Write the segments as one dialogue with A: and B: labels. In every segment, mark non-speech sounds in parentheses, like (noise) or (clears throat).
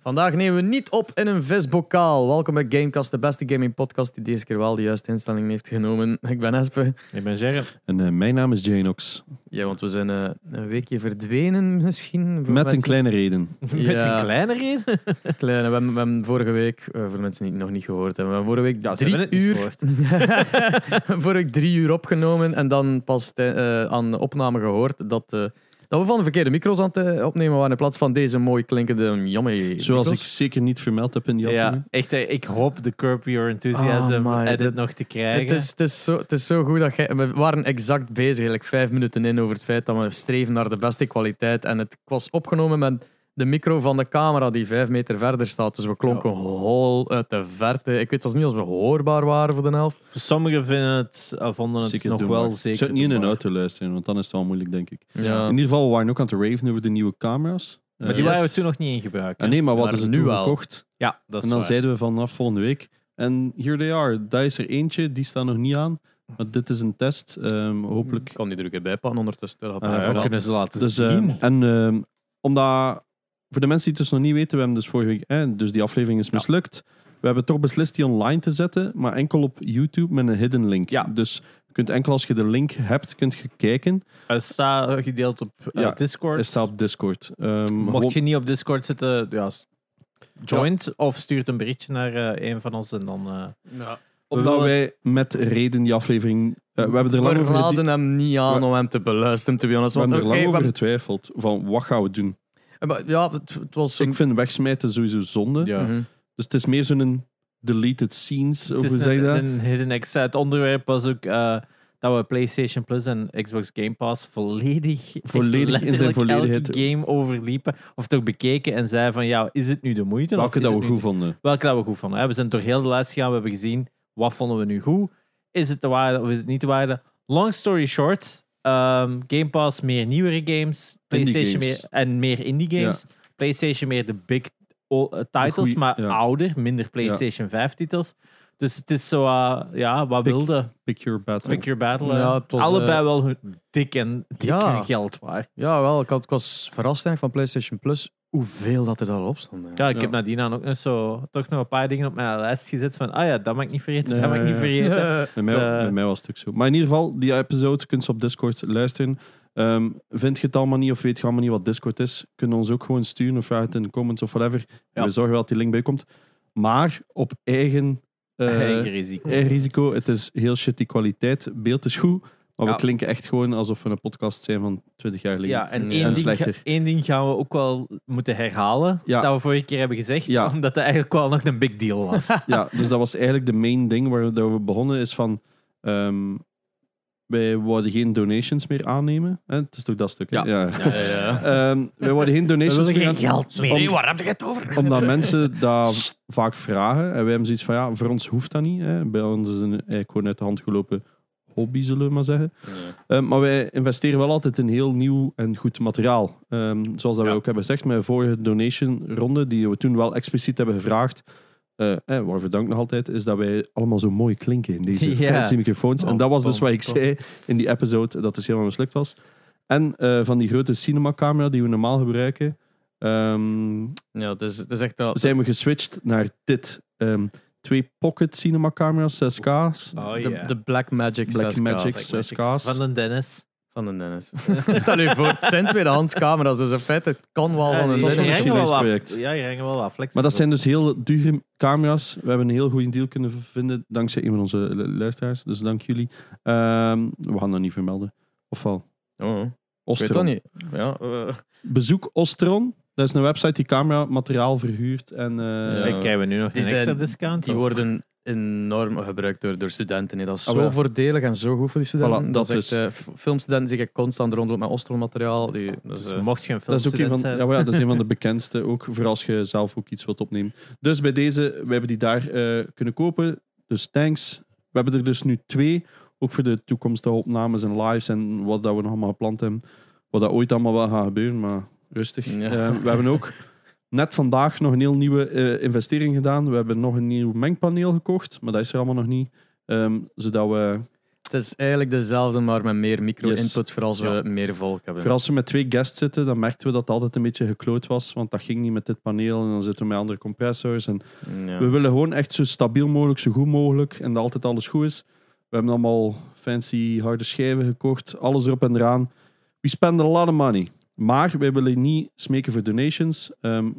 A: Vandaag nemen we niet op in een visbokaal. Welkom bij Gamecast, de beste gaming podcast die deze keer wel de juiste instelling heeft genomen. (laughs) Ik ben Espe.
B: Ik ben Gerrit.
C: En eh, mijn naam is Janox.
A: Ja, want we zijn eh, een weekje verdwenen misschien. voor
C: Met
A: mensen.
C: een kleine reden.
B: (laughs) Met
A: Ja.
B: een kleine reden.
A: Kleine, we, hebben, we hebben vorige week, eh, voor de mensen die het nog niet gehoord hebben, we hebben vorige week
B: Ja, ze
A: drie
B: hebben het niet
A: uur. We hebben (laughs) vorige week drie uur opgenomen en dan pas te- eh, aan de opname gehoord dat, eh, dat we van de verkeerde micro's aan het eh, opnemen waren in plaats van deze mooi klinkende mm, jammer.
C: Zoals ik zeker niet vermeld heb in die
B: Ja,
C: aflevering.
B: echt. eh, Ik hoop de Curb Your
A: Ah,
B: Enthusiasm
C: Oh
A: my,
B: edit
A: dit-
B: nog te krijgen.
A: Het is, het, is zo, het is zo goed dat jij. We waren exact bezig, eigenlijk vijf minuten in, over het feit dat we streven naar de beste kwaliteit. En het was opgenomen met de micro van de camera die vijf meter verder staat. Dus we klonken hol uit de verte. Ik weet zelfs niet als we hoorbaar waren voor de helft.
B: Sommigen vinden het, eh, vonden het
C: Zeker
B: nog
C: doenbaar.
B: wel zeker.
C: Ik zou het niet in een
B: doenbaar.
C: auto luisteren, want dan is het wel moeilijk, denk ik.
A: Ja.
C: In ieder geval, we waren ook aan het raven over de nieuwe camera's.
B: Maar die
C: Eh,
A: Yes.
B: waren we toen nog niet in gebruik. hè?
C: ah, nee, maar wat
A: Maar
C: is het
A: nu
C: nu
A: wel.
C: gekocht?
B: Ja, dat is
C: En dan
B: waar.
C: zeiden we vanaf volgende week. En here they are. Daar is er eentje, die staat nog niet aan. Maar dit is een test, ehm, hopelijk.
A: Ik kan die er ook bij pakken ondertussen. Dat gaat
C: Ah,
A: mij
C: ja,
B: we
A: verrassen.
B: Eh, kunnen ze laten
C: Dus,
B: zien.
C: ehm, en ehm, omdat, voor de mensen die het dus nog niet weten, we hebben dus vorige week, hè, dus die aflevering is mislukt. We hebben toch beslist die online te zetten, maar enkel op YouTube met een hidden link.
B: Ja.
C: Dus je kunt enkel als je de link hebt, kunt je kijken.
B: Het staat gedeeld op eh,
C: Ja,
B: Discord.
C: Het staat op Discord. Ehm, gewoon-
B: Mocht je niet op Discord zitten, ja, s- joint of stuurt een berichtje naar eh, een van ons en dan. eh,
A: Ja.
C: Omdat
B: willen-
C: wij met reden die aflevering... eh, we hebben er lang
A: We
C: over, gedi-
A: laden hem niet aan
C: We-
A: om hem te beluisteren, te be honest.
C: we hebben
A: Want,
C: er lang
A: oké, we
C: over
A: hebben-
C: getwijfeld. Van, wat gaan we doen?
A: maar ja, het, het was een...
C: Ik vind wegsmijten sowieso zonde.
B: ja.
A: Mhm.
C: Dus het is meer zo'n deleted scenes, of
B: Het
C: hoe
B: is
C: zeg je
B: een,
C: dat?
B: een hidden ex. Het onderwerp was ook eh, dat we PlayStation Plus en Xbox Game Pass volledig, echt
C: Volledig in zijn
B: letterlijk
C: volledigheid.
B: elke game overliepen. Of toch bekeken en zeiden van, ja, is het nu de moeite?
C: Welke
B: of is
C: dat
B: het
C: we
B: nu-
C: goed vonden.
B: Welke dat we goed vonden. hè. We zijn door heel de lijst gegaan, we hebben gezien, wat vonden we nu goed? Is het de waarde of is het niet de waarde? Long story short, ehm, Game Pass meer nieuwere games, PlayStation
C: games.
B: Meer, en meer indie
C: Ja.
B: games, PlayStation meer de big o- eh, titles,
C: goeie-
B: maar
C: ja.
B: ouder, minder PlayStation 5 titels. Dus het is zo, eh, ja, wat
C: Pick-
B: wilde
C: Pick your battle.
B: Pick Your Battle? eh.
A: Ja, het was,
B: Allebei
A: eh,
B: wel hun dik en, dik
A: Ja.
B: en geld waard.
A: Ja, wel. Ik, had, ik was verrast eigenlijk van PlayStation Plus hoeveel dat er daarop stond.
B: Ja, ik
C: Ja.
B: heb nadien dan ook nog zo, toch nog een paar dingen op mijn lijst gezet van, ah ja, dat mag ik niet vergeten, dat
C: Ja,
B: mag ik niet
C: ja.
B: vergeten.
A: (laughs)
C: Bij mij,
B: Dus, eh,
C: bij mij was het ook zo. Maar in ieder geval, die episode kun je op Discord luisteren. Ehm, vind je het allemaal niet of weet je allemaal niet wat Discord is? Kun je ons ook gewoon sturen of vraag het in de comments of whatever.
B: Ja.
C: We zorgen wel dat die link bij komt. Maar op eigen, eh,
B: Eigen risico.
C: eigen risico. Het is heel shitty kwaliteit. Beeld is goed, maar
B: Ja.
C: we klinken echt gewoon alsof we een podcast zijn van 20 jaar geleden.
B: Ja, en
A: Nee,
B: één,
C: en
B: ding,
C: slechter.
B: één ding gaan we ook wel moeten herhalen.
C: Ja.
B: Dat we vorige keer hebben gezegd.
C: Ja.
B: Omdat dat eigenlijk wel nog een big deal was.
C: (laughs) Ja, dus dat was eigenlijk de main ding waar we over begonnen is van... ehm, wij wouden geen donations meer aannemen. Hè? Het is toch dat stuk? hè?
B: Eh, Ja.
C: ja.
A: ja, ja.
C: Ehm, wij worden geen donations meer aan-
B: geld
C: Nee,
B: waar heb je het over? (laughs)
C: Omdat mensen dat vaak vragen. En wij hebben zoiets van, ja, voor ons hoeft dat niet. Hè. Bij ons is een eigenlijk gewoon uit de hand gelopen hobby, zullen we maar zeggen. Ehm, maar wij investeren wel altijd in heel nieuw en goed materiaal. Ehm, zoals dat wij
B: Ja.
C: ook hebben gezegd met de vorige donationronde, die we toen wel expliciet hebben gevraagd, eh, eh, waarvoor dank nog altijd, is dat wij allemaal zo mooi klinken in deze
B: (laughs) Ja.
C: fancy microfoons. En dat was dus wat ik zei in die episode, dat dus helemaal mislukt was. En eh, van die grote cinemacamera die we normaal gebruiken, ehm,
A: Ja, het is, het is echt wel...
C: zijn we geswitcht naar dit. Ehm, twee pocket cinemacamera's, 6K's.
B: Oh,
A: de,
B: ja.
A: de Black Magic
C: Black
A: 6K.
C: Magic
A: Black-
C: 6K's.
B: Van de Dennis.
A: Van de Dennis. (laughs) Stel je voor, het zijn tweedehands camera's, dus in feite het kan wel van een
C: was
B: die
C: een
A: Dennis.
B: hangen wel
C: Chinees
B: af.
C: project.
B: Ja, die hangen wel af.
C: Maar dat zijn dus heel dure camera's. We hebben een heel goede deal kunnen vinden dankzij een van onze lu- luisteraars. Dus dank jullie. Ehm, we gaan dat niet vermelden. Ofwel,
A: Oh, ik weet dat
C: Ostron.
A: niet. Ja, eh,
C: Bezoek Ostron. Dat is een website die camera-materiaal verhuurt. En, eh,
A: Ja.
B: Ja. Krijgen we nu nog
A: Die
B: een
A: zijn-
B: extra discount?
A: die
B: of?
A: worden enorm gebruikt door, door studenten. hè. Dat is zo
C: Ah, wel.
A: voordelig en zo goed voor die studenten.
C: Voilà,
A: dat
C: dat
A: is echt, eh, f- filmstudenten zich echt constant rondlopen met Ostrom-materiaal. Die, dat is,
B: Dus
A: eh,
B: mocht je een
C: dat is ook een
B: filmstudent
C: van,
B: zijn...
C: ja, maar ja, dat is een van de bekendste, ook voor als je zelf ook iets wilt opnemen. Dus bij deze, we hebben die daar eh, kunnen kopen. Dus thanks. We hebben er dus nu twee, ook voor de toekomstige opnames en lives en wat dat we nog allemaal gepland hebben. Wat dat ooit allemaal wel gaat gebeuren, maar rustig.
A: Ja.
C: Eh, we hebben ook net vandaag nog een heel nieuwe eh, investering gedaan. We hebben nog een nieuw mengpaneel gekocht, maar dat is er allemaal nog niet. Ehm, zodat we
A: Het is eigenlijk dezelfde, maar met meer micro-input, voor als we
B: Ja.
A: meer volk hebben.
C: Vooral als we met twee guests zitten, dan merkten we dat het altijd een beetje gekloot was. Want dat ging niet met dit paneel. En dan zitten we met andere compressors. En
A: Ja. (laughs)
C: We willen gewoon echt zo stabiel mogelijk, zo goed mogelijk. En dat altijd alles goed is. We hebben allemaal fancy harde schijven gekocht. Alles erop en eraan. We spend a lot of money. Maar wij willen niet smeken voor donations. Ehm,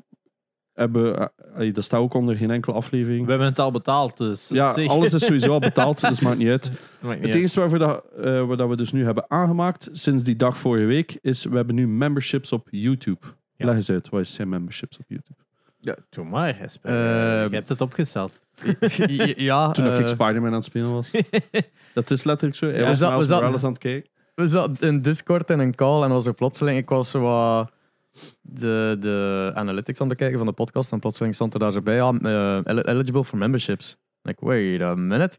C: hebben, eh, eh, dat staat ook onder geen enkele aflevering.
B: (laughs) We hebben het al betaald, dus.
C: ja,
B: op zich-
C: alles is sowieso al betaald, dus maakt niet uit.
B: (laughs) Het maakt niet
C: Het enige waarvoor dat, eh, wat dat we dus nu hebben aangemaakt, sinds die dag vorige week, is we hebben nu memberships op YouTube.
B: Ja.
C: Leg eens uit, wat zijn memberships op YouTube?
B: uit. Ja, doe maar, Espen.
C: Ehm,
A: Eh,
B: Je hebt het opgesteld.
A: ja,
C: Toen dat
A: eh,
C: ik Spider-Man aan het spelen was. (laughs) dat is letterlijk zo. Hij
A: Ja,
C: was
A: we zat-
C: Miles
A: we zat-
C: Morales aan het kijken.
A: We zaten in Discord in een call en was er plotseling, ik was zo wat de, de analytics aan het bekijken van de podcast en plotseling stond er daar zo bij, ja, eh, el- eligible for memberships. En ik, wait a minute.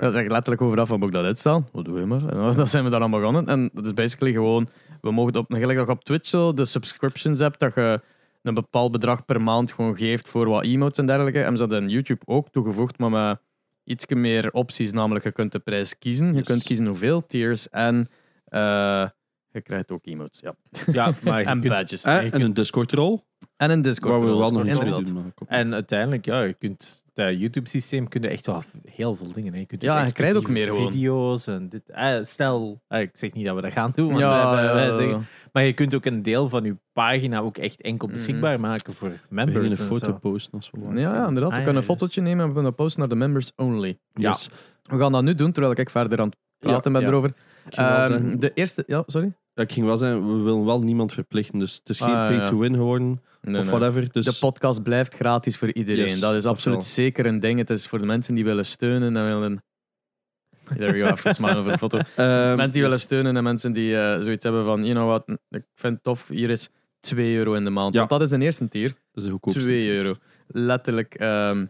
A: Dat is echt letterlijk overaf, wat moet ik dat uitstaan? Wat doe je maar? En dan (laughs) zijn we daar aan begonnen en dat is basically gewoon, we mogen op, gelijk dat je op Twitch zo de subscriptions hebt, dat je een bepaald bedrag per maand gewoon geeft voor wat emotes en dergelijke. En ze hadden in YouTube ook toegevoegd, maar met iets meer opties, namelijk je kunt de prijs kiezen, je
C: Yes.
A: kunt kiezen hoeveel tiers en eh, je krijgt ook emotes, ja.
B: Ja, maar je
A: En
B: kunt-
A: badges.
C: Eh,
B: je
C: en
B: kunt-
C: een Discord-rol,
A: En een Discord.
C: waar we
A: rol,
C: wel nog iets mee
A: inderdaad.
C: doen. maar kom.
B: En uiteindelijk, ja, je kunt dat YouTube-systeem kun je echt wel heel veel dingen. Hè. Je kunt
A: Ja,
B: echt
A: en je krijgt ook
B: exclusieve
A: meer gewoon.
B: video's en dit. eh, stel, eh, ik zeg niet dat we dat gaan doen, want
A: Ja,
B: we hebben, eh,
A: ja,
B: wij dingen. maar je kunt ook een deel van je pagina ook echt enkel
A: Mhm.
B: beschikbaar maken voor
C: We gingen
B: members.
C: een
B: en
C: foto
B: zo.
C: posten als we
A: ja,
C: waren.
A: ja, inderdaad. We
B: Ah, ja,
A: kunnen een
B: ja.
A: fotootje nemen en we kunnen dat posten naar de members only. Dus
C: Yes.
A: We gaan dat nu doen, terwijl ik echt verder aan het praten ben
B: ja.
A: erover.
C: Ik, ging wel
A: Ehm,
C: zeggen-
A: de eerste... Ja, sorry?
C: ik ging wel zeggen, we willen wel niemand verplichten. Dus het is geen
A: Ah, ja, ja.
C: pay-to-win geworden,
A: Nee,
C: of
A: nee.
C: whatever. Dus
A: De podcast blijft gratis voor iedereen.
C: Yes,
A: dat is
C: dat
A: absoluut
C: wel.
A: zeker een ding. Het is voor de mensen die willen steunen en willen... There we go, even smilen voor de
C: (laughs)
A: foto.
C: ehm,
A: mensen die
C: yes.
A: willen steunen en mensen die eh, zoiets hebben van... You know what, ik vind het tof, hier is 2 euro in de maand.
C: Ja.
A: Want dat is de eerste tier.
C: Dat is de goedkoopste.
A: 2 euro. Letterlijk, ehm,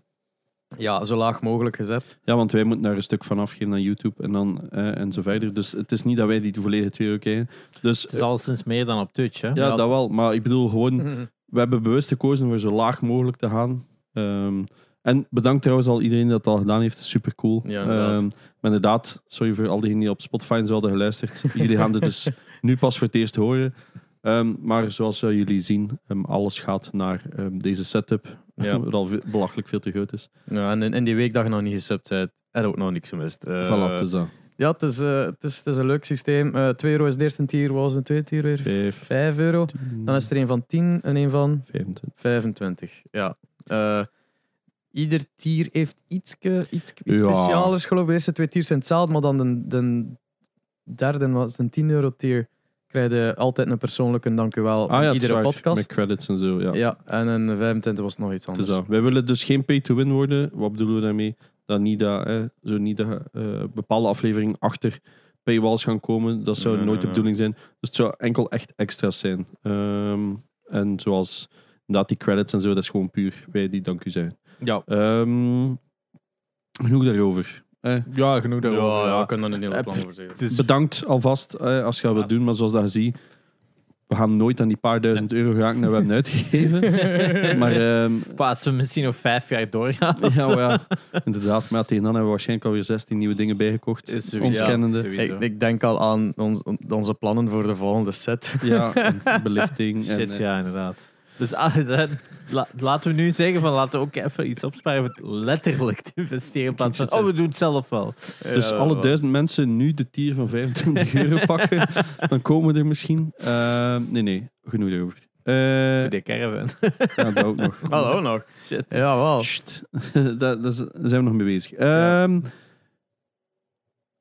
A: ja, zo laag mogelijk gezet.
C: Ja, want wij moeten daar een stuk van afgeven aan YouTube en dan eh, en zo verder. Dus het is niet dat wij die volledige 2 euro krijgen. Dus
B: Het is al sinds meer dan op Twitch. Hè?
C: ja, dat wel. Maar ik bedoel gewoon,
A: Mhm.
C: we hebben bewust gekozen voor zo laag mogelijk te gaan. Ehm, en bedankt trouwens al iedereen dat het al gedaan heeft. Super cool.
A: Ja, inderdaad.
C: maar inderdaad, sorry voor al diegenen die op Spotify zouden geluisterd. Jullie gaan dit
A: (laughs)
C: dus nu pas voor het eerst horen. Ehm, maar zoals eh, jullie zien, ehm, alles gaat naar ehm, deze setup.
A: Ja.
C: (laughs) Wat al ve- belachelijk veel te groot is.
A: (laughs) Ja, en in, in die week dat je nog niet gesubt hebt, heb je ook nog niks gemist. Eh,
C: voilà, dus het is dat.
A: Ja, het is, eh, het, is, het is een leuk systeem. Eh 2 euro is de eerste tier, wat was de tweede tier weer?
C: Vijf,
A: 5 euro. Dan is er een van 10 en een van
C: 25.
A: 25. Ja. Eh, ieder tier heeft ietske, ietske, iets
C: Ja.
A: speciaals, geloof ik. De eerste twee tiers zijn hetzelfde, maar dan de, de derde, was een 10 euro tier, krijg je altijd een persoonlijke dank u wel
C: Ah ja,
A: aan
C: het is
A: iedere
C: waar, Met
A: podcast.
C: credits en zo, ja.
A: Ja, en een 25 was nog iets
C: Het is
A: anders.
C: dat. Wij willen dus geen pay-to-win worden. Wat bedoelen we daarmee? Dat niet dat, hè, zo niet dat eh, bepaalde afleveringen achter paywalls gaan komen. Dat zou
A: Nee,
C: nooit de
A: nee,
C: bedoeling zijn. Dus het zou enkel echt extra's zijn. Ehm, en zoals dat die credits en zo, dat is gewoon puur wij die dank u zijn.
B: Ja.
C: Ehm, genoeg daarover. Eh,
B: ja, genoeg
A: Ja,
B: daarover.
A: ja,
B: ja.
A: ik kan daar een heel
B: Eh,
A: plan over zeggen.
B: Het is-
C: Bedankt alvast eh, als je dat wilt doen. Maar zoals dat je ziet, we gaan nooit aan die paar duizend euro geraken dat we hebben uitgegeven.
A: (laughs)
C: Maar ehm,
B: Pas als we misschien nog vijf jaar doorgaan.
C: Ja, maar ja, inderdaad. Maar ja, tegen dan hebben we waarschijnlijk alweer 16 nieuwe dingen bijgekocht.
B: Is sowieso.
C: ons
A: ja,
C: kennende.
B: Sowieso.
A: ik, ik denk al aan ons- onze plannen voor de volgende set.
C: (laughs) Ja, belichting. En,
B: Shit,
C: eh,
B: ja, inderdaad. Dus ah, (laughs) dat- la- laten we nu zeggen van laten we ook even iets opsparen voor het letterlijk te investeren in plaats van oh, we doen het zelf wel.
C: Dus alle
B: Oh.
C: duizend mensen nu de tier van 25 euro
B: (laughs)
C: pakken, dan komen we er misschien. Ehm, nee, nee, genoeg daarover. Eh,
B: Voor de caravan. (laughs)
C: ja, dat ook nog.
A: Hallo nog.
B: Shit.
A: Ja, wel.
C: Sst. (laughs) Daar- daar z- zijn we nog mee bezig. Ehm,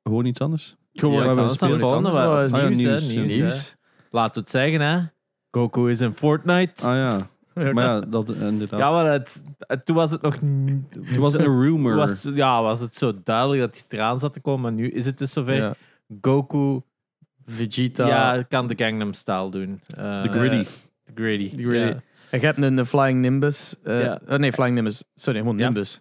C: Gewoon iets anders.
B: Gewoon
C: we
B: iets
C: hebben
B: anders dan
C: speel
B: de
C: van.
B: volgende, maar-
A: Oh,
B: of
A: is
C: nieuws,
B: nieuws, hè,
C: ja,
B: nieuws,
C: nieuws.
B: hè. Laten we het zeggen, hè. Goku is in Fortnite.
C: Ah ja, maar ja, dat eh, inderdaad.
B: ja, maar het, het- toen was het nog... niet-
C: Toen was het een rumor.
B: was, ja, was het zo duidelijk dat hij eraan zat te komen, maar nu is het dus zover.
A: Ja.
B: Goku
A: Vegeta.
B: ja, kan de Gangnam Style doen. Eh,
C: de gritty.
B: de Gritty.
A: De Gritty.
B: Ja.
A: En je hebt een, een Flying Nimbus. eh,
B: Ja.
A: eh, nee, Flying Nimbus. Sorry, gewoon
B: Ja.
A: Nimbus.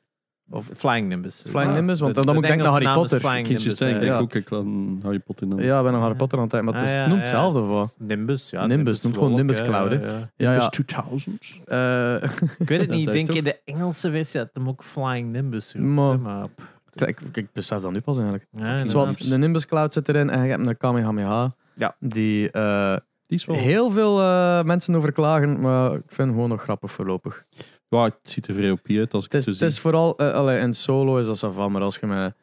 B: Of Flying Nimbus.
A: Flying
B: Ja.
A: Nimbus, want
B: De-
A: dan moet
B: de
A: ik denken aan Harry
B: Engelse naam is
A: Potter.
B: Flying
C: Ik
B: Nimbus,
C: denk
B: ja.
A: ja.
C: ook, ik laat een Harry Potter in.
A: Ja, ik ben een Harry Potter aan het tijd, maar het, is,
B: Ah,
A: het
B: ja,
A: noemt
B: ja,
A: hetzelfde
B: het
A: voor.
B: is Nimbus, ja.
A: Nimbus, noemt gewoon
B: Wolk,
A: Nimbus
B: eh,
A: Cloud, hè.
C: (laughs)
B: ja.
A: Ja, ja.
C: 2000s.
A: Eh, (laughs)
B: Ik weet het niet. Ik
C: Ja, dat is
B: denk
C: toch-
B: in de Engelse versie had hem ook Flying Nimbus.
A: Maar-
B: genoemd, hè, Maar, pff,
A: Ik, ik- ik besef dat nu pas eigenlijk.
B: Ja,
A: Dus
B: inderdaad.
A: wat, de Nimbus Cloud zit erin en je hebt een Kamehameha.
B: Ja.
A: Die eh,
C: Die is wel...
A: heel veel eh, mensen over klagen, maar ik vind hem gewoon nog grappig voorlopig.
C: Ja, het ziet er vrij op uit als
A: Het
C: ik het
A: is,
C: zo
A: het
C: zie.
A: is vooral, eh, allee, in solo is dat zo van, maar als je met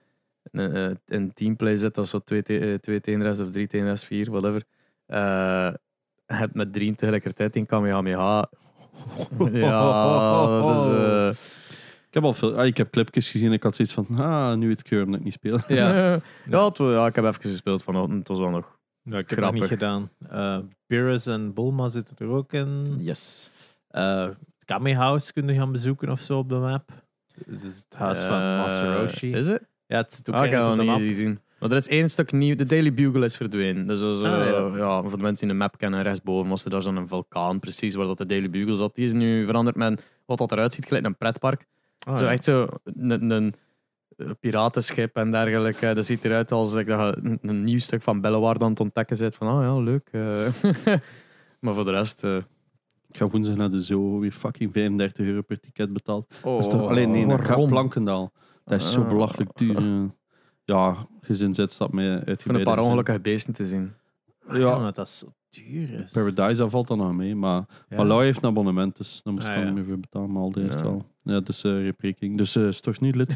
A: een, eh, in teamplay zit, dat is zo twee, te- eh, twee tegen rest of drie tegen rest, vier, whatever. Eh je hebt met drieën tegelijkertijd in
B: (laughs)
A: Kamehameha. (laughs) Ja, dat is... eh,
C: Ik heb al veel... ah, ik heb clipjes gezien ik had zoiets van... Ah, nu het keur omdat ik niet speel. (laughs)
A: ja. het wa- (laughs) ja, ik heb even gespeeld vanochtend, het was wel nog...
B: Ja, nou, ik heb het nog niet gedaan. Eh Beerus en Bulma zitten er ook in.
A: Yes.
B: Eh het Kame House kun je gaan bezoeken of zo op de map. Dus het huis van
A: Eh,
B: Master Roshi.
A: Is het?
B: Ja, het zit ook
A: Ah, ik heb
B: ergens
A: hem
B: op de
A: nog
B: map.
A: niet gezien. Maar er is één stuk nieuw, de Daily Bugle is verdwenen. Dus dat is, eh,
B: Ah, ja.
A: ja. voor de mensen die de map kennen, rechtsboven was er daar zo'n vulkaan, precies waar dat de Daily Bugle zat. Die is nu veranderd met wat dat eruit ziet, gelijk een pretpark.
B: Ah,
A: zo
B: ja.
A: echt zo een, een piratenschip en dergelijke. Dat ziet eruit als ik, dat je een- een nieuw stuk van Bellewaard aan het ontdekken zit. Van, oh ja, leuk. eh. (laughs) maar voor de rest... eh,
C: Ik ga woensdag naar de zoo weer fucking 35 euro per ticket betaald.
A: oh,
C: dat is toch alleen nee, naar
A: waarom?
C: Plankendaal. Dat is zo
A: Ah.
C: belachelijk duur. eh. Ja, gezin zet dat mee uitgebreid.
A: Voor een paar
C: in.
A: ongelukkige beesten te
B: (laughs)
A: zien.
B: Ja,
C: Ja,
B: omdat dat zo duur is.
C: Dus Paradise, dat valt dan nog mee. Maar
B: Ja.
C: Malou heeft een abonnement, dus daar moest ik
B: Ah,
C: dan
B: ja.
C: niet meer voor betalen. Maar al de rest
A: Ja.
C: wel. Ja, dus eh repreking. Dus eh, is toch niet
A: (laughs)
C: lid.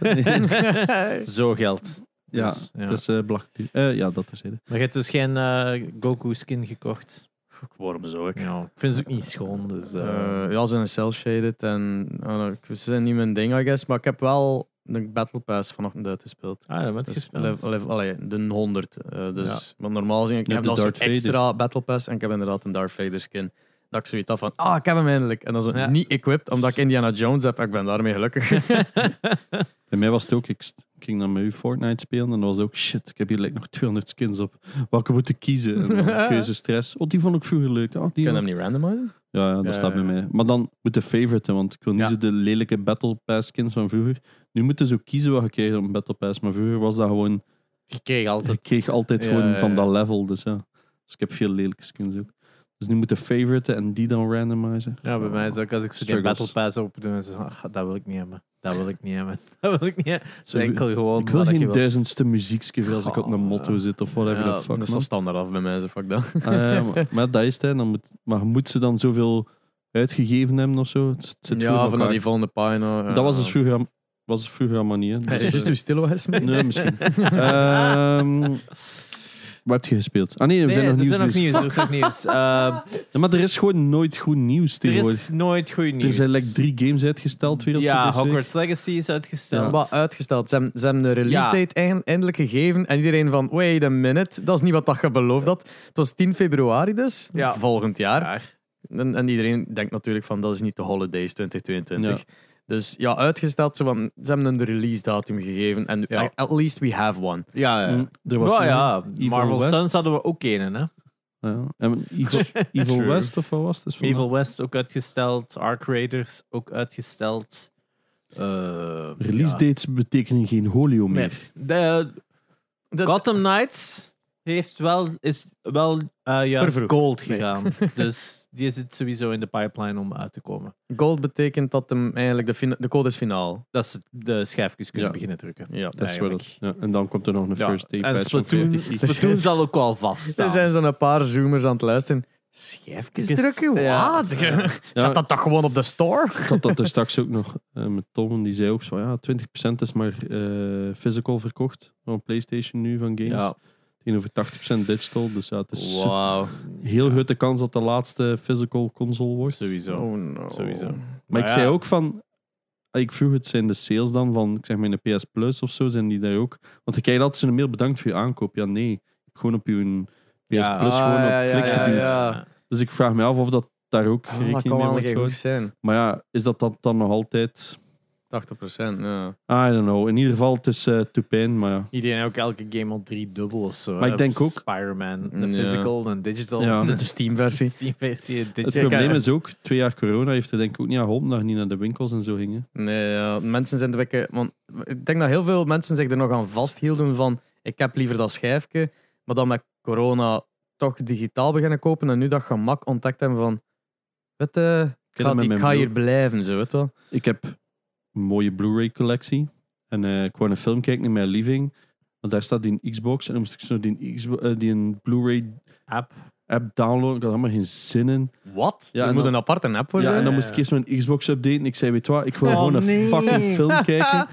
B: Zo geld.
C: ja,
B: Dus, ja.
C: dat is eh belachelijk duur. Eh, ja, dat is het.
B: Maar je hebt dus geen eh, Goku skin gekocht.
A: waarom zou ik?
B: Ja, ik vind ze ook niet schoon. Dus, eh,
A: Eh, ja, ze zijn cel-shaded en eh, ik- ze zijn niet mijn ding, I guess. Maar ik heb wel de Battle Pass vanochtend uitgespeeld.
B: ah, dat wordt
A: Dus
B: gespeeld.
A: level, level- allee, de 100. eh, dus, Want normaal zie ik, ik
C: Je
A: heb
C: hebt
A: nog
C: de
A: zo'n
C: Darth Vader.
A: extra Battle Pass en ik heb inderdaad een Darth Vader skin. Dat ik zoiets had van, ah, ik heb hem eindelijk. En dan zo,
B: Ja.
A: niet equipped, omdat ik Indiana Jones heb. Ik ben daarmee (laughs) gelukkig.
B: (laughs)
C: Bij mij was het ook, ik st- ging dan met u Fortnite spelen en dan was het ook, shit, ik heb hier like, nog 200 skins op. Welke moet ik kiezen? En dan keuzestress. Oh, die vond ik vroeger leuk. Oh, die
A: Ik kan
C: ook.
A: hem niet randomizen.
C: Ja, ja, dat
B: Ja,
C: staat bij
B: ja, ja.
C: mij. Maar dan moet de favorite, want ik wil niet
B: Ja.
C: zo de lelijke Battle Pass skins van vroeger. Nu moeten ze ook kiezen wat je krijgt op een Battle Pass. Maar vroeger was dat gewoon,
A: Je kreeg
C: ik
A: altijd...
C: kreeg altijd
A: Ja,
C: gewoon
A: ja,
C: van
A: ja.
C: dat level. Dus ja, dus ik heb veel lelijke skins ook. Dus nu moet de favorite en die dan randomizen.
B: Ja, bij mij is het ook als ik zo die
C: Struggles.
B: Battle Pass open doe en zo, ach, "Ah, dat wil ik niet hebben. Dat wil ik niet hebben. (laughs) Dat wil ik niet hebben. Het is
C: Zo,
B: enkel gewoon
C: Ik wil
B: wat je
C: geen
B: wilt.
C: duizendste muziekskiver als ik op een
B: Goh.
C: motto zit of whatever
A: Ja,
C: the fuck.
A: eh, dat is
C: man.
A: dan standaard af bij mij, zo fuck dat. (laughs)
C: Eh, maar, maar dat is het, hè. dan moet, maar moet ze dan zoveel uitgegeven hebben of zo? Het zit goed in
A: ja, van
C: elkaar.
A: dat die volgende pagina.
C: Dat was dus vroeger, am- was het vroeger allemaal niet. Hè. Dus, eh,
A: Just uw stilo is mee.
C: nee, misschien. Ehm wat heb je gespeeld? Ah nee, we
B: Nee,
C: zijn nog
B: er
C: nieuws.
B: zijn nog
C: bezig.
B: nieuws. Er is nog nieuws. Eh,
C: (laughs) Ja, maar er is gewoon nooit goed nieuws
B: er
C: tegenwoordig.
B: is nooit goed nieuws.
C: Er zijn like drie games uitgesteld weer of zo
B: Ja,
C: deze week.
B: Hogwarts Legacy is uitgesteld.
A: Wat uitgesteld. Ze hebben, ze hebben de release
B: Ja.
A: date eigen- eindelijk gegeven. En iedereen van, wait a minute, dat is niet wat dat je beloofd had. Het was 10 februari dus,
B: Ja.
A: volgend jaar.
B: Ja.
A: En, en iedereen denkt natuurlijk van, dat is niet de holidays 2022. Dus ja, uitgesteld. Zo van, ze hebben een release datum gegeven. En
B: Ja.
A: at least we have one.
B: Ja, ja.
C: Mm, Er was
B: Nou
C: nog-
B: ja,
C: Evil
B: Marvel
C: West.
B: Suns hadden we ook een, hè?
C: Ja. En
B: (laughs)
C: Evil, Evil
B: True.
C: West of wat was het? Dat is van-
B: Evil West ook uitgesteld. Arc Raiders ook uitgesteld. Eh,
C: Release
B: ja.
C: dates betekenen geen holio
B: Nee.
C: meer.
B: De,
A: Dat-
B: Gotham Knights heeft wel, is wel eh juist
A: Vervroegd.
B: gold
A: Nee.
B: gegaan.
C: (laughs)
B: dus die zit sowieso in de pipeline om uit te komen.
A: Gold betekent dat hem eigenlijk de, fina- de code is finaal.
B: Dat ze de schijfjes kunnen
C: Ja.
B: beginnen drukken.
A: Ja.
C: Dat is wel
B: Eigenlijk.
C: het. Ja, en dan komt er nog een
B: Ja,
C: first day
B: en
C: patch van
B: Splatoon,
C: 40 gig.
B: Splatoon Dus zal ook wel
A: (laughs)
B: vast.
A: Er zijn zo'n paar zoomers aan het luisteren. Schijfjes
B: Yes.
A: drukken?
B: Ja.
A: Wat?
C: Ja.
A: (laughs) Zet dat toch gewoon op de store?
C: Ik had dat er straks ook nog eh, met Tom. en Die zei ook zo, ja, 20% is maar eh, physical verkocht van PlayStation nu, van games.
B: Ja.
C: In over 80% digital. Dus ja, het is zo-
A: Wauw.
C: heel grote kans dat de laatste physical console wordt.
B: Sowieso.
A: Oh no.
B: Sowieso.
C: Maar ik
B: Maar
C: zei
B: ja.
C: ook van... Ik vroeg het, zijn de sales dan van, ik zeg maar, in de PS Plus of zo, zijn die daar ook? Want ik krijg altijd zo'n mail, bedankt voor je aankoop. Ja, nee. Gewoon op je PS
B: Ja.
C: Plus,
A: Ah,
C: gewoon op
A: ja, ja,
C: klik
A: ja,
C: geduwd.
A: ja.
C: Dus ik vraag me af of dat daar ook
A: Oh, dat
C: rekening
A: kan
C: mee
A: wel een
C: wordt
A: keer goed
C: gehouden.
A: zijn. 80%,
C: Maar ja, is dat, dat dan nog altijd...
A: ja.
C: I don't know. In ieder geval, het is eh to pain, maar ja.
B: Iedereen ook elke game al drie dubbel of zo.
C: Maar ik
B: hè.
C: denk ook- Mm,
B: Spider-Man, de
A: Ja.
B: physical en digital. (laughs) Dus
C: Ja.
A: De Steam-versie.
B: Steam-versie, een
C: Het
B: digital.
C: probleem
A: eh,
C: is ook, twee jaar corona heeft er denk ik ook niet aan geholpen dat je niet naar de winkels en zo gingen.
A: Nee, ja, mensen zijn de wekken. Want ik denk dat heel veel mensen zich er nog aan vasthielden van ik heb liever dat schijfje, maar dan met corona toch digitaal beginnen kopen en nu dat gemak ontdekt hebben van weet je, ik
C: heb
A: ga,
C: dat met
A: die- ik
C: mijn
A: ga
C: broer.
A: hier blijven, zo weet je wel.
C: Ik heb een mooie Blu-ray collectie. En eh, ik wou een film kijken in mijn living. Want daar staat die Xbox. En dan moest ik zo die, Xbo- eh, die een Blu-ray
B: App.
C: app downloaden. Ik had helemaal geen zin in.
A: Wat?
C: Ja,
A: er
C: en
A: moet
C: dan-
A: een aparte app voor
C: Ja,
A: zijn?
C: en dan moest ik eerst mijn Xbox updaten. Ik zei, weet je wat, ik wil
B: Oh,
C: gewoon een
B: nee.
A: (laughs)
C: fucking film kijken.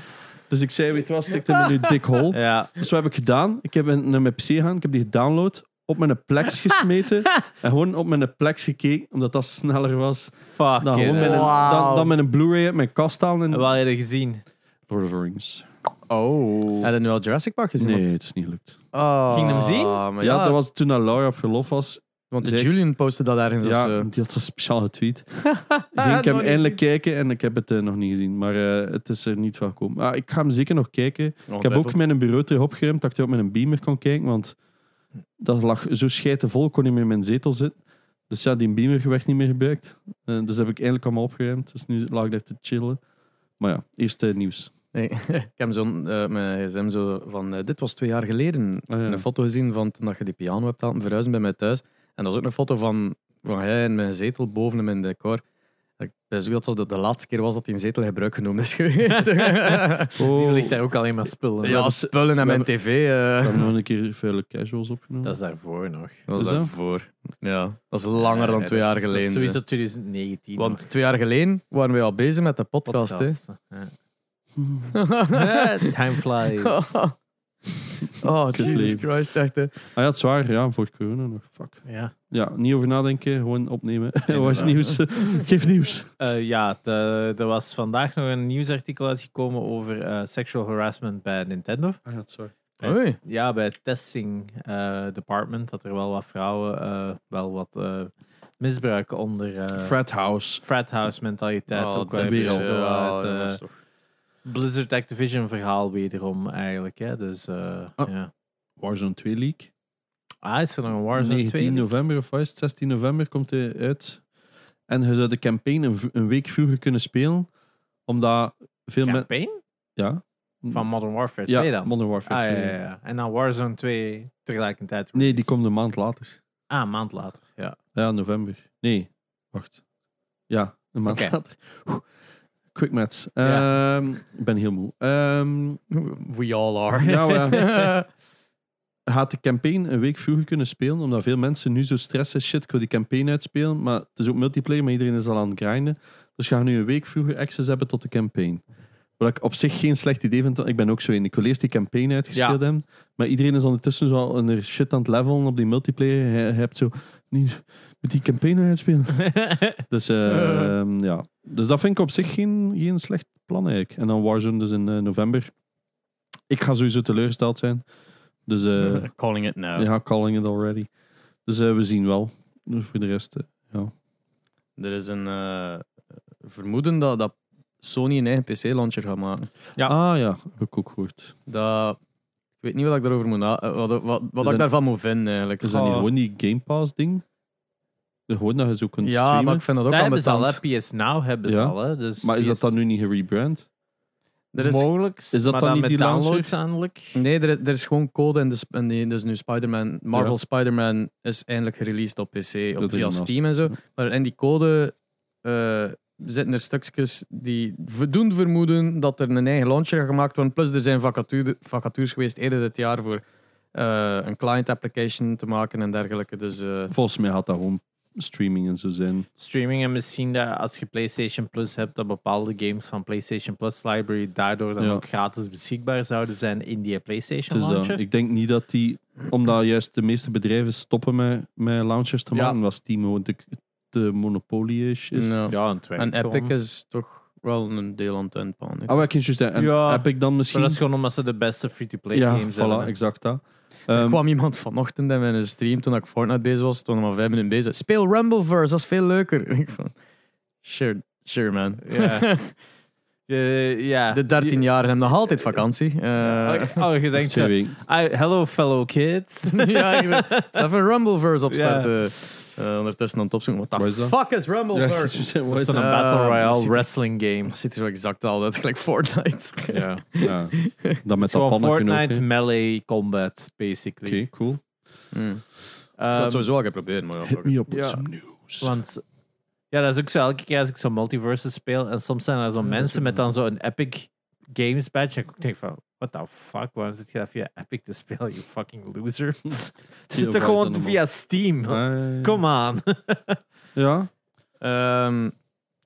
C: Dus ik zei, weet je wat, stik hem in uw dik hol.
B: Ja.
C: Dus wat heb ik gedaan? Ik heb een- naar mijn PC gegaan, ik heb die gedownload, op mijn plex gesmeten en gewoon op mijn plex gekeken, omdat dat sneller was
B: Fuck.
C: dan, gewoon
B: it, Eh,
C: met een,
B: hè.
C: dan, dan met een Blu-ray uit mijn kast halen.
B: En
C: En...
B: Wel eerder gezien.
C: Lord of the Rings.
A: Oh. Heb je nu al Jurassic Park gezien?
C: Nee, het is niet gelukt.
A: Oh,
B: Ging je hem zien?
A: maar
C: Ja,
A: ja,
C: dat was toen dat Laura op verlof was.
A: want
C: zeker.
A: Julian postte dat eh, ergens dus, of
C: Ja,
A: zo.
C: die had een speciale tweet. Ging ik
A: Nooit
C: hem eindelijk kijken en ik heb het eh, nog niet gezien. Maar eh, het is er niet van gekomen. Maar ik ga hem zeker nog kijken.
A: eh,
C: Ik heb ook mijn bureau terug opgeruimd dat ik er ook met een beamer kon kijken, want dat lag zo scheitenvol, ik kon niet meer in mijn zetel zitten. Dus ja, die beamer werd niet meer gebruikt. Eh, dus heb ik eindelijk allemaal opgeruimd. Dus nu lag ik daar te chillen. Maar ja, eerst eh, nieuws.
A: Nee, (laughs) ik heb zo'n, eh, mijn gsm zo van, eh, dit was twee jaar geleden,
C: Ah, ja.
A: een foto gezien van toen dat je die piano hebt laten verhuizen bij mij thuis. En dat is ook een foto van, van hij in mijn zetel boven hem in de decor. Ik denk ook dat dat de laatste keer was dat die een zetel in gebruik genomen is (laughs) geweest.
B: Dus hier
C: Oh.
B: ligt daar ook alleen maar spullen.
A: ja, spullen en mijn
C: we
A: tv.
C: We
A: eh,
C: hebben nog een keer vuile casuals opgenomen.
B: Dat is daarvoor nog.
A: dat
C: is
A: was
C: dat?
A: daarvoor. Ja, dat is langer dan
B: Eh,
A: twee
B: dat
A: jaar
B: is- dat is
A: geleden.
B: Sowieso 2019. nog.
A: Want twee jaar geleden waren we al bezig met de podcast.
B: podcast. hè.
C: Hmm.
A: (laughs) Hè?
B: Eh, Time
A: (laughs)
B: flies.
A: oh,
C: Kut
A: Jesus
C: leven.
A: Christ. Echt, hè.
C: Ah ja, het is waar. Ja, voor corona nog. Fuck.
B: Ja,
C: Ja, niet over nadenken. Gewoon opnemen. (laughs) Wat is
B: Inderdaad.
C: nieuws? Geef nieuws.
B: Eh, ja de- er was vandaag nog een nieuwsartikel uitgekomen over eh, sexual harassment bij Nintendo.
C: Ah ja, het is waar.
B: Bij
A: Oei.
B: het- ja, bij het testing eh, department dat er wel wat vrouwen eh, wel wat eh, misbruik onder eh,
C: Frat House.
B: frat house mentaliteit.
A: Oh,
B: ook wel
A: dat
B: even
C: weer al.
B: zo
A: Ja,
B: uit,
A: dat
B: eh,
A: was
B: Blizzard Activision verhaal wederom eigenlijk. Hè? Dus eh,
C: Ah.
B: ja.
C: Warzone 2 leak.
B: Ah, is er nog een Warzone
C: 19
B: 2?
C: november of wat is het? 16 november komt hij uit. En je zou de campaign een, v- een week vroeger kunnen spelen, omdat veel mensen.
B: Campaign?
C: Ja,
B: Van Modern Warfare 2
C: ja
B: dan?
C: Modern Warfare.
B: Ah, ja,
C: 2.
B: ja, ja. En dan Warzone 2 tegelijkertijd.
C: Nee, die
B: release.
C: komt een maand later.
B: Ah, een maand later.
C: (laughs)
B: (laughs) Ja.
C: Ja, november. Nee, wacht. Ja, een maand
B: Oké.
C: later. Oeh, Quick maths.
B: Ja.
C: Ehm, ik ben heel moe. Ehm,
A: We all are.
C: Nou,
A: (laughs)
C: Ja, maar- gaat de campaign een week vroeger kunnen spelen, omdat veel mensen nu zo stressen. Shit, ik wil die campaign uitspelen, maar het is ook multiplayer, maar iedereen is al aan het grinden. Dus gaan we nu een week vroeger access hebben tot de campaign. Wat ik op zich geen slecht idee vind, want ik ben ook zo in. Ik wil eerst die campaign
B: Ja.
C: uitgespeeld hebben, maar iedereen is ondertussen zo al een shit aan het levelen op die multiplayer. Je je hebt zo, niet met die campaign uitspelen. Dus, eh, ja. dus dat vind ik op zich geen, geen slecht plan eigenlijk. En dan Warzone dus in eh, november. Ik ga sowieso teleurgesteld zijn. Dus eh,
A: Calling it now.
C: ja, calling it already. Dus eh, we zien wel. Dus voor de rest. eh,
A: Er is een eh, vermoeden dat, dat Sony een eigen PC-launcher gaat maken.
B: Ja.
C: Ah ja, heb ik ook gehoord.
A: Dat, ik weet niet wat ik daarover moet na- eh, wat, wat, wat ik
C: dat-
A: daarvan moet vinden eigenlijk. Ah.
C: Is dat niet
B: Oh.
C: gewoon die Game Pass ding? De- Gewoon dat je zo kunt
A: ja,
C: streamen.
A: maar
C: Maar,
A: ik vind dat ook
B: Dat
A: aan
B: hebben ze al,
A: de
B: hè. PS Now hebben ze
C: Ja.
B: al. Hè. Dus
C: is dat
B: PS
C: dan nu niet gerebrand?
A: Er is,
B: mogelijk? Is dat dan, niet met
C: die launcher?
B: downloads eindelijk?
A: nee, er is, er is gewoon code in de, sp- in die, dus nu Spider-Man, Marvel
C: Ja.
A: Spider-Man is eindelijk gereleased op PC, op,
C: Dat is
A: via
C: een
A: Steam en zo.
C: ja.
A: Maar in die code eh, zitten er stukjes die v- doen vermoeden dat er een eigen launcher gaat gemaakt wordt. Plus er zijn vacature, vacatures geweest eerder dit jaar voor eh, een client application te maken en dergelijke. Dus eh,
C: Volgens mij had dat gewoon streaming en zo zijn.
B: Streaming en misschien dat als je PlayStation Plus hebt, dat bepaalde games van PlayStation Plus Library daardoor dan
C: Ja.
B: ook gratis beschikbaar zouden zijn in die PlayStation
C: Dus, eh,
B: launcher.
C: ik denk niet dat die, omdat juist de meeste bedrijven stoppen met, met launchers te
B: Ja.
C: maken, was Steam gewoon de, de monopolie is.
A: nou.
B: ja, en het werkt
A: en
B: gewoon.
A: Epic is toch wel een deel aan het uitbouwen. hè.
C: Ah, maar ik kan juist zeggen, en
B: Ja,
C: heb ik dan
B: Maar
C: misschien...
B: dat is gewoon omdat ze de beste free-to-play
C: ja,
B: games hebben.
C: voilà,
B: hè.
C: exact dat.
A: Er
C: Ehm,
A: kwam iemand vanochtend in mijn stream toen ik Fortnite bezig was. Toen maar vijf minuten bezig. Speel Rumbleverse, dat is veel leuker. (laughs) En ik van, sure, sure man.
B: Ja. Eh, ja.
A: De 13 jaar hebben nog altijd vakantie. Eh,
B: Oké, Oh,
C: (laughs)
B: je denkt zo,
C: twee weken.
B: "Ah, hello fellow
C: (laughs)
B: kids.
A: (laughs)
B: (laughs)
A: ja, ik ben- ik zal even Rumbleverse opstarten.
B: Ja.
A: Eh, ondertussen aan het opzoeken. What
C: Waar
A: the
C: is dat?
A: fuck is
C: Ja, ik kan
A: Rumbleverse?
C: juist zeggen, wat
B: Dat
C: is
B: is een
C: dat?
A: Eh,
B: battle
A: dat
B: royale
A: ziet-
B: wrestling game.
A: Dat ziet er zo exact al uit, (laughs) gelijk Fortnite.
B: Ja. (laughs)
C: (laughs) Ja, dan
B: Het
C: met
B: is
C: dat
B: gewoon
C: pannenken ook, hè.
B: Fortnite melee combat,
C: Oké,
B: basically.
C: cool.
A: (laughs) Hmm. Ik
B: Ehm,
A: had het sowieso al geprobeerd, maar ja, fuck it.
C: up
B: with Ja. some
C: news.
B: want ja, dat is ook zo elke keer als ik zo'n multiverse speel en soms zijn er zo mensen met dan zo'n epic games badge. En ik denk van, what the fuck? Waarom zit je dat via Epic te spelen, you fucking
A: (laughs)
B: loser? Het zit
C: waar
B: toch
C: is
B: gewoon
C: dat
B: via Steam?
C: Eh,
B: Kom aan.
C: Ja,
A: Ehm,
C: heb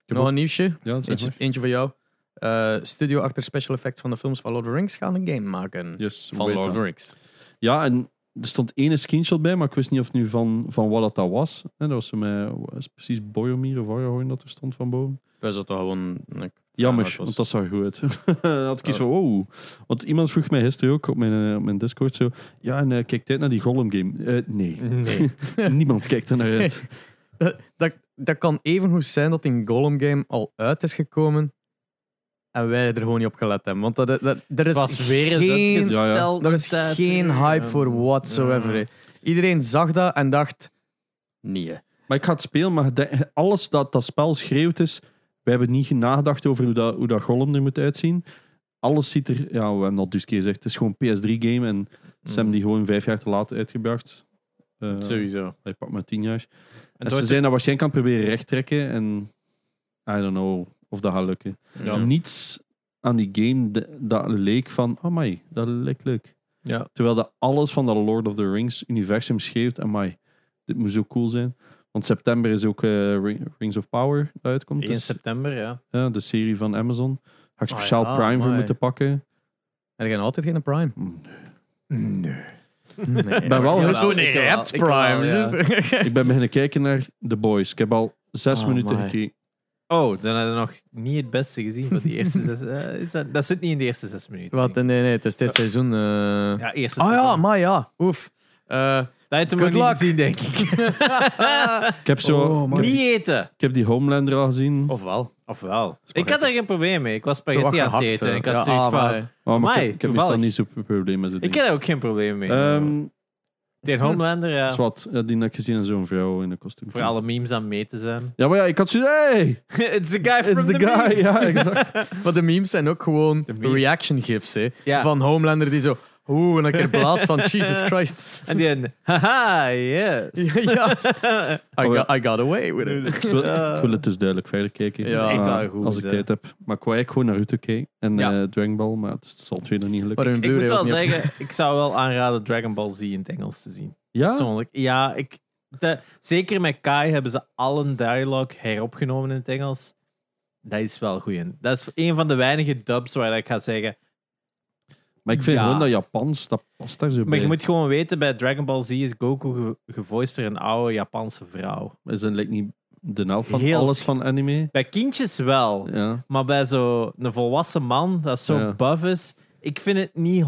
A: nog
C: ook-
A: een nieuwsje.
C: ja zeg
A: Eentje,
C: maar.
A: eentje voor jou. Eh, studio achter special effects van de films van Lord of the Rings gaan een game maken.
C: Yes,
A: van
C: weet
A: Lord of the
C: dat.
A: Rings.
C: Ja, en er stond één screenshot bij, maar ik wist niet of nu van, van wat dat, dat was. En dat was hem, eh, was precies Boromir of Aragorn dat er stond van boven.
A: Wij zouden toch gewoon... een-
C: Jammer,
A: Ja, dat was-
C: want dat zag goed uit. (laughs) Dan had ik iets
A: Ja.
B: Oh.
C: van, wow. Want iemand vroeg mij gisteren ook op mijn, eh, op mijn Discord zo... Ja, en eh, kijk tijd naar die Gollum game. Eh,
B: (laughs)
C: nee,
B: Nee.
C: niemand kijkt er naar uit.
A: dat, dat kan evengoed zijn dat in Golem Game al uit is gekomen en wij er gewoon niet op gelet hebben. Want dat, dat, er is
B: Het was weer eens
A: geen,
C: uitgesteld.
B: uitgesteld.
C: Ja, ja.
A: er is
B: tijd.
A: geen hype voor whatsoever. hè.
B: Ja.
A: Iedereen zag dat en dacht... Nee. hè.
C: Maar ik ga het spelen, maar de- alles dat dat spel schreeuwt is... We hebben niet nagedacht over hoe dat, hoe dat Gollum er moet uitzien. Alles ziet er... Ja, we hebben dat dus een keer gezegd. Het is gewoon PS3-game en ze hebben die gewoon vijf jaar te laat uitgebracht. Eh,
B: Sowieso.
C: Hij pakt maar tien jaar. En,
B: En
C: ze
B: door-
C: zijn dat waarschijnlijk aan het proberen recht trekken. En I don't know of dat gaat lukken.
B: Ja.
C: Niets aan die game de- dat leek van, amai, dat lijkt leuk.
B: Ja.
C: Terwijl dat alles van dat Lord of the Rings universum schreeuwt, amai, dit moet zo cool zijn. Want september is ook eh, Ring- Rings of Power dat uitkomt.
B: 1
C: Dus,
B: september, ja.
C: ja, de serie van Amazon. Ga ik
B: Ah,
C: speciaal
B: ja,
C: Prime voor
A: amai.
C: moeten pakken.
A: Er gaan altijd geen Prime.
C: Mm.
B: Nee.
A: Nee, ik
C: ben wel heel-
B: Ik wel, ik wel, ja.
C: Ik ben
B: (laughs)
C: beginnen kijken naar The Boys. Ik heb al zes
A: Ah,
C: minuten
A: amai.
C: gekeken.
B: Oh, dan hadden we nog niet het beste gezien van die
A: (laughs)
B: eerste zes... eh, is dat, dat zit niet in de eerste zes
A: (laughs)
B: minuten.
A: Wat? Nee, nee, het is dit seizoen. eh.
B: Ja, eerste
A: Ah ja,
B: seizoen.
A: maar ja. Oef. Eh,
B: Dat heeft hem nog
A: Good
B: niet
A: luck.
B: gezien, denk ik.
C: Ik heb, zo,
A: Oh,
C: ik heb-
A: amai.
B: niet eten.
C: ik heb die Homelander al gezien.
B: Oh,
A: Ofwel.
B: Ofwel. Ik had daar geen probleem mee. Ik was
A: Zo
B: spaghetti aan het
A: afgehakt,
B: eten.
A: eh.
B: en Ik had
A: Ja,
B: zoiets
A: ah,
B: van...
A: maar-
C: Oh, maar
B: Amai,
C: ik heb- ik heb
B: toevallig.
C: meestal niet zo'n probleem met zo'n
B: Ik
C: ding.
B: heb daar ook geen probleem mee.
C: Ehm,
B: Tegen Homelander, ja.
A: (laughs)
C: is wat, eh, die heb ik gezien aan zo'n vrouw in een kostuum.
B: Voor alle memes aan mee te zijn. (laughs)
C: Ja, maar ja, ik had zo... Hey,
B: It's the guy from
C: it's the,
B: the,
C: guy.
B: meme.
C: Ja, exact.
A: Maar de memes zijn ook gewoon
B: De memes.
A: reaction gifs. Hè.
B: Ja.
A: Van Homelander die zo... Oeh, en een keer blaast
B: (laughs)
A: van Jesus Christ. (laughs)
B: En die een, haha, yes.
A: ja. I, got, I got away with it.
C: ik, wil, ik wil het dus duidelijk verder kijken.
A: Het is echt
C: Maar
B: wel goed,
C: Als ik
B: hè.
C: tijd heb. Maar ik wou eigenlijk gewoon naar Naruto kijken en
B: Ja.
C: eh Dragon Ball, maar het is- het zal twee nog niet
A: Maar
C: gelukt.
A: hun
B: Ik moet
A: Blu-ray was
B: wel
A: niet op-
B: zeggen, ik zou wel aanraden Dragon Ball Z in het Engels te zien.
C: Ja?
B: Persoonlijk. Ja, ik, de- zeker met Kai hebben ze al een dialogue heropgenomen in het Engels. Dat is wel goed. in. Dat is een van de weinige dubs waar ik ga zeggen.
C: Maar ik vind
B: Ja.
C: gewoon dat Japans, dat past daar zo
B: Maar
C: bij.
B: je moet gewoon weten, bij Dragon Ball Z is Goku ge gevoiced door een oude Japanse vrouw.
C: Is dat lijkt niet de helft van
B: Heel
C: alles
B: sch-
C: van anime?
B: Bij kindjes wel,
C: Ja.
B: maar bij zo'n volwassen man dat zo
C: Ja.
B: buff is, ik vind het niet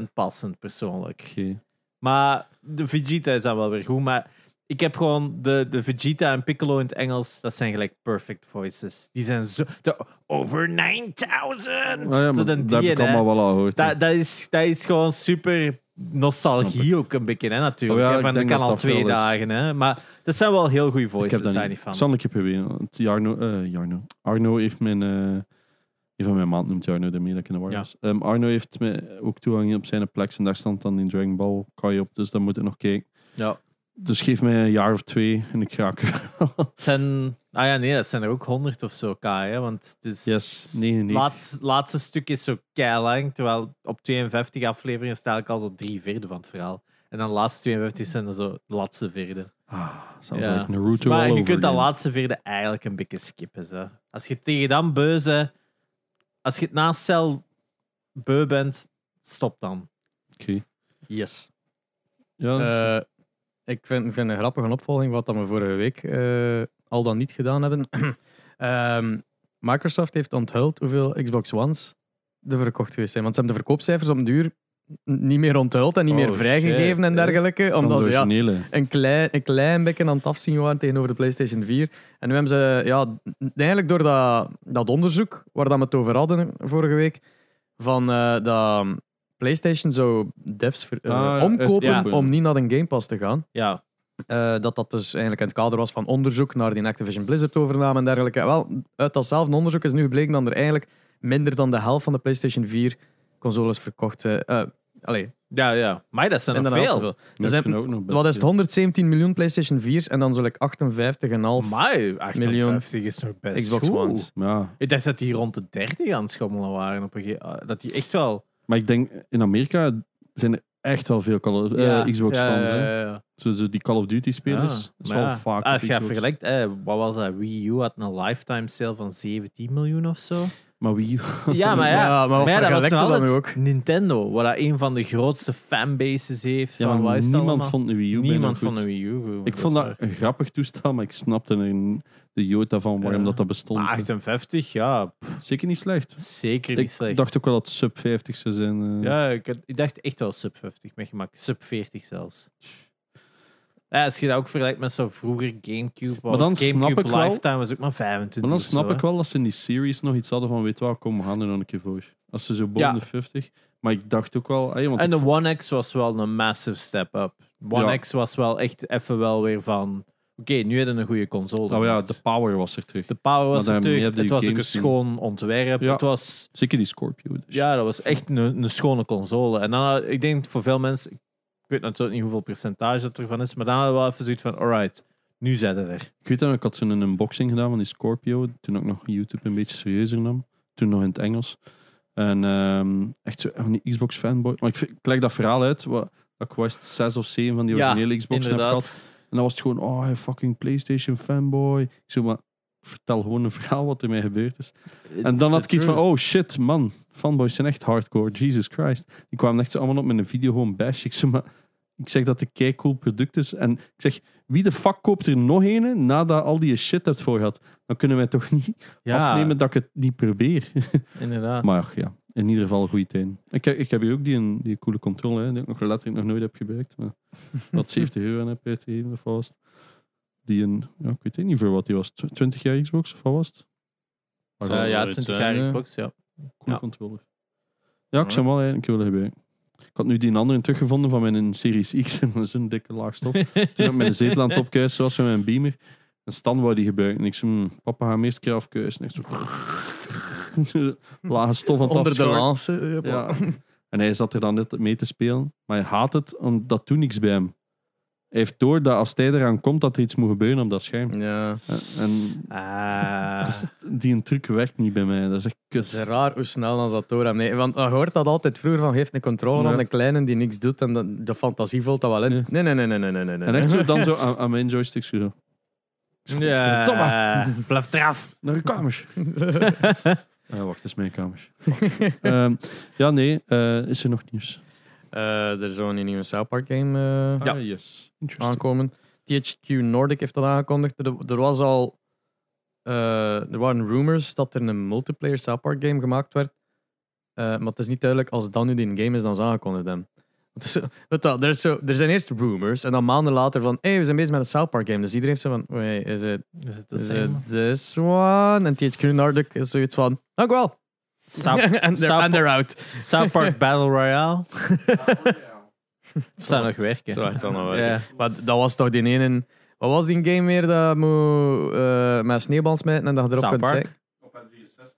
B: 100% passend persoonlijk.
C: Oké. Ah,
B: Maar de Vegeta is dan wel weer goed. Maar ik heb gewoon de, de Vegeta en Piccolo in het Engels. Dat zijn gelijk perfect voices. Die zijn zo. De, over 9000!
C: Ah ja,
B: Zo
C: maar
B: dan
C: dat
B: die,
C: heb ik
B: hè.
C: allemaal wel al gehoord. hè.
B: dat, dat, is, dat is gewoon super
C: Snap
B: nostalgie ook een beetje, hè, natuurlijk.
C: Oh ja,
B: hè,
C: ik
B: van, dat
C: denk
B: kan
C: dat
B: al
C: dat
B: twee
C: wel is.
B: dagen. Hè. Maar dat zijn wel heel goede voices,
C: ik heb
B: daar
C: dat
B: niet van.
C: Zal ik je proberen. Want Jarno, eh, Jarno. Arno heeft mijn... eh een van mijn maat noemt Jarno, daarmee dat ik in de war
B: Ja.
C: was. Ehm, Arno heeft me ook toegang op zijn plek. En daar stond dan in Dragon Ball Kai op. Dus dan moet ik nog kijken.
B: Ja.
C: Dus geef mij een jaar of twee en ik raak er wel.
B: Het Zijn, ah ja, nee, dat zijn er ook honderd of zo, Kai. Hè, want het is,
C: Yes, 99.
B: laatste, laatste stuk is zo lang, terwijl op 52 afleveringen sta ik al zo drie vierde van het verhaal. En dan de laatste 52 zijn er zo de laatste vierde.
C: ah, zelfs
B: Ja.
C: like Naruto
B: maar
C: all
B: je
C: over
B: kunt dat
C: again.
B: laatste vierde eigenlijk een beetje skippen. Zo. Als je tegen dan beu ze- als je het na cel beu bent, stop dan.
C: Oké.
A: Yes.
C: Ja,
A: Eh, ik vind, vind een grappige opvolging wat dat we vorige week eh, al dan niet gedaan hebben. (clears throat) Ehm, Microsoft heeft onthuld hoeveel Xbox Ones er verkocht geweest zijn. Want ze hebben de verkoopcijfers om duur n- niet meer onthuld en niet
B: Oh,
A: meer vrijgegeven
B: shit.
A: en dergelijke.
B: Is-
A: Omdat ze ja,
C: originele.
A: een klein, een klein beetje aan het afzien waren tegenover de PlayStation 4. En nu hebben ze, ja, eigenlijk door dat, dat onderzoek waar dat we het over hadden vorige week, van eh dat PlayStation zou devs ver- eh,
C: Ah, ja,
A: omkopen
C: echt kopen.
A: om niet naar een Game Pass te gaan.
B: Ja,
A: Eh, dat dat dus eigenlijk in het kader was van onderzoek naar die Activision Blizzard overname en dergelijke. Eh, Wel, uit datzelfde onderzoek is nu gebleken dat er eigenlijk minder dan de helft van de PlayStation 4 consoles verkocht zijn. eh, Allee,
B: Ja, ja. Maar dat zijn er
A: inderdaad
B: veel.
A: zoveel.
C: Maar
A: zijn-
C: ik vind ook nog best
A: Dus Wat is het?
C: veel.
A: 117 miljoen PlayStation 4's en dan zal ik 58,5
B: Maar 58 is nog best
A: Xbox
B: goed.
A: One's.
C: Ja,
B: Ik dacht dat die rond de 30 aan het schommelen waren. Op een gege- ah, dat die echt wel...
C: maar ik denk in Amerika zijn er echt wel veel Call of, eh, Xbox
B: ja,
C: fans.
B: ja,
C: hè.
B: ja, ja.
C: Zo, zo die Call of Duty spelers.
B: Ah,
C: dat is
B: maar
C: wel
B: ja.
C: vaak.
B: Ah,
C: op
B: Als je
C: Xbox.
B: vergelijkt, eh, wat was dat? Wii U had een lifetime sale van 17 miljoen of zo.
C: Maar wie? (laughs)
B: Ja, maar ja.
A: Ja, maar wat
B: dat was
A: vergelijkt
B: wel
A: dat dan
B: altijd
A: nu ook?
B: Nintendo, wat dat een van de grootste fanbases heeft.
C: Ja,
B: van, wat
C: maar
B: is dat
C: niemand
B: allemaal?
C: vond de Wii U bijna
B: niemand
C: goed.
B: van de Wii U. goed,
C: Ik vond
B: is
C: dat
B: waar.
C: een grappig toestel, maar ik snapte er een- de jota van waarom
B: Ja.
C: dat, dat bestond.
B: Maar 58, ja, pff,
C: Zeker niet slecht.
B: zeker niet
C: Ik
B: slecht.
C: dacht ook wel dat het sub 50 zou zijn. eh.
B: ja, ik, had- ik dacht echt wel sub 50 met gemak. Sub 40 zelfs. Ja, als je dat ook vergelijkt met zo vroeger Gamecube. was
C: dan snap
B: Gamecube
C: ik wel-
B: Lifetime was ook maar 25.
C: Maar dan
B: of zo,
C: snap
B: hè.
C: ik wel dat ze in die series nog iets hadden van, weet je wel, kom, we gaan er nog een keer voor. Als ze zo boven
B: Ja.
C: de 50. Maar ik dacht ook wel... Hey, want
B: En
C: ik-
B: de One X was wel een massive step up. One
C: Ja.
B: X was wel echt even wel weer van. Oké, nu hebben we een goede console.
C: nou ja,
B: gemaakt.
C: de power was er terug.
B: de power was
C: Maar dan
B: natuurlijk.
C: heb je
B: Het was ook een
C: games zien.
B: schoon ontwerp.
C: Ja.
B: Het was,
C: Zeker die Scorpio. Dus.
B: ja, dat was echt een, een schone console. En dan, had- ik denk voor veel mensen, ik weet natuurlijk niet hoeveel percentage dat ervan is, maar dan hadden we wel even zoiets van: alright, nu zijn we er.
C: Ik weet dat ik had zo'n unboxing gedaan van die Scorpio. Toen ik nog YouTube een beetje serieuzer nam. Toen nog in het Engels. En ehm, echt zo van die Xbox fanboy. Maar ik, vind- ik leg dat verhaal uit. Wat, dat ik West 6 of 7 van die
B: Ja,
C: originele Xbox heb gehad.
B: Inderdaad.
C: En dan was het gewoon, oh, hij fucking PlayStation fanboy. Ik zo, maar vertel gewoon een verhaal wat er mij gebeurd is. En dan had ik iets van, oh shit, man, fanboys zijn echt hardcore, Jesus Christ. Die kwamen echt zo allemaal op met een video gewoon bash. Ik zeg, maar, ik zeg dat het een cool product is. En ik zeg, wie de fuck koopt er nog een nadat al die shit hebt voor gehad? Dan kunnen wij toch niet
B: ja,
C: afnemen dat ik het niet
B: (laughs)
C: probeer.
B: Inderdaad.
C: maar ja, ja, in ieder geval een goede tijd. Ik, heb- ik heb hier ook die, die coole controle, hè, die ik nog letterlijk nog nooit heb gebruikt.
B: (laughs)
C: Maar wat 70 euro aan heb uitgegeven, of wat was het? Die een, ja, ik weet het niet voor wat die was, tw- 20 jaar Xbox, of wat was het?
B: Eh,
C: Maar
B: ja,
C: wel,
B: 20
C: eh,
B: jaar
A: eh,
B: Xbox,
C: (laughs)
B: ja.
C: Coole
B: Ja.
C: controller. Ja, ik zou hem wel eigenlijk willen hebben. Ik had nu die andere teruggevonden van mijn Series X. Dat is een dikke laag stof. Toen heb ik mijn zetel aan het opkuisen was met mijn beamer. En Stan wou die gebruiken. En ik zei, "Hmm, papa, ga hem eerst een keer afkuisen. Echt zo... (laughs) Lage stof aan het
A: Onder de
C: afschuiven.
A: lance. eh, hopla.
C: Ja. En hij zat er dan net mee te spelen. Maar hij haat het, omdat toen niks bij hem. Hij heeft door dat als hij eraan komt, dat er iets moet gebeuren op dat scherm.
A: Ja.
C: En, en
B: Ah.
C: die een truc werkt niet bij mij. Dat is echt
A: Het is
C: kut.
A: raar hoe snel dan dat door hem. Nee, want je hoort dat altijd vroeger van geeft een controle
C: Ja.
A: aan een kleine die niks doet en dan- de fantasie vult dat wel in.
C: Ja.
A: Nee, nee, nee, nee, nee, nee, nee.
C: En
B: (laughs)
C: echt zo, dan zo aan, aan mijn joystick zo.
B: Ja, blaf eraf.
C: Naar uw
B: (laughs)
C: kamers. Eh, wacht, dat is mijn kamers. Ehm, ja, nee. eh, is er nog nieuws?
A: Eh, er zou een nieuwe South Park game eh,
B: Ja.
C: Ah, yes. Interesting.
A: aankomen. THQ Nordic heeft dat aangekondigd. Er, er was al... eh, er waren rumors dat er een multiplayer South Park game gemaakt werd. Eh, maar het is niet duidelijk als dat nu die game is dan ze aangekondigd hebben. Want het is zo- weet dat, er, is zo, er zijn eerst rumors en dan maanden later van hey, we zijn bezig met een South Park game. Dus iedereen heeft zo van, wait, is het
B: Is het
A: is het
C: (laughs)
A: this one? En THQ Nordic is zoiets van, dank wel. (laughs)
B: South,
A: En they're,
B: South-
A: and they're out.
B: South Park Battle Royale. Het zou nog werken.
A: Zo echt wel nog
B: Ja.
A: werken. Maar d- dat was toch die ene... Wat was die game weer dat moet eh, met sneeuwbal smijten en dat je erop
B: South
A: kunt
B: Park?
A: steken?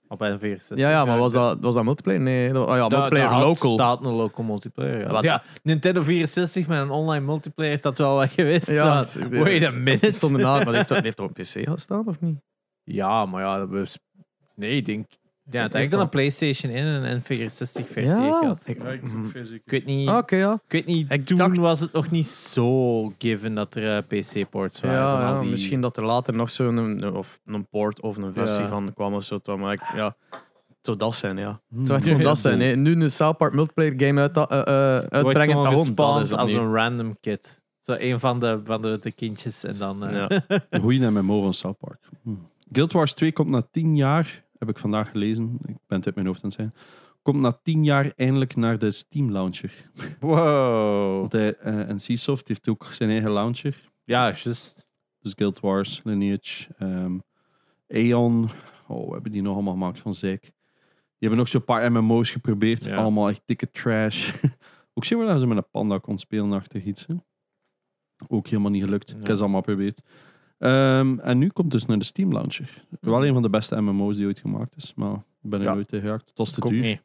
B: Op N64.
A: Ja, ja, maar was dat, was dat multiplayer? Nee, dat- oh ja, multiplayer local.
B: staat een local multiplayer. Ja.
A: Wat-
B: Ja, Nintendo 64 met een online multiplayer, dat wel wat geweest.
A: Ja,
B: want-
A: het-
B: wait a
A: Het stond
B: minute.
A: ernaar, maar die heeft, dat- die heeft dat op PC gestaan, of niet?
B: Ja, maar ja, dat was... Nee, ik denk... Ja, het
A: Heeft
B: enkel
A: wel-
B: een PlayStation in en een N64 versie
A: Ja.
B: gehad.
A: Ik-
B: Mhm. Ik weet niet...
A: Ah, Oké, ja.
B: Ik weet niet,
A: Ik
B: toen
A: dacht-
B: was het nog niet zo given dat er eh, PC-ports
A: Ja,
B: waren. van al
A: ja,
B: die-
A: misschien dat er later nog zo'n een- of een port of een versie
B: Ja.
A: van kwam of zo. Maar ik, ja, het zou dat zijn, ja.
C: Hmm.
A: Het zou echt gewoon
C: Ja,
A: dat zijn.
C: cool.
A: hè. Nu een South Park multiplayer game uit, eh, eh,
B: Wordt
A: uitbrengen.
B: gewoon
A: daarom, dat
B: gespawnd
A: is het
B: als
A: niet.
B: een random kid. Zo een van de, van de, de kindjes en dan... eh,
A: Ja.
C: Een goeie MMO van South Park. Hmm. Guild Wars 2 komt na 10 jaar, heb ik vandaag gelezen. Ik ben het uit mijn hoofd aan het zijn. Komt na 10 jaar eindelijk naar de Steam launcher.
B: Wow.
C: Want hij, eh, en Seasoft heeft ook zijn eigen launcher.
B: Ja, juist.
C: Dus Guild Wars, Lineage, ehm Aeon. Oh, we hebben die nog allemaal gemaakt van Zek. Die hebben nog zo'n paar MMO's geprobeerd.
B: Ja.
C: Allemaal echt dikke trash. (laughs) ook zien we dat ze met een panda kon spelen achter iets. hè. Ook helemaal niet gelukt. Ik heb
B: Ja.
C: ze allemaal geprobeerd. Ehm, en nu komt dus naar de Steam Launcher. Wel een van de beste MMO's die ooit gemaakt is. Maar ik ben er
B: Mhm. Ja.
C: nooit tegen geraakt. Het was te
B: Komt
C: duur.
B: niet.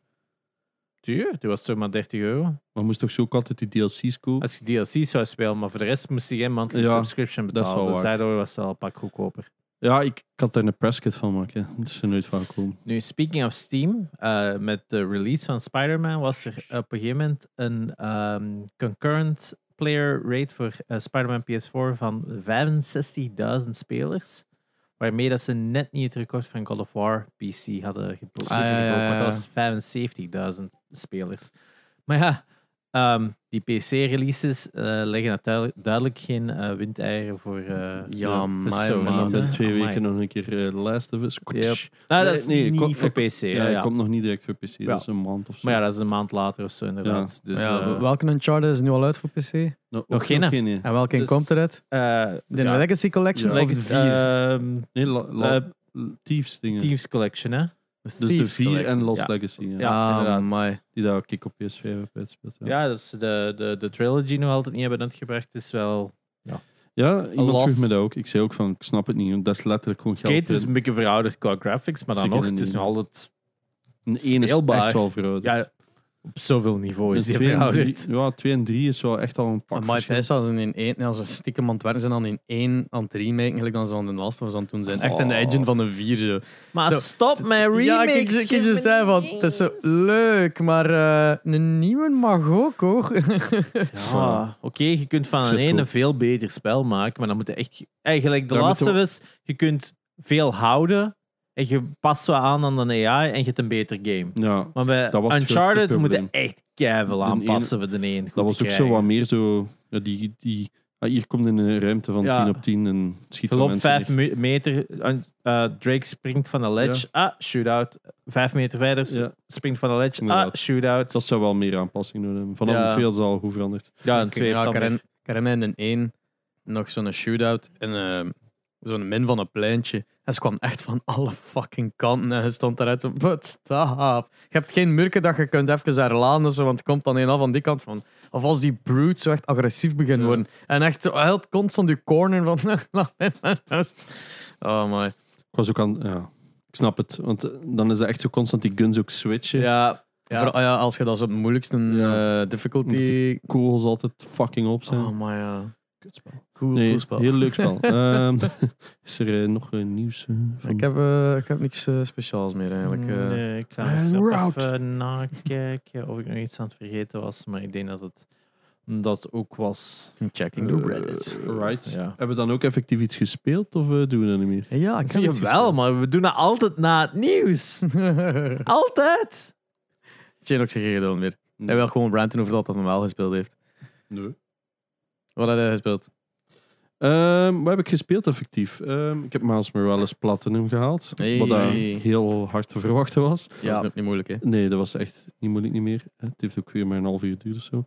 B: duur. Die was toch maar 30 euro.
C: Maar moest toch zo ook altijd die DLC's kopen?
B: Als je DLC zou spelen, maar voor de rest moest je geen monthly
C: Ja,
B: subscription
C: dat is
B: betalen.
C: wel
B: Dus
C: waar.
B: daardoor was het al een pak goedkoper.
C: Ja, ik, ik had daar een presskit van maken. Dat is er nooit van gekomen.
B: Nu, speaking of Steam, eh, met de release van Spider-Man was er op een gegeven moment een ehm, concurrent player rate voor eh, Spider-Man PS4 van 65.000 spelers. Waarmee dat ze net niet het record van God of War PC hadden gebroken.
A: Ah, ja, ja, ja,
B: Want dat was 75.000 spelers. Maar ja, ehm, die PC-releases eh, leggen natuurlijk duidelijk geen eh, windeieren voor, eh
A: Ja,
B: de, voor
A: maar,
B: Sony.
A: man.
C: Maar
A: Amai.
C: de twee
B: Amai.
C: weken nog een keer eh, Last of Us.
B: Yep. Nou, dat is
C: Nee, nee,
B: niet
C: kom-
B: voor PC.
C: Ja,
B: ja,
C: hij
B: ja.
C: komt nog niet direct voor PC. Dat is een maand of zo.
B: Maar ja, dat is een maand later of zo, inderdaad. Dus,
A: ja,
B: eh,
A: welke Uncharted is nu al uit voor PC? En
C: Nou, ook
B: nog geen, hè?
C: hè?
A: welke
B: Dus-
A: komt eruit?
B: eh,
A: De
B: ja,
A: Legacy Collection
C: Ja.
A: of de
B: Leg-
A: 4?
B: ehm,
C: Nee, la, la,
B: eh,
C: Thieves dingen.
B: Thieves Collection, hè?
C: dus de
A: Thieves
C: 4 en
B: Collection,
C: Lost
B: ja.
C: Legacy. Ja.
B: Ja,
A: ah,
B: inderdaad.
A: amai.
C: Die daar ook ik op PS5 heb uitgespeeld. Ja, ja.
B: Ja, dat is de, de, de trilogy nog altijd niet hebben uitgebracht. is wel...
C: iemand
B: Lost-
C: vroeg me dat ook. Ik zei ook van, ik snap het niet. want Dat is letterlijk gewoon geld.
B: Kate is een beetje verouderd qua graphics, maar dan
C: Zeker
B: nog, het is
C: niet.
B: nog altijd...
C: Een één is
B: speelbaar.
C: echt wel verouderd.
B: Ja, op zoveel niveau
C: Dus
B: is die
C: twee en drie-
B: verouderd.
C: ja, 2 en 3 is wel echt al een pak
A: Amai,
C: verschil.
A: pijs, als, ze in één, als ze stiekem aan het werken zijn, dan in één aan het remaken, gelijk dan ze aan de Last of Us aan het doen zijn. Echt in de
B: Oh.
A: engine van de vier, zo.
B: Maar
A: Zo.
B: stop met remakes!
A: Ja, kijk, kijk, kijk, ze zei van, het is zo leuk, maar eh, een nieuwe mag ook, hoor.
B: Ja, Ah, oké, je kunt van een
C: Shit,
B: ene
C: goed.
B: veel beter spel maken, maar dan moet je echt... Eigenlijk, de
C: Daar
B: laatste
C: moeten
B: was, je kunt veel houden en je past wat aan aan de AI en je hebt een beter game.
C: Ja,
B: Maar bij
C: Dat was het
B: Uncharted
C: grootste
B: moet je
C: probleem.
B: echt keihard
C: De
B: aanpassen voor de een goed
C: dat was
B: te
C: ook zo
B: krijgen.
C: wat meer zo... Ja, die, die, ah, hier komt in een ruimte van
B: Ja.
C: 10 op 10 en schiet
B: Je
C: wel
B: loopt
C: mensen
B: vijf
C: neer.
B: mu- meter, un- eh, Drake springt van de ledge, ah, shootout. Vijf meter verder
C: Ja,
B: springt van de ledge, ah,
C: Inderdaad.
B: shootout.
C: dat zou wel meer aanpassing nodig hebben. Vanaf
B: Ja.
C: de 2 is dat al goed veranderd.
B: Ja, een
A: Ik
B: twee
A: ja,
B: heeft
A: ik
B: dan
A: herinner-
B: weer-
A: ik herinner me in één nog zo'n shootout en eh, zo'n min van een pleintje. En ze kwam echt van alle fucking kanten en ze stond daaruit van, "Wat stop? Je hebt geen murken dat je kunt even herlaan, dus, want er komt dan een af aan die kant van. Of als die brute zo echt agressief begint
C: Ja.
A: worden. En echt zo helpt constant je corner van... (laughs) laat mij maar rust. oh my.
C: Ik was ook aan... Ja. Ik snap het. Want eh, dan is dat echt zo constant die guns ook switchen.
B: Ja, ja.
A: Vooral, ja, als je dat zo op de moeilijkste
C: Ja.
A: eh,
C: Moet
A: difficulty...
C: Kogels altijd fucking op zijn.
A: Oh my, ja.
C: Kutspel.
A: Cool,
C: Nee,
A: cool spel.
C: Heel leuk
A: (laughs)
C: spel. Ehm, is er eh, nog eh, nieuws eh, van?
A: Ik heb, eh, ik heb niks eh, speciaals meer eigenlijk. eh.
B: Mm, Nee, ik ga
C: En
B: eens ook
C: route. (laughs)
B: even nakijken of ik nog iets aan het vergeten was, maar ik denk dat het dat ook was.
A: Checking
C: Eh, right.
B: Ja.
C: Hebben we dan ook effectief iets gespeeld of eh, doen we dat niet meer?
A: Ja, ik heb het
B: Jawel, maar we doen dat altijd na het
C: (laughs)
A: (laughs)
B: nieuws.
A: gespeeld. Ah,
B: Altijd.
A: Chinook zich gedaan weer. Hij wil gewoon ranten over dat dat normaal gespeeld heeft.
C: Nee.
A: Wat had hij gespeeld?
C: Ehm, wat heb ik gespeeld effectief? Ehm, ik heb Miles Morales Platinum gehaald.
A: Hey.
C: Wat daar heel hard te verwachten was.
A: Ja. Dat is niet moeilijk, hè?
C: Nee, dat was echt niet moeilijk niet meer. Het heeft ook weer maar een half uur duur of zo.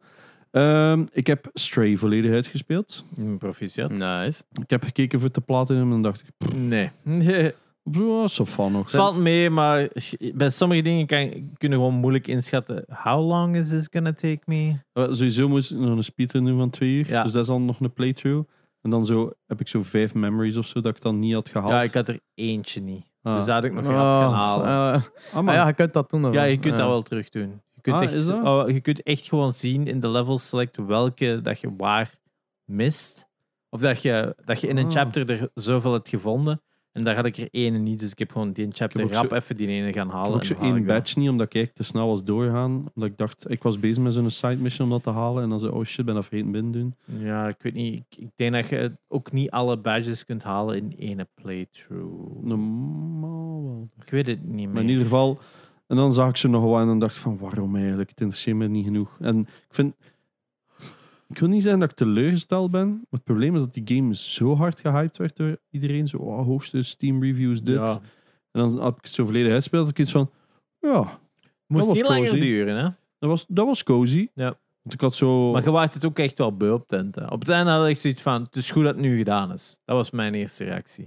C: Ehm, ik heb Stray volledig uitgespeeld.
A: Mm,
B: Proficiat.
A: Nice.
C: Ik heb gekeken voor de Platinum en dacht ik, pff,
B: Nee. nee.
C: zo so fun nog.
B: Het valt mee, maar bij sommige dingen kan, kunnen we gewoon moeilijk inschatten. How long is this gonna take me?
C: Eh, sowieso moest ik nog een speedrun doen van twee uur.
B: Ja.
C: Dus dat is dan nog een playthrough. En dan zo, heb ik zo vijf memories of zo dat ik dan niet had gehaald.
B: Ja, ik had er eentje niet.
C: Ah.
B: Dus dat had ik nog
A: Oh,
B: niet gaan halen.
A: eh,
C: Ah,
A: ah
C: man.
A: ja, je kunt dat doen. dan
B: Ja,
A: wel.
B: je kunt
A: Ja.
B: dat wel terug doen. Je kunt,
C: Ah,
B: echt,
C: is dat?
B: oh, je kunt echt gewoon zien in de level select welke dat je waar mist. Of dat je, dat je in een
C: Ah.
B: chapter er zoveel hebt gevonden. En daar had ik er ene niet, dus ik heb gewoon die chapter
C: Ik heb ook
B: rap
C: zo-
B: even die ene gaan
C: Ik
B: halen.
C: heb ook zo
B: en haal
C: één
B: ik wel.
C: batch niet, omdat ik eigenlijk te snel was doorgaan. Omdat ik dacht, ik was bezig met zo'n side mission om dat te halen. En dan zei oh shit, ben dat vergeten binnen te doen.
B: Ja, ik weet niet. Ik, ik denk dat je ook niet alle badges kunt halen in ene playthrough.
C: Normaal wel.
B: Ik weet het niet meer.
C: Maar in ieder geval... En dan zag ik ze nog wel en dan dacht ik van, waarom eigenlijk? Het interesseert me niet genoeg. En ik vind... Ik wil niet zeggen dat ik teleurgesteld ben. Maar het probleem is dat die game zo hard gehyped werd door iedereen. Zo, oh, hoogste Steam reviews, dit.
B: Ja.
C: En dan had ik het zo verleden uitgespeeld, had ik iets van... Ja,
B: Moest
C: was
B: niet langer
C: cozy.
B: duren, hè?
C: dat was, dat was cozy.
B: Ja.
C: Want ik had zo...
B: Maar je waart het ook echt wel beu op het eind, hè. Op het einde had ik zoiets van: het is goed dat het nu gedaan is. Dat was mijn eerste reactie.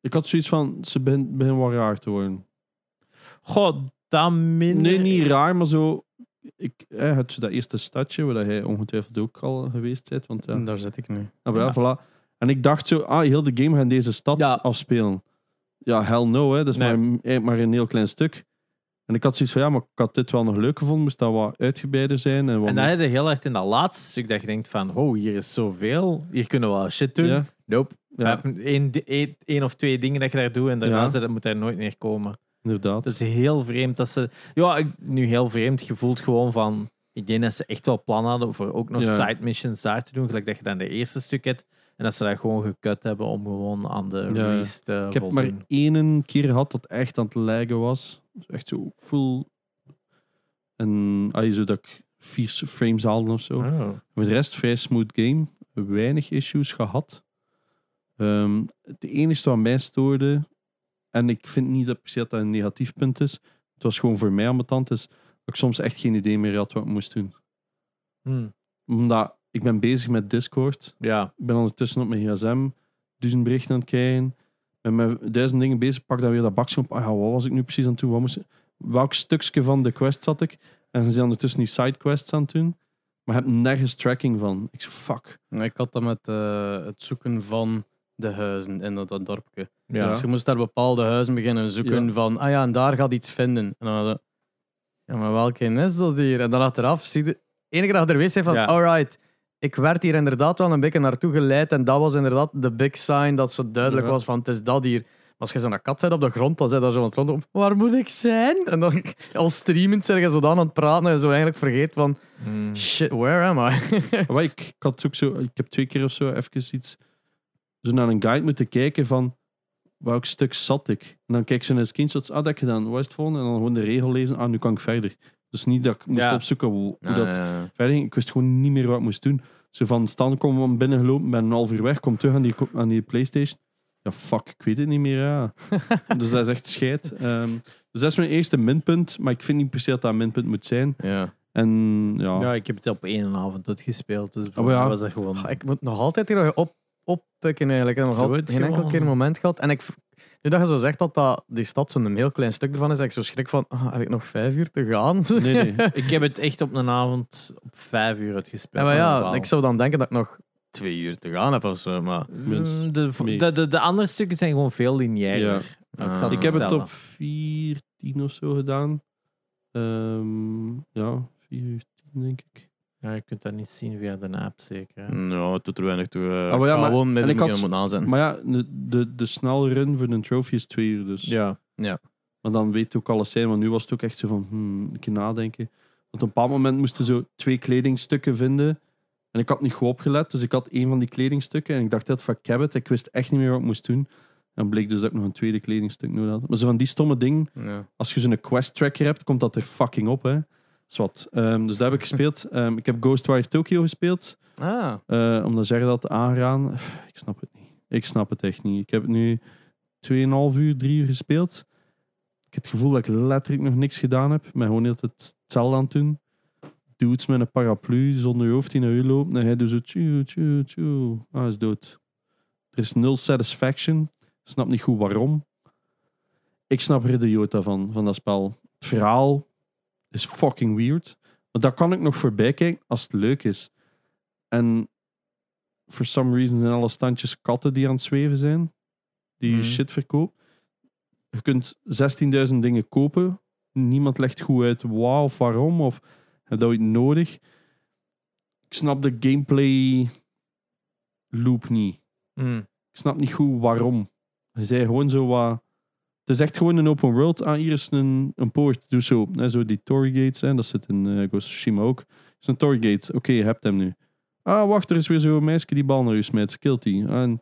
C: Ik had zoiets van, ze begint begin wel raar te worden.
B: God, dat minder.
C: Nee, niet raar, maar zo... Ik eh, had zo dat eerste stadje, waar jij ongetwijfeld ook al geweest bent. Want, ja,
A: Daar zit ik nu.
C: ah, wel,
B: Ja.
C: voilà. En ik dacht zo, ah, heel de game gaat in deze stad
B: Ja.
C: afspelen. Ja, hell no, hè. dat is
B: Nee.
C: maar, eigenlijk maar een heel klein stuk. En En ik had zoiets van, ja, maar ik had dit wel nog leuk gevonden. Moest dat wat uitgebreider zijn. En wat
B: En dan heb je heel erg in dat laatste stuk dat je denkt van, oh, hier is zoveel, hier kunnen we wel shit doen.
C: Ja.
B: Nope.
C: Ja.
B: Vijf- één di- één- één of twee dingen dat je daar doet en daarna
C: Ja.
B: zit- moet daar nooit meer komen.
C: Inderdaad.
B: Dat is heel vreemd dat ze... Ja, ik- nu heel vreemd. Je voelt gewoon van... Ik denk dat ze echt wel plan hadden voor ook nog
C: Ja.
B: side missions daar te doen, gelijk dat je dan de eerste stuk hebt. En dat ze dat gewoon gekut hebben om gewoon aan de
C: ja.
B: release te
C: ik heb maar
B: voldoen.
C: één keer gehad dat echt aan het lijken was. Dus Echt zo full... En ah, zo dat ik vier frames haalde of zo.
B: Oh.
C: Voor de rest vrij smooth game. Weinig issues gehad. Ehm, het enige wat mij stoorde, en ik vind niet dat per se dat dat een negatief punt is, het was gewoon voor mij ambetant, is dat ik soms echt geen idee meer had wat ik moest doen.
B: Hm.
C: Omdat ik ben bezig met Discord,
B: Ja.
C: ik ben ondertussen op mijn gsm, duizend berichten aan het kijken, ben met duizend dingen bezig, pak dan weer dat bakje op, ah ja, wat was ik nu precies aan het doen, wat moest, welk stukje van de quest zat ik, en ze zijn ondertussen die sidequests aan het doen, maar heb nergens tracking van. Ik zeg, fuck.
A: Ik had dat met eh, het zoeken van de huizen in dat, dat dorpje.
B: Ja.
A: Dus je moest daar bepaalde huizen beginnen zoeken
C: Ja.
A: van, ah ja, en daar gaat iets vinden. En dan hadden ja, maar welke is dat hier? En dan achteraf zie je, de enige dag er wees zijn van,
B: Ja.
A: alright, ik werd hier inderdaad wel een beetje naartoe geleid en dat was inderdaad de big sign dat zo duidelijk
C: Ja.
A: was van, het is dat hier. Maar als je zo'n kat zit op de grond, dan zit daar zo aan het rondom, waar moet ik zijn? En dan als streamend zeg je zo dan aan het praten en je zo eigenlijk vergeet van,
B: Hm.
A: shit, where am I? (laughs)
C: Ja, maar ik, ik had ook zo, ik heb twee keer of zo even iets zo naar een guide moeten kijken van welk stuk zat ik. En dan kijk ik zo naar de screenshots, ah dat heb ik gedaan, wat is het volgende? En dan gewoon de regel lezen, ah nu kan ik verder. Dus niet dat ik moest
B: Ja.
C: opzoeken hoe, hoe
A: Ah,
C: dat
A: ja.
C: verder ging. Ik wist gewoon niet meer wat ik moest doen. Zo van stand komen we binnen gelopen, ben een half uur weg, kom terug aan die, aan die PlayStation. Ja, fuck, ik weet het niet meer. Ja. dus dat is echt scheid. Ehm, dus dat is mijn eerste minpunt, maar ik vind niet per se dat dat een minpunt moet zijn.
A: Ja.
C: En
B: Ja, Nou, ik heb het op één avond uitgespeeld, dus voor
C: Oh, ja.
B: mij was dat gewoon...
A: Ah, Ik moet nog altijd hier op, oppikken eigenlijk. Ik heb nog
B: Doe
A: altijd
B: het
A: geen enkel
B: gewoon.
A: keer een moment gehad. En ik, nu dat je zo zegt dat, dat die stad zo'n heel klein stuk ervan is, heb ik zo schrik van, ah, heb ik nog vijf uur te gaan? (laughs)
C: nee, nee.
B: Ik heb het echt op een avond op vijf uur uitgespeeld.
A: Ja, maar
B: van
A: ja,
B: twaalf.
A: ik zou dan denken dat ik nog twee uur te gaan heb of zo, maar...
C: Minst.
B: Mm, De,
C: Nee.
B: de, de, de andere stukken zijn gewoon veel lineairder.
A: Ja.
B: Ik, zal
A: Ah.
C: Ik
B: het
C: heb het
B: stellen.
C: op 14 of zo gedaan. Ehm, ja, 14 denk ik.
B: Ja, je kunt dat niet zien via de app, zeker.
C: Mm.
B: hè.
A: Nou, het doet er weinig toe. eh.
C: ja,
A: ik ga
C: maar-
A: gewoon met
C: en
A: de
C: ik had-
A: micro moet aanzetten.
C: Maar ja, de, de, de snelle run voor een trophy is twee uur dus.
B: Ja.
C: Want dan weet je ook alles zijn. Want nu was het ook echt zo van, hmm, een keer nadenken. Want op een bepaald moment moesten zo twee kledingstukken vinden. En ik had niet goed opgelet, dus ik had één van die kledingstukken. En ik dacht dat van Cabot, ik wist echt niet meer wat ik moest doen. En bleek dus dat ik nog een tweede kledingstuk nodig had. Maar zo van die stomme dingen,
A: Ja.
C: als je zo'n quest tracker hebt, komt dat er fucking op, hè. Zwat. Ehm, dus dat heb ik gespeeld. Ehm, ik heb Ghostwire Tokyo gespeeld.
A: Ah,
C: Eh, omdat zeggen dat aangaan, ik snap het niet. Ik snap het echt niet. Ik heb nu 2,5 uur, 3 uur gespeeld. Ik heb het gevoel dat ik letterlijk nog niks gedaan heb. Ik ben gewoon heel het hetzelfde aan het doen. Dudes met een paraplu zonder je hoofd die naar u loopt. En hij doet zo tjoe, tjoe, tjoe. Ah, hij is dood. Er is nul satisfaction. Ik snap niet goed waarom. Ik snap er de jota van, van dat spel. Het verhaal is fucking weird. Maar daar kan ik nog voorbij kijken als het leuk is. En for some reason zijn alle standjes katten die aan het zweven zijn. Die
A: Mhm.
C: shit verkoopt. Je kunt 16.000 dingen kopen. Niemand legt goed uit waar of waarom. Of heb je dat ooit nodig? Ik snap de gameplay loop niet.
B: Mm.
C: Ik snap niet goed waarom. Hij zei gewoon zo wat... Het is echt gewoon een open world. Ah, hier is een, een poort. Doe zo. Hè, zo die Tory Gates. Hè, dat zit in eh Ghost of Tsushima ook. Het is een Tory Gate. Oké, je hebt hem nu. Ah, wacht, er is weer zo'n meisje die bal naar je smijt. Kilt die. Ah, En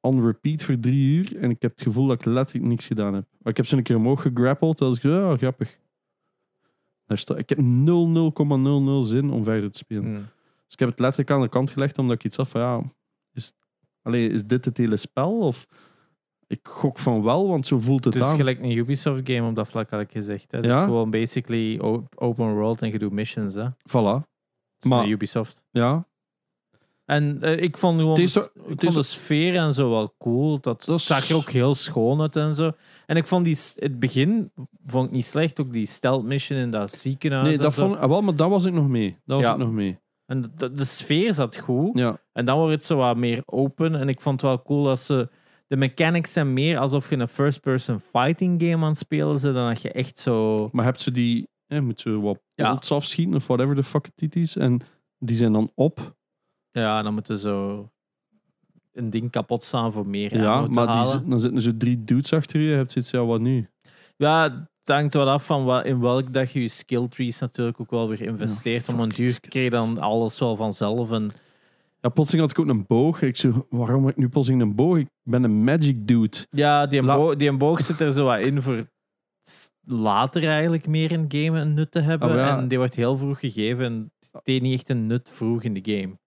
C: on repeat voor drie uur. En ik heb het gevoel dat ik letterlijk niks gedaan heb. Maar ik heb ze een keer omhoog gegrappeld. Dat ik ah, grappig. Daar sta, ik heb 0,0,00 zin om verder te spelen.
B: Mm.
C: Dus ik heb het letterlijk aan de kant gelegd, omdat ik iets had van, ja, is, allee, is dit het hele spel? Of ik gok van wel, want zo voelt het
B: Het is
C: aan.
B: gelijk een Ubisoft-game op dat vlak, had ik gezegd. Hè. Het
C: Ja?
B: is gewoon basically o- open world en je doet missions. Hè. Het
C: Voilà,
B: is
C: Maar-
B: een Ubisoft.
C: ja.
B: En eh, ik vond gewoon
C: Het is
B: de,
C: zo-
B: s-
C: het
B: ik vond
C: is
B: de sfeer en zo wel cool. Dat,
C: Dat is-
B: zag er ook heel schoon uit en zo. En ik vond die, s- het begin vond ik niet slecht. Ook die stealth mission in dat ziekenhuis.
C: Nee,
B: en
C: dat
B: zo.
C: vond, ah, wel, maar dat was ik nog mee. Dat was
B: Ja.
C: ik nog mee.
B: En de, de- de sfeer zat goed.
C: Ja,
B: En dan wordt het zo wat meer open. En ik vond het wel cool dat ze de mechanics zijn meer alsof je een first-person fighting game aan het spelen bent, dan dat je echt zo...
C: Maar hebt ze die, hè, moet ze wat
B: Ja.
C: bolts afschieten of whatever the fuck het is. En die zijn dan op.
B: Ja, dan moeten zo een ding kapot staan voor meer
C: Ja,
B: ammo te
C: maar die,
B: halen.
C: zi- dan zitten er zo drie dudes achter je. Je hebt zoiets, ja, wat nu?
B: Ja, het hangt wel af van wel, in welk dat je je skill trees natuurlijk ook wel weer investeert. Om een
C: fucking
B: duur
C: skill
B: kreeg je dan alles wel vanzelf. En,
C: Ja, plotseling had ik ook een boog. Ik zo, waarom heb ik nu plotseling een boog? Ik ben een magic dude.
B: ja, die,
C: La-
B: bo die boog zit er zo wat in voor s- later eigenlijk meer in het game een nut te hebben.
C: Oh, ja.
B: En die wordt heel vroeg gegeven en het deed niet echt een nut vroeg in de game.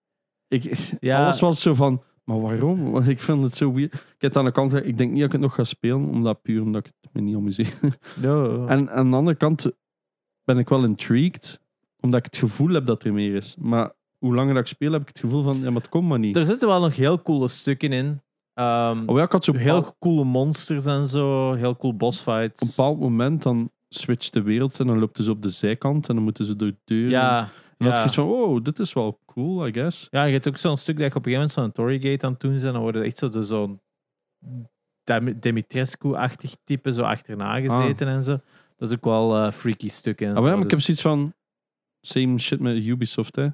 C: Ik,
B: Ja.
C: Alles was zo van, maar waarom? Want ik vind het zo weird. Ik heb het aan de kant, ik denk niet dat ik het nog ga spelen, omdat puur omdat ik het me niet
B: (laughs)
C: amuseer.
B: No.
C: En aan de andere kant ben ik wel intrigued, omdat ik het gevoel heb dat er meer is. Maar hoe langer dat ik speel, heb ik het gevoel van, ja, maar het komt maar niet.
B: Er zitten wel nog heel coole stukken in. Ehm,
C: Oh ja, ik had zo
B: heel
C: heel op
B: coole monsters en zo. Heel cool boss
C: een
B: fights.
C: bepaald moment dan switcht de wereld en dan loopt ze op de zijkant en dan moeten ze door deuren.
B: Ja,
C: en dan had
B: ja.
C: ik iets van, wow, dit is wel cool, I guess.
B: Ja, je hebt ook zo'n stuk dat je op een gegeven moment zo'n Tory Gate aan het doen zijn. Dan worden echt zo de- zo'n Dem- Dimitrescu-achtig type zo achterna gezeten en zo. Dat is ook wel eh, freaky stukken. en
C: Ah,
B: zo,
C: maar ik heb
B: dus-
C: zoiets van, same shit met Ubisoft, hè.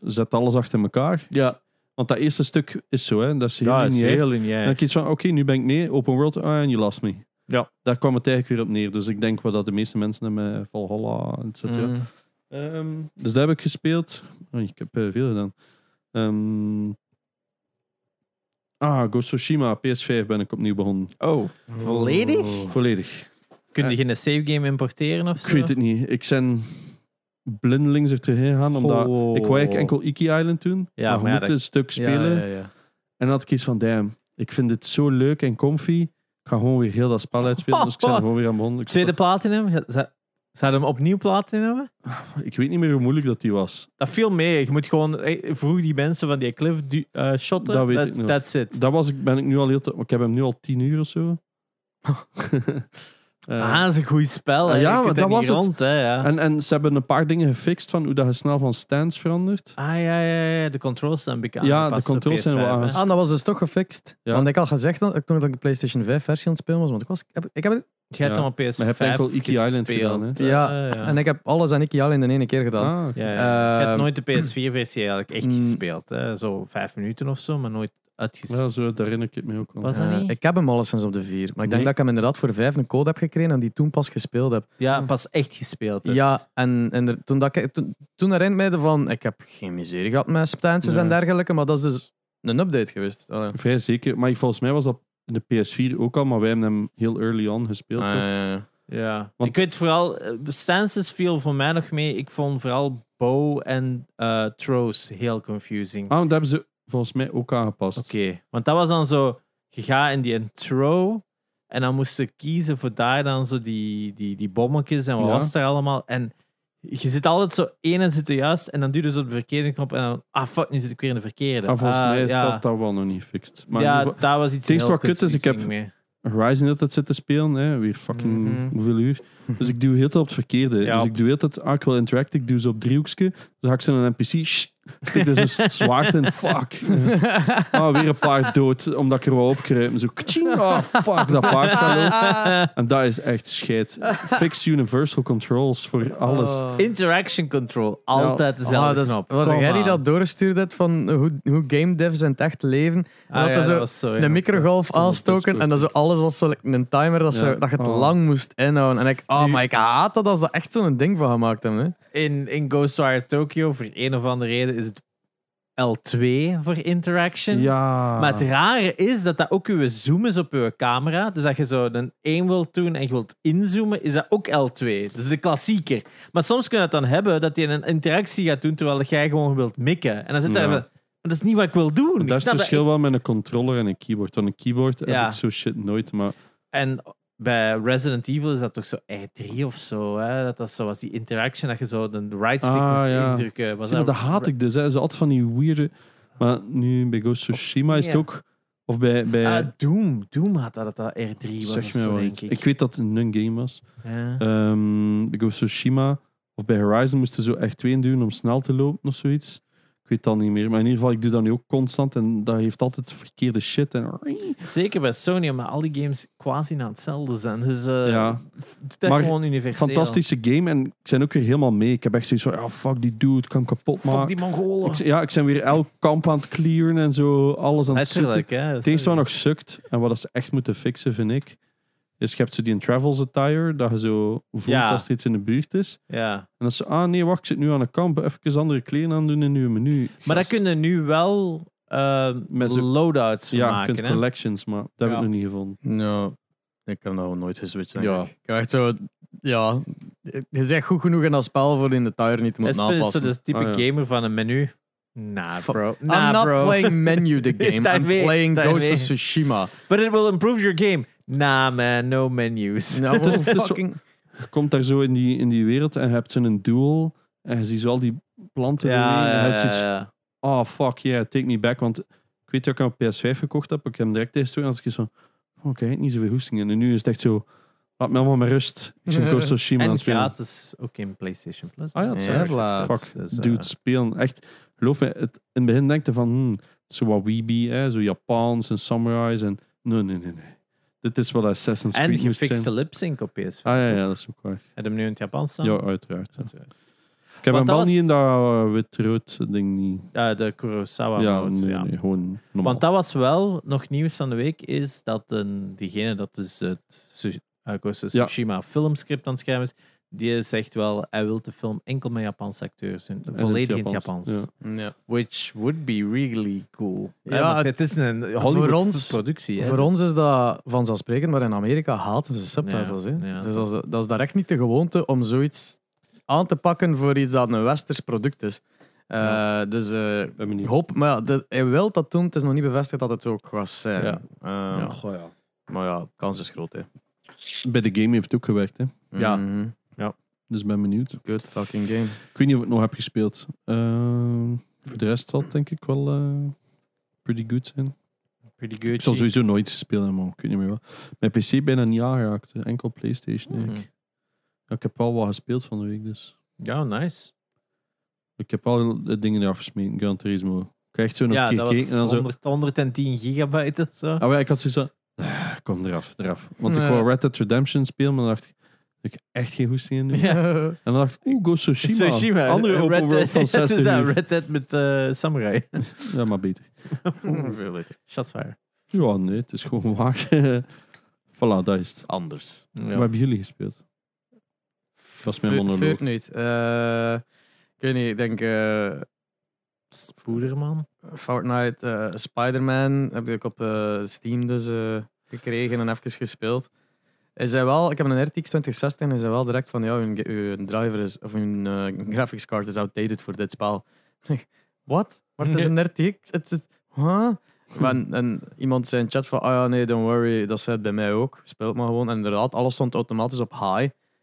C: Zet alles achter elkaar.
B: ja,
C: Want dat eerste stuk is zo, hè. Dat is heel
B: ja, is
C: lineair.
B: heel
C: En dan
B: lineair.
C: heb je iets van, oké, nu ben ik mee, open world, ah, en you lost me.
B: Ja.
C: Daar kwam het eigenlijk weer op neer. Dus ik denk wel dat de meeste mensen hem eh, Valhalla, et cetera.
B: Mm.
C: Ehm, dus daar heb ik gespeeld. Oh, ik heb eh, veel gedaan. Ehm, ah, Ghost of Tsushima, PS5 ben ik opnieuw begonnen.
B: Oh, volledig?
C: Volledig.
B: Kun je geen save game importeren of Oh. zo?
C: Oh. Ik weet het niet. Ik ben blindelings er tegenaan gegaan, omdat...
B: Oh.
C: Ik wou eigenlijk enkel Iki Island doen,
B: Ja,
C: maar je
B: maar ja,
C: moet
B: dat-
C: een stuk
A: Ja,
C: spelen.
A: Ja, ja,
C: En dan had ik iets van, damn, ik vind dit zo leuk en comfy. Ik ga gewoon weer heel dat spel
B: (laughs)
C: uitspelen. Dus ik ben er gewoon weer aan begonnen. Ik,
B: Tweede platinum? Ja, Zou zou je hem opnieuw platinumen?
C: ik weet niet meer hoe moeilijk dat die was.
B: Dat viel mee. Je moet gewoon eh, vroeg die mensen van die cliff du- eh, shotten.
C: Dat weet ik
B: that's,
C: nog.
B: that's it.
C: Dat was, ik- ben ik nu al heel te, Ik heb hem nu al tien uur of
B: (laughs)
C: zo. (laughs) Eh,
B: ah, dat is een goed spel. hè.
C: ja,
B: Je kunt
C: maar dat
B: niet
C: was het.
B: rond, Hè, ja.
C: en, en ze hebben een paar dingen gefixt van hoe dat je snel van stands verandert.
B: Ah ja, ja, ja, de controls zijn bekend.
C: Ja, de controls zijn wel aangepast.
A: Ah, dat was dus toch gefixt.
C: Ja.
A: Want ik had gezegd dat ik toen dat ik de PlayStation 5 versie aan het spelen was. Want ik was. Ik heb, ik heb het-
B: Je hebt
C: Ja.
B: hem op PS5
C: Maar je hebt enkel Iki Island
B: gespeeld.
C: gedaan, hè?
B: Eh,
A: Ja,
B: ja.
A: En ik heb alles en ik al in de ene keer gedaan.
C: Ah, oké.
B: ja, ja. je hebt
A: Ehm,
B: nooit de PS4-versie eigenlijk echt
A: mm.
B: gespeeld. Hè? Zo vijf minuten of zo, maar nooit uitgespeeld.
C: ja, zo, daar herinner ik het me ook al.
B: Was dat
A: Eh,
B: niet?
A: ik heb hem alleszins op de 4. Maar ik denk
C: Nee.
A: dat ik hem inderdaad voor 5 een code heb gekregen en die toen pas gespeeld heb.
B: Ja, pas echt gespeeld. hebt.
A: Ja, en, en er- toen, dat ik, toen, toen herinnerde mij ervan, ik heb geen miserie gehad met stances
C: Nee.
A: en dergelijke, maar dat is dus een update geweest. Ah, ja.
C: Vrij zeker. Maar ik- volgens mij was dat in de PS4 ook al, maar wij hebben hem heel early on gespeeld.
A: Ah,
C: toch?
A: ja, ja.
B: Dus- ja.
C: Want-
B: Ik weet vooral, eh, stances viel voor mij nog mee. Ik vond vooral bow en eh throws heel confusing.
C: Ah, want dat hebben ze volgens mij ook aangepast.
B: Oké, want dat was dan zo, je gaat in die intro en dan moest je kiezen voor daar dan zo die, die, die bommetjes en wat
C: Ja.
B: was er allemaal. En je zit altijd zo, één en zit er juist en dan duw je zo op de verkeerde knop en dan, ah fuck, nu zit ik weer in de verkeerde.
C: Ah, volgens
B: Ah,
C: mij is
B: ja.
C: dat daar wel nog niet gefixt. Maar in
B: ja,
C: ieder geval,
B: dat was iets
C: Het eerste
B: heel
C: wat kut is, ik heb-
B: confusing mee.
C: Horizon heel de tijd zit te spelen, hè. weer fucking
B: Mhm.
C: hoeveel uur. Dus ik doe heel de tijd op het verkeerde.
B: Ja.
C: Dus ik doe heel de tijd, ah, ik wil interact, ik doe ze op driehoekje. Dan hak ik ze in een NPC, sst, stik er
B: (laughs)
C: zo'n zwaard in, fuck. Ah, weer een paard dood, omdat ik er wel op kruip. Zo, kaching, ah, fuck, dat paard gaat dood.
B: (laughs)
C: En dat is echt scheid. Fix universal controls voor alles.
A: Ah.
B: Oh. Interaction control, altijd dezelfde
A: Ah, dat is-
B: knop.
A: Was
B: Kom
A: jij die
B: aan.
A: dat doorstuurde had van hoe, hoe game devs in het echt leven?
B: Ah,
A: dat
B: ja,
A: er zo
B: was zo, ja.
A: de microgolf
C: stond op
A: aanstoken
C: Discord
A: en dat zo alles was zo like een timer dat, zo,
C: Ja.
A: dat je het
C: Oh.
A: lang moest inhouden. En ik, oh,
B: Nu-
A: maar ik haat dat als ze echt zo'n ding van gemaakt hebben. Hè.
B: in, in Ghostwire Tokyo, voor een of andere reden, is het L2 voor interaction.
C: Ja.
B: Maar het rare is dat dat ook uw zoom is op uw camera. Dus dat je zo een 1 wilt doen en je wilt inzoomen, is dat ook L2. Dus de klassieker. Maar soms kun je het dan hebben dat je een interactie gaat doen terwijl jij gewoon wilt mikken. En dan zit daar
C: Ja.
B: even, maar dat is niet wat ik wil doen.
C: dat
B: Ik
C: is het
B: snap
C: verschil wel met een controller en een keyboard. Want een keyboard
B: Ja.
C: heb ik zo shit nooit, maar...
B: En bij Resident Evil is dat toch zo R3 of zo. Hè? Dat dat zo was die interaction, dat je zo de right stick
C: Ah,
B: moest
C: ja.
B: indrukken. Was
C: Zie, maar dat haat ik dus. Hè. Ze altijd van die weirde... Maar nu bij Ghost of Tsushima is het
B: ja.
C: ook... Of bij... bij
B: Ah, Doom. Doom had dat, dat dat R3 was. of
C: zeg
B: zo,
C: me wel
B: denk
C: iets.
B: ik.
C: Ik weet dat het een game was.
B: Ja.
C: Ehm bij Ghost of Tsushima of bij Horizon moesten ze zo echt twee duwen om snel te lopen of zoiets. Ik weet dat niet meer. Maar in ieder geval, ik doe dat nu ook constant. En dat heeft altijd verkeerde shit. En...
B: Zeker bij Sony, maar al die games quasi na hetzelfde zijn. Dus eh
C: Ja.
B: doe dat
C: Maar
B: gewoon universeel.
C: Fantastische game. En ik ben ook weer helemaal mee. Ik heb echt zoiets van, ja, fuck die dude. Ik kan hem kapot
B: Fuck
C: maken.
B: die Mongolen.
C: Ik, ja, ik ben weer elk kamp aan het clearen en zo. Alles aan het zoeken.
B: Natuurlijk, hè.
C: Het enige wat nog sukt, en wat dat ze echt moeten fixen, vind ik, is je hebt zo die Travels attire, dat je zo voelt
B: Ja.
C: als er iets in de buurt is.
B: Ja.
C: En dan ze, ah nee, wacht, ik zit nu aan een kamp, even andere kleren aandoen in uw menu.
B: Maar dat
C: Gast.
B: kunnen nu wel eh,
C: Met zo'n-
B: loadouts van
C: Ja, je
B: maken,
C: kunt
B: hè.
C: collections, maar dat heb
B: Ja.
C: ik nog niet gevonden.
A: Ja, ik heb nog nooit geswitcht. Denk
B: Ja.
A: ik. ik heb echt zo. Ja, je zegt goed genoeg in dat spel voor in de tuin niet te
B: Espen
A: moeten
B: is zo
A: aanpassen.
B: de type
C: Ah, ja.
B: gamer van een menu. Nah,
A: Fuck.
B: bro.
A: I'm
B: Nah,
A: not
B: bro.
A: playing menu the game.
B: Daar
A: I'm
B: mee,
A: playing
B: daar
A: Ghost
B: mee.
A: of Tsushima.
B: (laughs) But it will improve your game. Nah, man, no menus. (laughs)
A: Nou,
C: Het is-
B: dus
C: het is-
A: fucking...
C: Je komt daar zo in die, in die wereld en je hebt zo'n duel en je ziet zo al die planten
B: Ja,
C: bewegen en je hebt
B: ja,
C: zoiets,
B: ja.
C: oh fuck yeah, take me back, want ik weet dat ik een PS5 gekocht heb, ik heb hem direct testen en als ik zo, oh, ik heb niet zoveel hoesting en nu is het echt zo, laat me allemaal met rust,
B: (laughs)
C: ik ben Ghost of Tsushima aan
B: En
C: het spelen.
B: gratis ook in PlayStation Plus.
C: Ah ja, dat is
A: Ja, waar.
B: gratis.
C: Fuck,
B: Dus, eh,
C: dude, spelen. Echt, geloof me, het, in het begin denk je van, hmm, het is zo wat weeby, hè, zo Japans en samurais en... Nee, nee, nee, nee. Dit is wat Assassin's
B: En
C: Creed moest zijn.
B: gefixte lip sync op PS5.
C: Ah ja, ja, dat is ook waar.
B: Heb je hem nu in het Japans staan?
C: Ja, uiteraard. ja.
B: Dat is, eh, Want
C: Ik heb hem
B: dat
C: wel
B: was-
C: niet in dat eh, wit-rood ding niet.
B: eh, de Kurosawa
C: ja,
B: modes,
C: nee,
B: ja.
C: nee, gewoon normaal.
B: Want dat was wel nog nieuws van de week, is dat een, diegene dat dus het Su- eh, Ghost of
C: Ja.
B: Tsushima filmscript aan het schrijven is, die zegt wel, hij wil de film enkel met Japanse acteurs doen.
C: En
B: Volledig in het Japans.
C: Japans, ja.
A: Ja.
B: Which would be really cool.
A: Ja,
B: Ja, want
A: het-
B: het is een Hollywood-productie. hè.
A: Voor ons is dat vanzelfsprekend, maar in Amerika haten ze subtitles.
B: Ja,
A: hè.
B: ja.
A: Dus dat is, dat is daar echt niet de gewoonte om zoiets aan te pakken voor iets dat een westers product is. Eh,
B: Ja.
A: Dus eh, ik
C: ben benieuwd.
A: hoop, maar ja, dat- hij wil dat doen. Het is nog niet bevestigd dat het ook was zijn.
B: Ja.
A: Eh,
B: Ja.
C: Goh, ja.
A: Maar ja, kans is groot. Hè.
C: Bij de game heeft het ook gewerkt, hè.
B: Ja.
A: Mhm.
C: Dus ben benieuwd.
A: Good fucking game.
C: Ik weet niet of ik het nog heb gespeeld. Ehm, voor de rest zal het denk ik wel eh, pretty good zijn.
B: Pretty good.
C: Ik zal sowieso nooit gespeeld hebben, man. Ik weet niet meer wel. Mijn PC bijna niet aangeraakt. hè. Enkel PlayStation. denk ik.
B: Mhm.
C: Ja, Ik heb al wat gespeeld van de week, dus.
B: Ja, nice.
C: Ik heb al de dingen eraf gesmeten. Gran Turismo. Ik heb echt zo nog
B: ja,
C: een keer
B: dat was
C: gekeken en dan zo.
B: 100, 110 gigabyte of zo.
C: Ah, ja, ik had zoiets van. "Ah, kom eraf, eraf. Want
A: Nee.
C: ik wou Red Dead Redemption spelen, maar dan dacht ik. Ik heb echt geen goesting in nu.
B: Ja.
C: En dan dacht ik, oeh, Ghost of Tsushima.
B: Tsushima.
C: Andere
B: Red
C: open
B: Dead-
C: world van
B: (laughs) Het is
C: 60
B: dat,
C: uur.
B: Red Dead met eh, Samurai.
C: Ja, maar beter.
A: Veel beter.
B: Shots fire.
C: Ja, nee, het is gewoon (laughs) waar. voilà, dat is het.
A: Anders.
B: Ja.
C: Wat hebben jullie gespeeld? was mijn
A: Ve-
C: monoloog.
A: ve- niet. Eh, ik weet niet, ik denk eh,
B: Spoederman.
A: Fortnite, eh, Spider-Man heb ik op eh, Steam dus eh, gekregen en even gespeeld. Hij zei wel, ik heb een RTX 2060 en hij zei wel direct van ja, uw, ge- uw driver is, of uw eh, graphics card is outdated voor dit spel. (laughs) Wat? Maar het is een RTX? Het is, huh? En, en iemand zei in chat van, ah ja, nee, don't worry, dat staat bij mij ook. Speelt maar gewoon. En inderdaad, alles stond automatisch op high.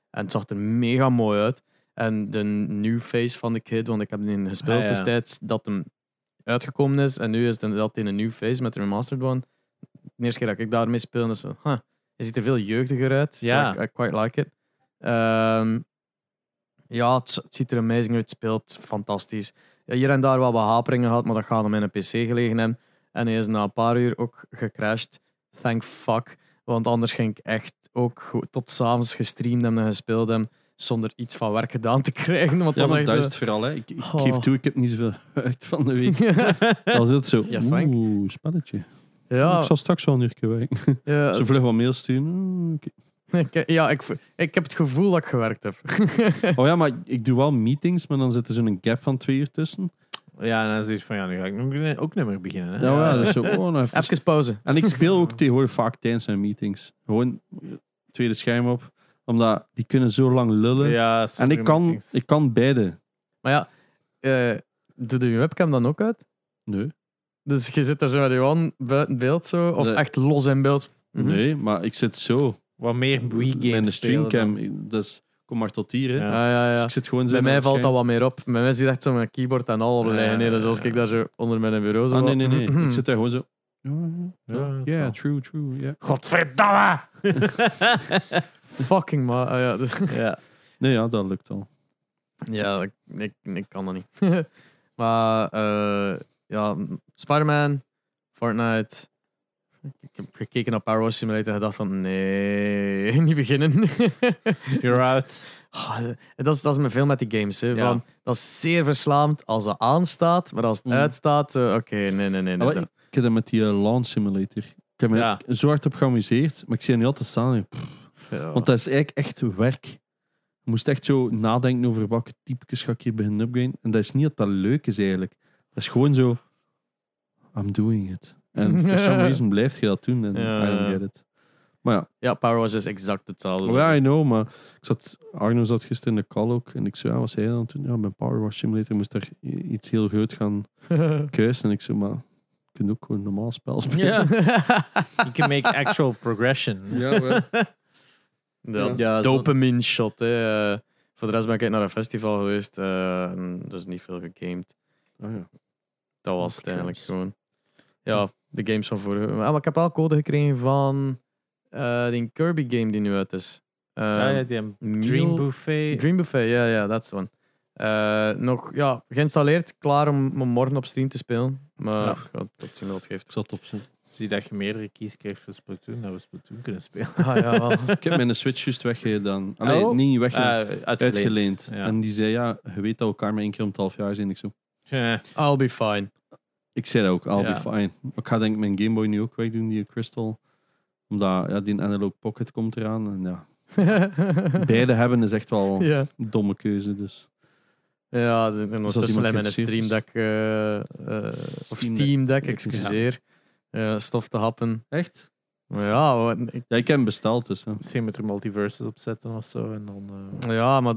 A: En het zag er mega mooi uit. En de new face van de kid, want ik heb die gespeeld
B: Ah, ja.
A: destijds, dat hem uitgekomen is. En nu is het inderdaad in een new face met de remastered one. De eerste keer dat ik daarmee speel, is zo, huh, je ziet er veel jeugdiger uit. So
B: Ja.
A: I, I quite like it. Ehm, ja, het, het ziet er amazing uit. Het speelt fantastisch. Ja, hier en daar wel wat haperingen gehad, maar dat gaat hem in een PC gelegen hebben. En hij is na een paar uur ook gecrashed. Thank fuck. Want anders ging ik echt ook go- tot s'avonds gestreamd hebben en gespeeld hebben. Zonder iets van werk gedaan te krijgen. Want dat
C: Ja,
A: was
C: maar
A: echt,
C: dat
A: eh,
C: is het vooral. Hè. Ik, ik
A: Oh.
C: geef toe, ik heb niet zoveel (laughs) uit van de
A: (laughs)
C: week. Dan zit het zo,
A: Ja, Frank.
C: oeh, spelletje.
A: ja, Eh.
C: Ik zal straks wel een uurtje werken.
A: ja,
C: zo vlug wat mail sturen. Oeh, oké.
A: (laughs) ik, ja ik, v- ik heb het gevoel dat ik gewerkt heb. (laughs)
C: Oh ja, maar ik doe wel meetings, maar dan zit er zo'n gap van twee uur tussen.
B: ja, en dan zoiets van, ja, nu ga ik nog- ook niet meer beginnen. Hè? dus-
C: Ja, ja. dat is zo, oh,
A: (laughs)
C: nou even.
A: Even pauze.
C: En ik speel ook tegenwoordig vaak tijdens mijn meetings. Gewoon eh, tweede scherm op, omdat die kunnen zo lang lullen.
B: Ja,
C: en ik kan, ik kan beide.
A: Maar ja, eh, doe je webcam dan ook uit?
C: Nee,
A: Dus je zit daar zo met je hand buiten beeld zo? Of
C: Nee.
A: echt los in beeld? Mhm.
C: nee, maar ik zit zo.
B: Wat meer Wii games
C: Mijn
B: spelen dan.
C: streamcam, dus kom maar tot hier. Hè.
B: Ja.
A: Ah, ja,
C: Dus
A: ja.
C: ik zit gewoon zo
A: Bij mij
C: met mijn
A: valt
C: scherm.
A: dat wat meer op. Bij mij zit echt zo mijn keyboard en al op de
B: Ja,
A: lijn. hè. Dus
B: ja,
A: als ik
B: ja.
A: daar zo onder mijn bureau zo...
C: Ah, nee,
A: wat-
C: nee,
A: (laughs)
C: nee. Ik zit daar gewoon zo. Ja,
B: Ja, dat
C: ja,
B: wel.
C: true, true. ja. (laughs)
A: Godverdamme! Fucking maar. Ah, ja. dus-
B: ja.
C: Nee, ja, dat lukt Ah, al.
A: ja, ik, ik, ik kan dat niet. maar Maar eh, ja, Spider-Man, Fortnite. Ik heb gekeken naar Power Simulator en gedacht van nee, (laughs) niet beginnen.
B: You're out.
A: Ah, en dat, is, dat is met veel met die games. Hè,
B: Ja.
A: van, dat is zeer verslaamd als het aanstaat, maar als het
C: Mm.
A: uitstaat, eh, oké, nee, nee, nee. nee,
C: Maar
A: dat-
C: ik ik heb dat met die eh, launch simulator. Ik heb me
B: Ja.
C: zo hard op geamuseerd, maar ik zie er niet altijd staan. en pff,
A: ja.
C: Want dat is eigenlijk echt werk. Je moest echt zo nadenken over welke types ga ik hier beginnen upgraden. En dat is niet dat dat leuk is eigenlijk. Dat is gewoon zo, I'm doing it. (laughs) En for some reason blijf je dat doen en
A: Ja,
C: I don't
A: ja.
C: get it. Maar ja,
A: Ja, Power Wars is exact hetzelfde.
C: Oh ja, I know, maar ik zat, Arno zat gisteren in de call ook en ik zei, ja, wat zei hij dan toen? Ja, mijn Power Wash Simulator moest daar i- iets heel groot gaan keuzen. En ik zei, maar je kunt ook gewoon een normaal spel spelen.
B: Ja. (laughs) You can make actual progression.
C: (laughs) Ja, wel.
A: Dat
B: Ja, zo-
A: dopamine shot. Hè. Eh, voor de rest ben ik naar een festival geweest, eh, en dus niet veel gegamed.
C: Ah, ja.
A: Dat was
C: Op
A: het eigenlijk
C: games.
A: gewoon. Ja, de games van vorige. Ah, maar ik heb wel code gekregen van eh die Kirby game die nu uit is. Eh,
B: Ja, Ah, ja, die hebben
A: Meal-
B: Dream Buffet.
A: Dream Buffet, ja, ja, dat is one. Eh, nog ja, geïnstalleerd, klaar om, om morgen op stream te spelen. Maar
B: Ja.
A: ik ga het zien wat het
C: Ik
A: geeft.
C: zat op zijn.
B: Zie dat je meerdere keys krijgt voor Splatoon, dat we Splatoon kunnen spelen.
A: Ah, ja,
B: (laughs)
A: wel.
C: Ik heb mijn Switch juist weggedaan. Allee,
B: Oh.
C: niet
B: Eh,
C: weggedaan.
B: uitgeleend.
C: uitgeleend.
B: Ja.
C: En die zei, ja, je weet dat we elkaar maar één keer om het half jaar zien. Ik, zo,
B: Ja.
A: I'll be (laughs) fine.
C: ik zei dat ook, I'll
B: Ja.
C: be fine. Maar Ik ga denk ik mijn Game Boy nu ook wegdoen, die Crystal. Omdat, ja, die Analog Pocket komt eraan. En (laughs) ja, beide hebben is echt wel
A: ja.
C: een domme keuze, dus...
A: Ja, de- en ondertussen
C: iemand
A: hebben we een Stream
C: geïnteresseerd is.
A: Deck, eh, eh, of
C: Steam
A: Steam Deck,
C: Ja.
A: excuseer, eh, stof te happen.
C: Echt?
A: Maar ja, wat- ik-
C: Ja, ik heb hem besteld, dus.
A: Eh.
C: hè.
B: Misschien moet er multiverses op zetten of zo. En dan, eh,
A: ja, maar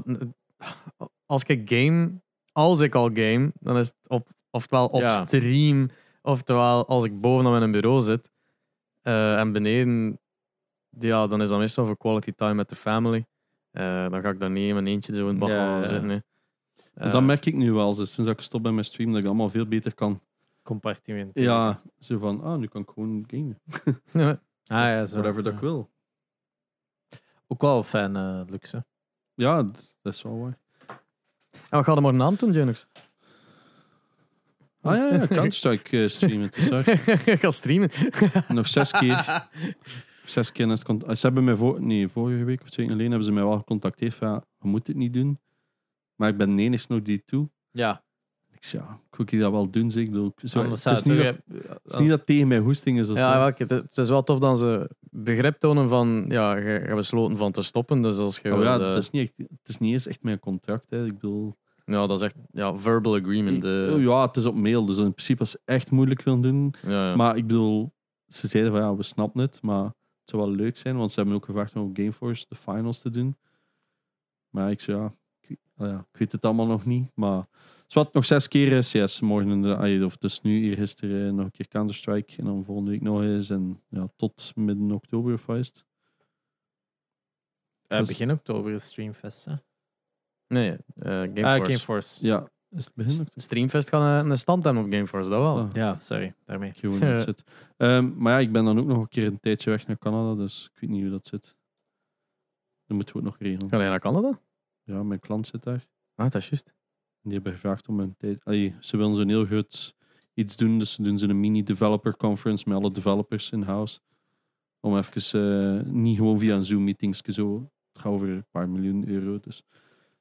A: als ik game, als ik al game, dan is het op, oftewel op
B: Ja.
A: stream, oftewel als ik bovenop in een bureau zit eh, en beneden, ja, dan is dat meestal voor quality time met de family. Eh, dan ga ik daar niet in mijn eentje zo in het bagage
B: Ja, ja.
A: zitten. hè.
C: Want
A: Eh,
C: dat
A: (laughs)
C: merk ik nu wel, dus sinds dat ik stop bij mijn stream, dat ik dat allemaal veel beter kan.
B: compartiment.
C: Ja, zo van, ah, nu kan ik gewoon gamen.
B: Ah, ja, zo.
C: Whatever dat
B: Ja.
C: ik wil.
B: Ook wel een fijn eh, luxe.
C: Ja, d- dat is wel waar.
A: En wat gaat er morgen aan doen, Junix?
C: Ah ja, ja Counter-Strike eh, streamen, het
A: (laughs)
C: is waar.
A: Ik ga streamen.
C: Nog zes
A: (laughs)
C: keer. Zes keer naast cont- Ze hebben mij voor, nee, vorige week of twee weken geleden hebben ze mij wel gecontacteerd van, ja, je moet het niet doen. Maar ik ben de enigste nog die het doet.
B: Ja,
C: Ik zei, ja, ik wil dat wel doen, zeg. Ik bedoel, ik- zo-
B: anders
C: het
B: zou
C: is niet dat,
B: toch-
C: het is niet dat het tegen mijn hoesting is of
A: Ja,
C: zo.
A: wel, het, is- het is wel tof dat ze begrip tonen van, ja, je je hebt besloten van te stoppen. Dus als je
C: Maar ja,
A: wil, eh,
C: het is, niet echt, het is niet eens echt mijn contract, hè. Ik bedoel...
A: ja, dat is echt ja, verbal agreement. eh.
C: Ik- oh Ja, het is op mail, dus in principe is echt moeilijk willen doen.
A: ja, ja.
C: Maar ik bedoel, ze zeiden van ja, we snappen het, maar het zou wel leuk zijn, want ze hebben me ook gevraagd om op Gameforce de finals te doen. Maar ik zei ja, ik, weet- nou ja, ik weet het allemaal nog niet, maar zwart nog zes keer eh, CS morgen in de, ah, of dus nu hier gisteren eh, nog een keer Counter Strike en dan volgende week nog eens en ja, tot midden oktober of wat is het?
B: eh, begin oktober is Streamfest. Hè?
A: nee, eh, Gameforce.
B: Ah, Gameforce.
C: Ja, is het begin
A: S- Streamfest gaan eh, een stand hebben op Gameforce, dat wel.
C: Ah.
B: Ja, sorry,
C: (laughs)
B: daarmee.
C: Ik gewoon hoe dat zit. Ehm, maar ja, ik ben dan ook nog een keer een tijdje weg naar Canada, dus ik weet niet hoe dat zit. Dat moeten we ook nog regelen.
A: Ga jij naar Canada?
C: Ja, mijn klant zit daar.
A: Ah, dat is juist.
C: Die hebben gevraagd om een tijd. Allee, ze willen zo'n heel groot iets doen, dus ze doen ze een mini-developer conference met alle developers in house. Om even eh, niet gewoon via een Zoom-meetings zo. Het gaat over een paar miljoen euro. Dus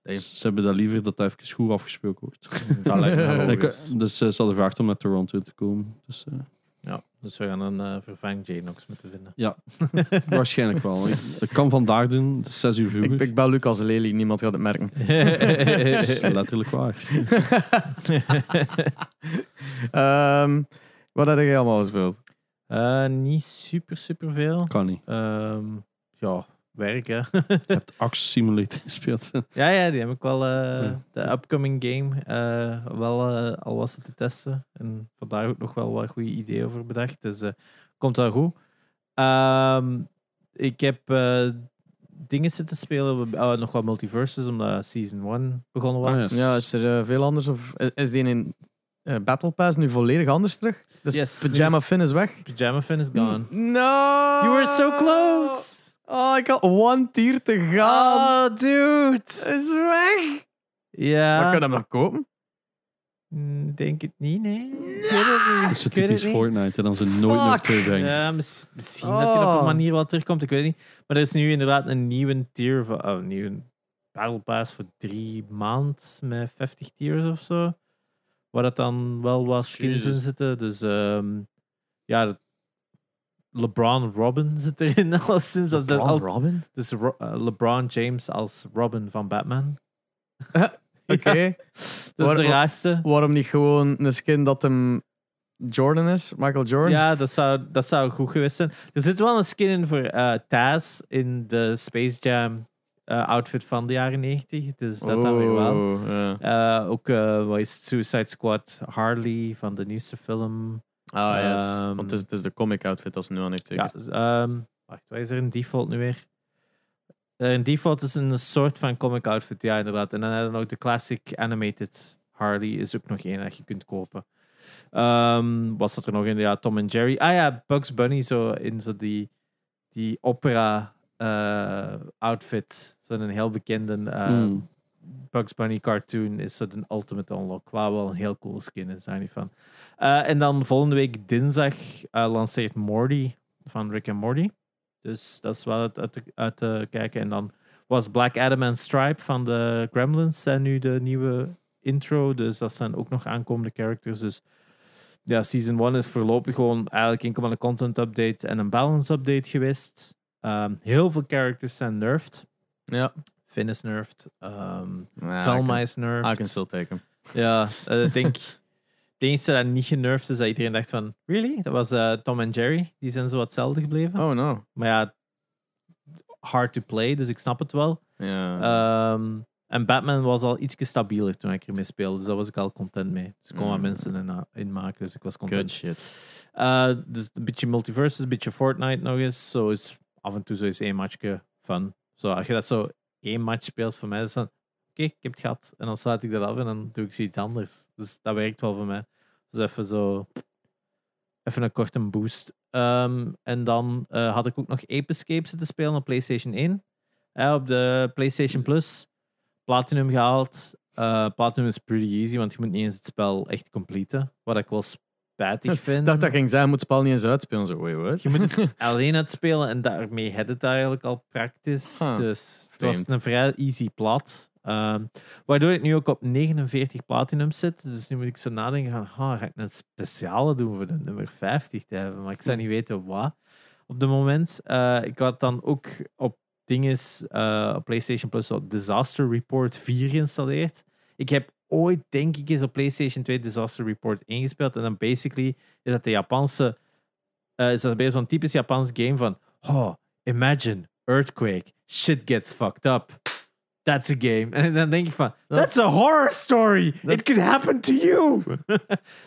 A: Damn.
C: ze hebben dat liever dat dat even goed afgesproken wordt.
B: Dat lijkt me wel
A: Ja,
C: Ik-
B: logisch.
C: (laughs) dus eh, ze hadden gevraagd om naar Toronto te komen. Dus eh,
B: Ja, dus we gaan een eh, vervang Janox moeten
C: (laughs)
B: vinden.
C: waarschijnlijk wel. Ik, dat kan vandaag doen, het is zes uur vroeger.
A: Ik, ik bel Lucas Lely, niemand gaat het merken.
C: Dat is letterlijk waar.
A: Ehm, wat heb jij allemaal gespeeld?
B: Eh, niet super, super veel.
C: Kan niet.
B: Ehm, ja, werk hè. (laughs)
C: Je hebt Axe Simulator (laughs) gespeeld.
B: ja, ja, die heb ik wel. eh,
C: Ja.
B: De upcoming game, eh, wel eh, al was het te testen. En vandaag ook nog wel wat goede ideeën over bedacht. Dus eh, komt wel goed. Ehm, ik heb eh, dingen zitten spelen, eh, nog wat multiverses, omdat Season 1 begonnen was.
C: Ah,
A: Ja, is er eh, veel anders? Of is, is die in eh, Battle Pass nu volledig anders terug? Dus
B: Yes,
A: Pyjama
B: dus-
A: Finn is weg?
B: Pyjama Fin is gone.
A: No!
B: You were so close!
A: Oh, ik had one tier te gaan.
B: Oh, dude!
A: Is weg.
B: Ja.
A: Maar kun je hem nog kopen?
B: Mm, Denk het niet, nee. Ik weet het niet.
C: Dat is zo
B: Ik weet het
C: typisch
B: niet.
C: Fortnite. En dan ze nooit
A: Fuck.
C: nog terugbrengen.
B: Ja, mis- misschien dat hij op
A: Oh.
B: een manier wel terugkomt, ik weet het niet. Maar er is nu inderdaad een nieuwe tier, van, oh, een nieuwe Battle Pass voor drie maanden met 50 tiers of zo. Waar dat dan wel wat skins in
A: Jezus.
B: zitten. Dus ehm, ja, dat- LeBron Robin zit erin (laughs) al sinds dat dat al-
A: Robin?
B: Dus Ro- eh, LeBron James als Robin van Batman.
A: (laughs) Oké.
B: Dat
A: Waar-
B: is de raarste.
A: Waarom niet gewoon een skin dat hem Jordan is? Michael Jordan?
B: Ja, dat zou, dat zou goed geweest zijn. Er zit wel een skin in voor eh, Taz in de Space Jam eh, outfit van de jaren 90. Dus dat dan weer wel.
A: Oh, ja.
B: Eh, ook eh, wat is het? Suicide Squad Harley van de nieuwste film.
A: Ah, yes.
B: Ehm,
A: Want het is, het is de comic outfit als nu aan heeft.
B: Ja,
A: zeker?
B: dus, ehm, wacht, wat is er in default nu weer? Eh, in default is een soort van comic outfit, ja, inderdaad. En dan hebben we ook de classic animated Harley, is ook nog één dat je kunt kopen. Ehm was dat er nog in? Ja, Tom en Jerry. Ah ja, Bugs Bunny zo in zo die, die opera eh, outfit. Zo'n heel bekende eh,
C: Mm.
B: Bugs Bunny cartoon is dat een ultimate unlock. Waar wel een heel cool skin is, daar niet van. Eh, en dan volgende week dinsdag eh, lanceert Morty van Rick and Morty. Dus dat is wel uit, uit, te- uit te kijken. En dan was Black Adam en Stripe van de Gremlins zijn nu de nieuwe intro. Dus dat zijn ook nog aankomende characters. Dus ja, season 1 is voorlopig gewoon eigenlijk enkel maar een content update en een balance update geweest. Ehm, heel veel characters zijn nerfed.
A: Ja. Ah,
B: Finn is nerfed. ehm,
A: Ja,
B: Velma is nerfed.
A: I can still take him.
B: Ja, eh, ik denk. Het enige dat niet generfd is dat iedereen dacht van, really? Dat was eh, Tom en Jerry. Die zijn zo hetzelfde gebleven.
A: Oh, no.
B: Maar ja, hard to play, dus ik snap het wel.
A: Ja.
B: Ehm, en Batman was al ietsje stabieler toen ik ermee speelde, dus daar was ik al content mee. Dus ik kon wat
A: Mm.
B: mensen in, in maken, dus ik was
A: Good
B: content.
A: shit.
B: Eh, dus een beetje multiverses, een beetje Fortnite nog eens. Zo is af en toe zo is één matchje fun. Zo, als je dat zo één match speelt voor mij, is dan oké, ik heb het gehad. En dan sluit ik dat af en dan doe ik zoiets anders. Dus dat werkt wel voor mij. Dus even zo, even een korte boost. Ehm, en dan eh, had ik ook nog Ape Escape zitten spelen op PlayStation 1. Hè, op de PlayStation Plus. Platinum gehaald. Eh, Platinum is pretty easy, want je moet niet eens het spel echt completen. Wat ik wel spijtig
A: Ik
B: vind.
A: dacht dat ging zijn, moet het spel niet eens uitspelen. Zo, wait, what?
B: Je moet het alleen uitspelen en daarmee had het eigenlijk al praktisch.
A: Huh,
B: Dus het
A: vreemd.
B: was een vrij easy plat. Ehm, waardoor ik nu ook op 49 platinum zit. Dus nu moet ik zo nadenken van, "Ah, ga ik een speciale doen voor de nummer 50 te hebben? Maar ik zou niet weten wat op dit moment. Eh, ik had dan ook op dinges, eh, op PlayStation Plus, zo Disaster Report 4 geïnstalleerd. Ik heb ooit, denk ik, eens op PlayStation 2 Disaster Report ingespeeld. En dan basically is dat de Japanse. eh, is dat bij zo'n typisch Japans game van. Oh, imagine, earthquake, shit gets fucked up. That's a game. (laughs) En dan denk ik van,
A: Dat is-
B: that's a horror story.
A: Dat-
B: It could happen to
A: (laughs)
B: you.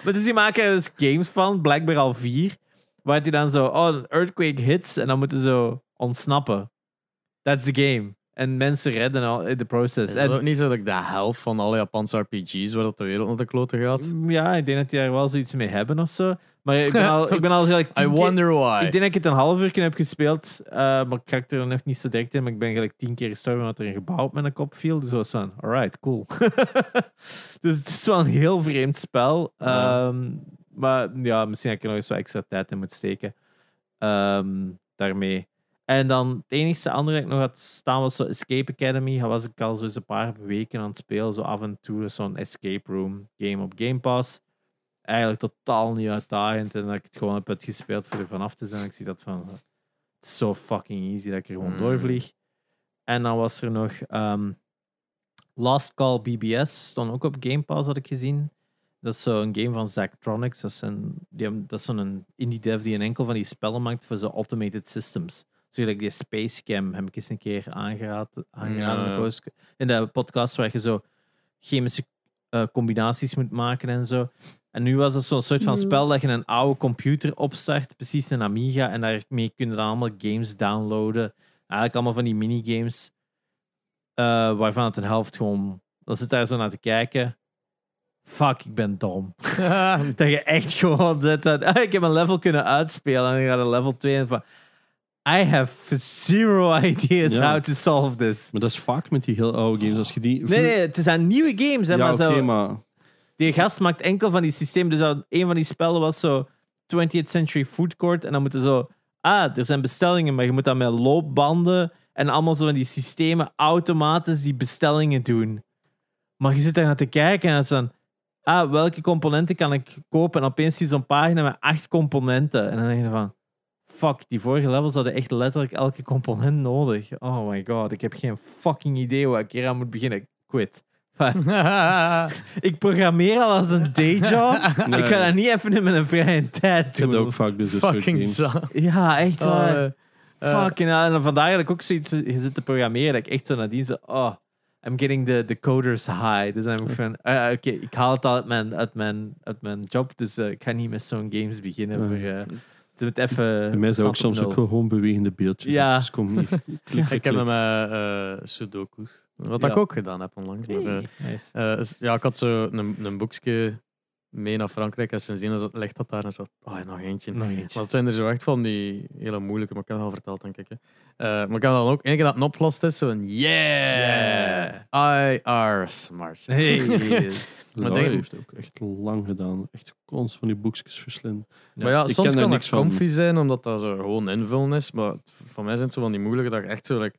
B: maar dus die maken er dus games van, blijkbaar al vier. Waar die dan zo, oh, een earthquake hits. En dan moeten ze zo ontsnappen. That's the game. En mensen redden al in the process.
A: Is
B: En-
A: (laughs) het ook niet zo dat ik de helft van alle Japanse RPG's waar dat de wereld naar de kloten gaat?
B: Mm, Ja, ik denk dat die daar wel zoiets mee hebben of zo. Maar ik
A: (laughs)
B: ben al, ik ben al gelijk
A: I
B: tien keer-
A: wonder why.
B: Ik denk dat ik het een half uur heb gespeeld, eh, maar ik raakte er nog niet zo direct in. Maar ik ben gelijk tien keer gestorven omdat er een gebouw op mijn kop viel. Dus was van, alright, cool. (laughs) dus het is wel een heel vreemd spel.
A: Ja.
B: Ehm, Maar ja, misschien heb ik er nog eens wat extra tijd in moet steken. Ehm, daarmee. En dan het enige andere dat ik nog had staan was zo Escape Academy. Dat was ik al zo eens een paar weken aan het spelen. Zo af en toe zo'n escape room game op Game Pass. Eigenlijk totaal niet uitdagend. En dat ik het gewoon heb uitgespeeld voor er vanaf te zijn. Ik zie dat van... Het is zo fucking easy dat ik er gewoon
A: Mm.
B: doorvlieg. En dan was er nog... ehm, Last Call BBS stond ook op Game Pass, had ik gezien. Dat is zo'n game van Zachtronics. Dat is, een, die hebben, dat is zo'n indie dev die een enkel van die spellen maakt voor zo'n automated systems. Zo gelijk die Space Cam heb ik eens een keer aangeraad, aangeraden in,
A: Ja.
B: de post- in de podcast waar je zo chemische eh, combinaties moet maken en zo. En nu was dat zo'n soort van spel dat je een oude computer opstart, precies een Amiga, en daarmee kun je dan allemaal games downloaden. Eigenlijk allemaal van die minigames, eh, waarvan het een helft gewoon... Dan zit daar zo naar te kijken. Fuck, ik ben
C: (laughs)
B: dom. Dat je echt gewoon zit aan- Ah, ik heb een level kunnen uitspelen en dan gaat een level 2 en van... I have zero (laughs) ideas
C: Ja.
B: how to solve this.
C: Maar dat is vaak met die heel oude games. Als je die...
B: Nee, nee, het zijn nieuwe games, hè,
C: ja,
B: maar
C: oké,
B: zo...
C: maar...
B: Die gast maakt enkel van die systemen. Dus dat- een van die spellen was zo 20th Century Food Court. En dan moeten zo... Ah, er zijn bestellingen, maar je moet dan met loopbanden en allemaal zo van die systemen automatisch die bestellingen doen. Maar je zit daar naar te kijken en dan is dan... Ah, welke componenten kan ik kopen? En opeens zie je zo'n pagina met acht componenten. En dan denk je van... Fuck, die vorige levels hadden echt letterlijk elke component nodig. Oh my god, ik heb geen fucking idee waar ik hier aan moet beginnen. Quit. (laughs) Maar-
A: (laughs)
B: ik programmeer al als een dayjob.
C: Nee.
B: Ik ga dat niet even in mijn vrije tijd
C: Ik heb
B: doen.
C: dat ook vaak dus. dit soort
A: Fucking
C: games.
A: zat.
B: Ja, echt waar.
A: Oh, eh,
B: Fucking hell. En dan vandaag had ik ook zoiets, eh, je zit te programmeren, dat ik echt zo nadien zo, oh, I'm getting the, the coders high. Dus dan heb ik van, ah, oké, ik haal het al uit mijn, uit mijn, uit mijn job, dus eh, ik ga niet met zo'n games beginnen.
C: Nee.
B: Voor, eh, doe het even...
C: Bij mij zijn ook
B: stand
C: soms
B: op
C: ook
B: nul.
C: gewoon bewegende beeldjes.
B: Ja.
C: Dus kom hier. Klik,
A: ik
C: klik,
A: heb
C: klik.
A: hem eh, eh, Sudoku's. Wat
B: Ja.
A: ik ook gedaan heb onlangs. Maar, eh,
B: Hey, nice.
A: Eh, is- ja, ik had zo een, een boekje mee naar Frankrijk en sindsdien zat- ligt dat daar en zo. Oh, nog eentje.
B: Nog eentje.
A: Maar het zijn er zo echt van die hele moeilijke, maar ik heb het al verteld, denk ik. Hè. Eh, maar ik heb dan ook, één keer dat het oplost is, zo een yeah, I are smart. (laughs)
B: Hey,
C: (laughs)
B: yes.
A: Maar
C: Laura
A: denk-
C: heeft ook echt lang gedaan. Echt cons van die boekjes verslinden.
A: maar ja,
C: ik ken
A: soms
C: daar
A: kan
C: niks
A: het
C: van.
A: comfy zijn, omdat dat zo gewoon invullen is. Maar het- voor mij zijn het zo van die moeilijke, dat ik echt zo, like,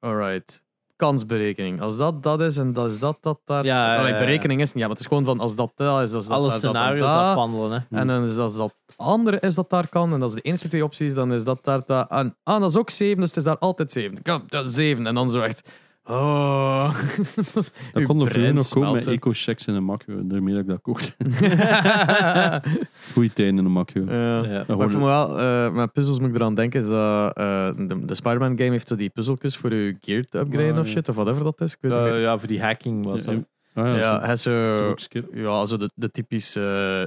A: alright, kansberekening. Als dat dat is en dat is dat, dat daar.
B: Ja, ja,
A: Allee,
B: ja.
A: berekening is het niet, ja, maar het is gewoon van als dat dat is, als dat
B: Alle
A: dat, dat, dat,
B: scenario's
A: dat.
B: afhandelen, hè.
A: En dan is dat, dat andere is dat daar kan. En dat is de enige twee opties. Dan is dat daar... daar en, ah, dat is ook zeven, dus het is daar altijd zeven. Kom, dat is zeven. En dan zo echt... Oh. (laughs)
C: Dat kon er vroeger
A: vreemd
C: nog komen (laughs) met eco-checks in een makje. Daarmee dat ik dat kocht.
A: ja. (laughs)
C: Goeie tijden in een makje.
B: Ja.
A: Maar ik vond wel, eh, met puzzels moet ik eraan denken, is dat eh, de, de Spider-Man game heeft zo die puzzeltjes voor je gear te upgraden
C: Ah,
A: of
C: ja.
A: shit, of whatever dat is. Ik weet het niet
B: Eh,
A: meer.
B: ja, voor die hacking was dat.
C: Ah,
A: ja, eh,
C: ja,
A: hij is
C: dat
A: zo...
C: ook skip.
A: Ja, zo de, de typische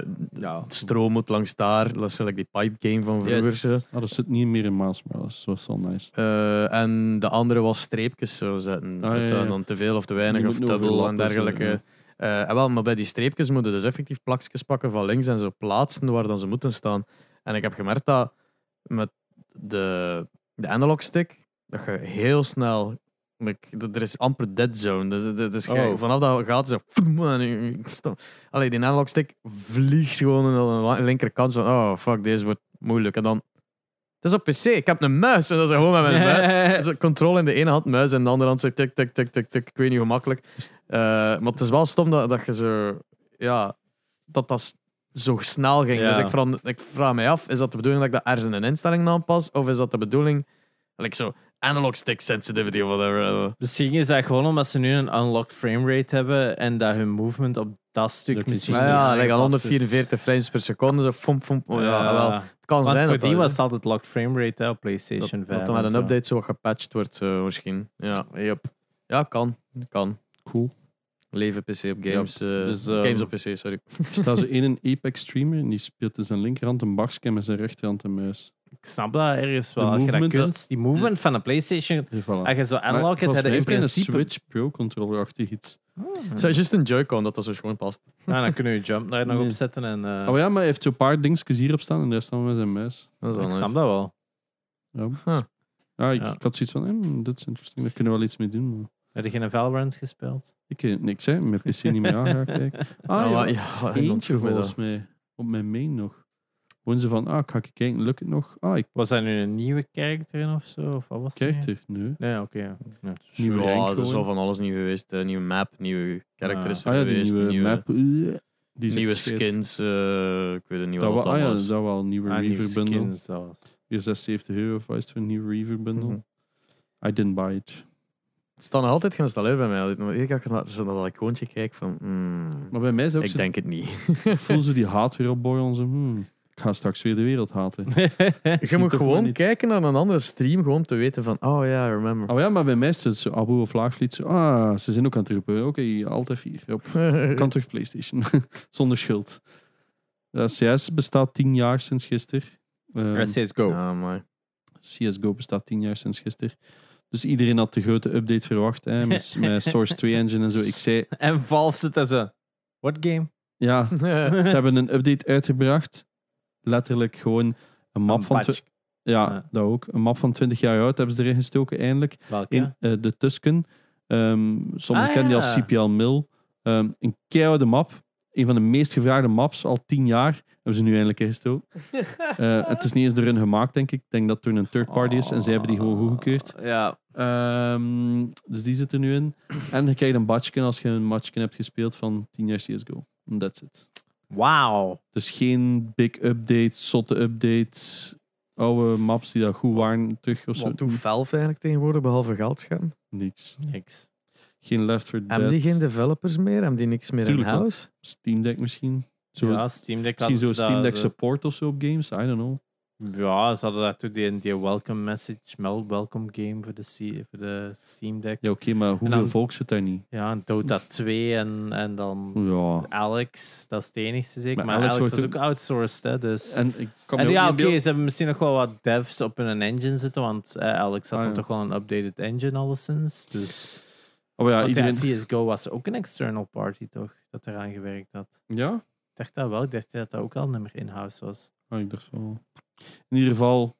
A: eh,
B: Ja.
A: stroom moet langs daar. Dat is zo like die pipe game van vroeger.
B: Yes.
A: zo.
C: Ah, dat zit niet meer in Maas, maar dat is dat is wel nice.
A: Eh, en de andere was streepjes zo zetten.
C: Ah, ja,
A: Het, eh,
C: ja.
A: Dan te veel of te weinig
C: Die
A: of
C: moeten
A: dubbel en
C: overlappen, zo,
A: dergelijke.
C: ja.
A: Eh, en wel, maar bij die streepjes moeten dus effectief plakjes pakken van links en zo plaatsen waar dan ze moeten staan. En ik heb gemerkt dat met de, de analog stick, dat je heel snel... ik- dat- Er is amper dead zone. Dus, dus, dus jij-
B: Oh.
A: vanaf dat gaat zo... en je- je stopt. Allee, die analog stick vliegt gewoon aan de la- linkerkant. Van, oh, fuck, deze wordt moeilijk. En dan... Het is op PC. Ik heb een muis. En dat is gewoon met mijn
B: (laughs)
A: muis.
C: (laughs)
A: Dus controle in de ene hand, muis in de andere hand. Zo tik, tik, tik, tik, tik. Ik weet niet hoe makkelijk. Eh, maar het is wel stom dat, dat je zo... Ja, dat dat s- zo snel ging.
B: Ja.
A: Dus ik vraag, ik vraag mij af, is dat de bedoeling dat ik dat ergens in een instelling aanpas? Of is dat de bedoeling... Like zo, analog stick sensitivity of whatever.
B: Misschien is dat gewoon omdat ze nu een unlocked framerate hebben en dat hun movement op dat stuk
C: Dat is
B: misschien.
A: Maar
B: niet
A: ja, like aan
B: aangepast is.
A: 144 frames per seconde. Zo, fomp, fomp. Oh, ja, wel.
B: Want
A: Het kan zijn
B: voor
A: dat
B: die
A: dat is,
B: was het altijd locked framerate hè, op
A: hè.
B: PlayStation 5.
A: dat, dat dan met
B: en
A: een
B: zo.
A: update zo wat gepatcht wordt,
C: eh,
A: zo, misschien. Ja.
B: Yep.
A: ja, kan. Kan.
C: Cool.
A: Leven PC op games. eh,
B: dus, ehm,
A: games op PC, sorry.
C: Er staat zo één een Apex streamer en die speelt in zijn linkerhand een bakscam en zijn rechterhand een muis.
B: Ik snap dat ergens wel.
C: De
B: Als je dat
C: movement-
B: kunt, die movement van de PlayStation,
C: Ja, voilà.
B: als je zo
C: Maar
B: analog hebt, heb
C: volgens
B: je
C: mij
B: in
C: heeft hij een
B: principe.
C: Switch Pro controller-achtig iets.
A: Het is juist een Joy-Con dat dat zo gewoon past.
B: Nou, dan kunnen we jump daar nog
C: (laughs) Nee.
B: op zetten. En, eh,
C: Oh ja, maar hij heeft zo'n paar dingetjes hierop staan en daar staan we met zijn muis.
A: Dat is wel
B: ik
A: nice.
B: snap dat wel.
C: Ja.
A: Huh.
C: Ah, ik,
B: Ja.
C: ik had zoiets van, hmm, dit is interesting, daar kunnen we wel iets mee doen. maar
B: Heb je geen Valorant gespeeld?
C: Ik weet niks, hè. Mijn PC niet meer aangeraakt.
B: (laughs)
C: eigenlijk. Ah,
A: Ja,
C: ja,
A: maar- ja, iemand
C: Eentje
A: vroeg mij
C: volgens
A: Nou, dat.
C: mij. Op mijn main nog. Gewoon ze van, ah, ik ga ik kijken, lukt het nog? Ah, ik
B: Was dat nu een nieuwe character in of zo? Of wat was het
C: kijk
B: nu?
C: er. Nee.
B: Nee, oké. ja. Nee.
C: Nieuwe
A: Ja,
C: rank
A: er is al
C: gewoon.
A: van alles nieuw geweest. eh, nieuwe map, nieuwe characters
C: Ah ja, die
A: geweest.
C: nieuwe, map. eh, die is
A: nieuwe
C: echt scheet.
A: skins. eh, ik weet het niet
C: Dat
A: wat dat
C: wel, ah ja, dat
A: was.
C: zou wel een nieuwe
B: Ah, nieuwe
C: Reaver bundle.
B: skins zelfs.
C: Hier 76 euro of is het voor een nieuwe Reaver bundle.
A: Mhm.
C: I didn't buy it.
A: Het staat nog altijd geïnstalleerd bij mij. Maar ik had naar zo naar dat icoontje kijk van... hmm,
C: Maar bij mij is ook
A: ik
C: zo,
A: denk het niet.
C: (laughs) voel ze die haat weer opborrelen. Zo, hmm, ik ga straks weer de wereld
B: (laughs)
A: (laughs)
C: haten.
A: Je moet
C: toch maar
A: gewoon
C: niet.
A: kijken naar een andere stream gewoon om te weten van... Oh ja,
C: (laughs)
A: remember.
C: Oh ja, maar bij mij is het zo, Abu of Laagvliet. zo, Ah, ze zijn ook aan het roepen. Oké, altijd vier.
A: (laughs)
C: Hop. Kan terug PlayStation. (laughs) Zonder schuld. Eh, CS bestaat tien jaar sinds gisteren. Ehm,
B: CSGO.
A: Ja, (laughs) maar...
C: CSGO bestaat tien jaar sinds gisteren. Dus iedereen had de grote update verwacht.
B: (laughs)
C: Hè, met, met Source 2 Engine en zo. Ik zei,
B: En Valve zit daar zo. What game?
C: ja,
B: (laughs)
C: ze hebben een update uitgebracht. Letterlijk gewoon een map
B: Een
C: van...
B: patch.
C: twi- Ja,
B: Ja.
C: dat ook. Een map van 20 jaar oud hebben ze erin gestoken eindelijk.
B: Welke?
C: (laughs) In eh, de Tusken. Ehm sommigen
B: Ah,
C: kennen die
B: ja.
C: als CPL Mill. Ehm, een keiharde map. een van de meest gevraagde maps al tien jaar. Hebben ze nu eindelijk ingestoken. Eh, het is niet eens door hun gemaakt, denk ik. Ik denk dat het door een third party is en zij hebben die gewoon goedgekeurd.
B: Ja.
C: Ehm, dus die zit er nu in. En je krijgt een badje als je een matchje hebt gespeeld van 10 jaar CSGO. And that's it.
B: Wauw.
C: Dus geen big updates, zotte updates, oude maps die dat goed waren, terug of zo.
A: Wat doet Valve eigenlijk tegenwoordig, behalve geld gaan?
C: Niets.
B: Niks.
C: Geen Left 4
A: Hebben die
C: Dead.
A: geen developers meer? Hebben die niks meer in
C: Tuurlijk wel.
A: huis?
C: Steam Deck misschien. Zo,
B: ja, Steam Deck
C: misschien zo
B: hadden ze
C: Steam
B: dat- eh.
C: Deck support of zo op games. I don't know.
B: Ja, ze hadden daartoe die, die welcome message, mel- welcome game voor de, C- voor de Steam Deck.
C: Ja,
B: Ja,
C: oké, maar hoeveel
B: dan-
C: volk zit daar niet?
B: en Dota 2 en, en dan
C: Ja.
B: Alex, dat is het enigste zeker.
C: Maar
B: Maar,
C: Alex
B: Alex,
C: wordt
B: was
C: ook-
B: ook outsourced, hè, dus... En,
C: En ik kan me ook
B: ja, oké,
C: niet inbeelden-
B: ze hebben misschien nog wel wat devs op hun engine zitten, want eh, Alex had
C: Ah,
B: dan
C: ja.
B: toch wel een updated engine alleszins. Dus...
C: Oh ja,
B: want ja,
C: iedereen...
B: CSGO was ook een external party, toch? Dat eraan gewerkt had.
C: Ja?
B: Ik dacht dat wel, ik dacht dat dat ook al nummer in-house was.
C: Ah, ik dacht wel. In ieder geval,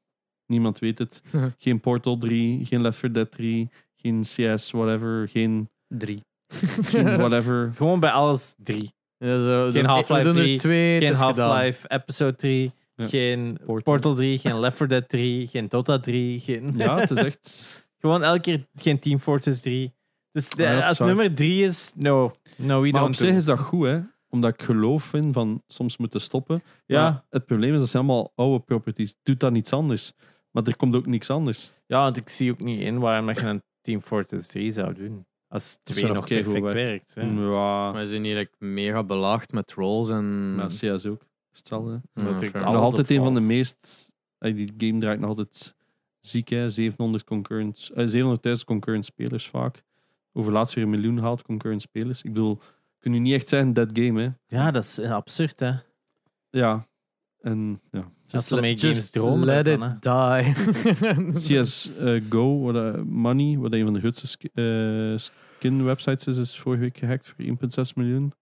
C: niemand weet het. Geen Portal 3, geen Left 4 Dead 3, geen CS, whatever, geen,
A: Drie.
C: geen whatever.
B: Gewoon bij alles drie.
A: Ja, zo,
B: Geen
A: zo-
B: Half-Life
A: we doen er
B: 3,
A: twee, het
B: geen
A: is gedaan.
B: Half-Life Episode 3,
C: Ja.
B: geen
C: Portal.
B: Portal. 3, geen Left 4 Dead 3, geen Dota 3, geen...
C: Ja, het is echt...
B: (laughs) gewoon elke keer geen Team Fortress 3. Dus de-
C: Ah, ja, dat is
B: als
C: waar.
B: nummer 3 is, no, no we
C: Maar op
B: don't. do.
C: zich is dat goed, hè. Omdat ik geloof vind van soms moeten stoppen.
B: ja,
C: Maar Het probleem is, dat zijn allemaal oude properties. Doet dat niets anders. Maar er komt ook niks anders.
B: ja, want ik zie ook niet in waarom dat je een Team Fortress 3 zou doen. Als
C: Dat
B: 2
C: zou
B: nog
C: nog keigoed
B: perfect werkt. hè.
C: Mm. Ja.
A: Maar ze zijn hier like, mega belaagd met trolls en...
C: Maar CS ook. Stel, hè.
A: Ja,
B: Dat ik
A: fair.
B: al-
C: nog (laughs)
B: Alles
C: altijd
B: op
C: een van de
B: Valve.
C: meest. ey, Die game draait nog altijd ziek, hè? 700 concurrent, eh, 700.000 concurrent spelers vaak. Over laatst weer een miljoen gehaald concurrent spelers. Ik bedoel, kun je niet echt zeggen dat game, hè?
B: Ja, dat is eh, absurd, hè.
C: Ja. En
B: (laughs)
C: ja.
B: Dat ze
A: let-
B: mee games
A: just
B: dromen
A: let it
B: daarvan,
A: die.
C: CSGO, wat, eh, Money, wat een van de grootste sk- eh, skin websites is, is vorige week gehackt voor 1,6 miljoen.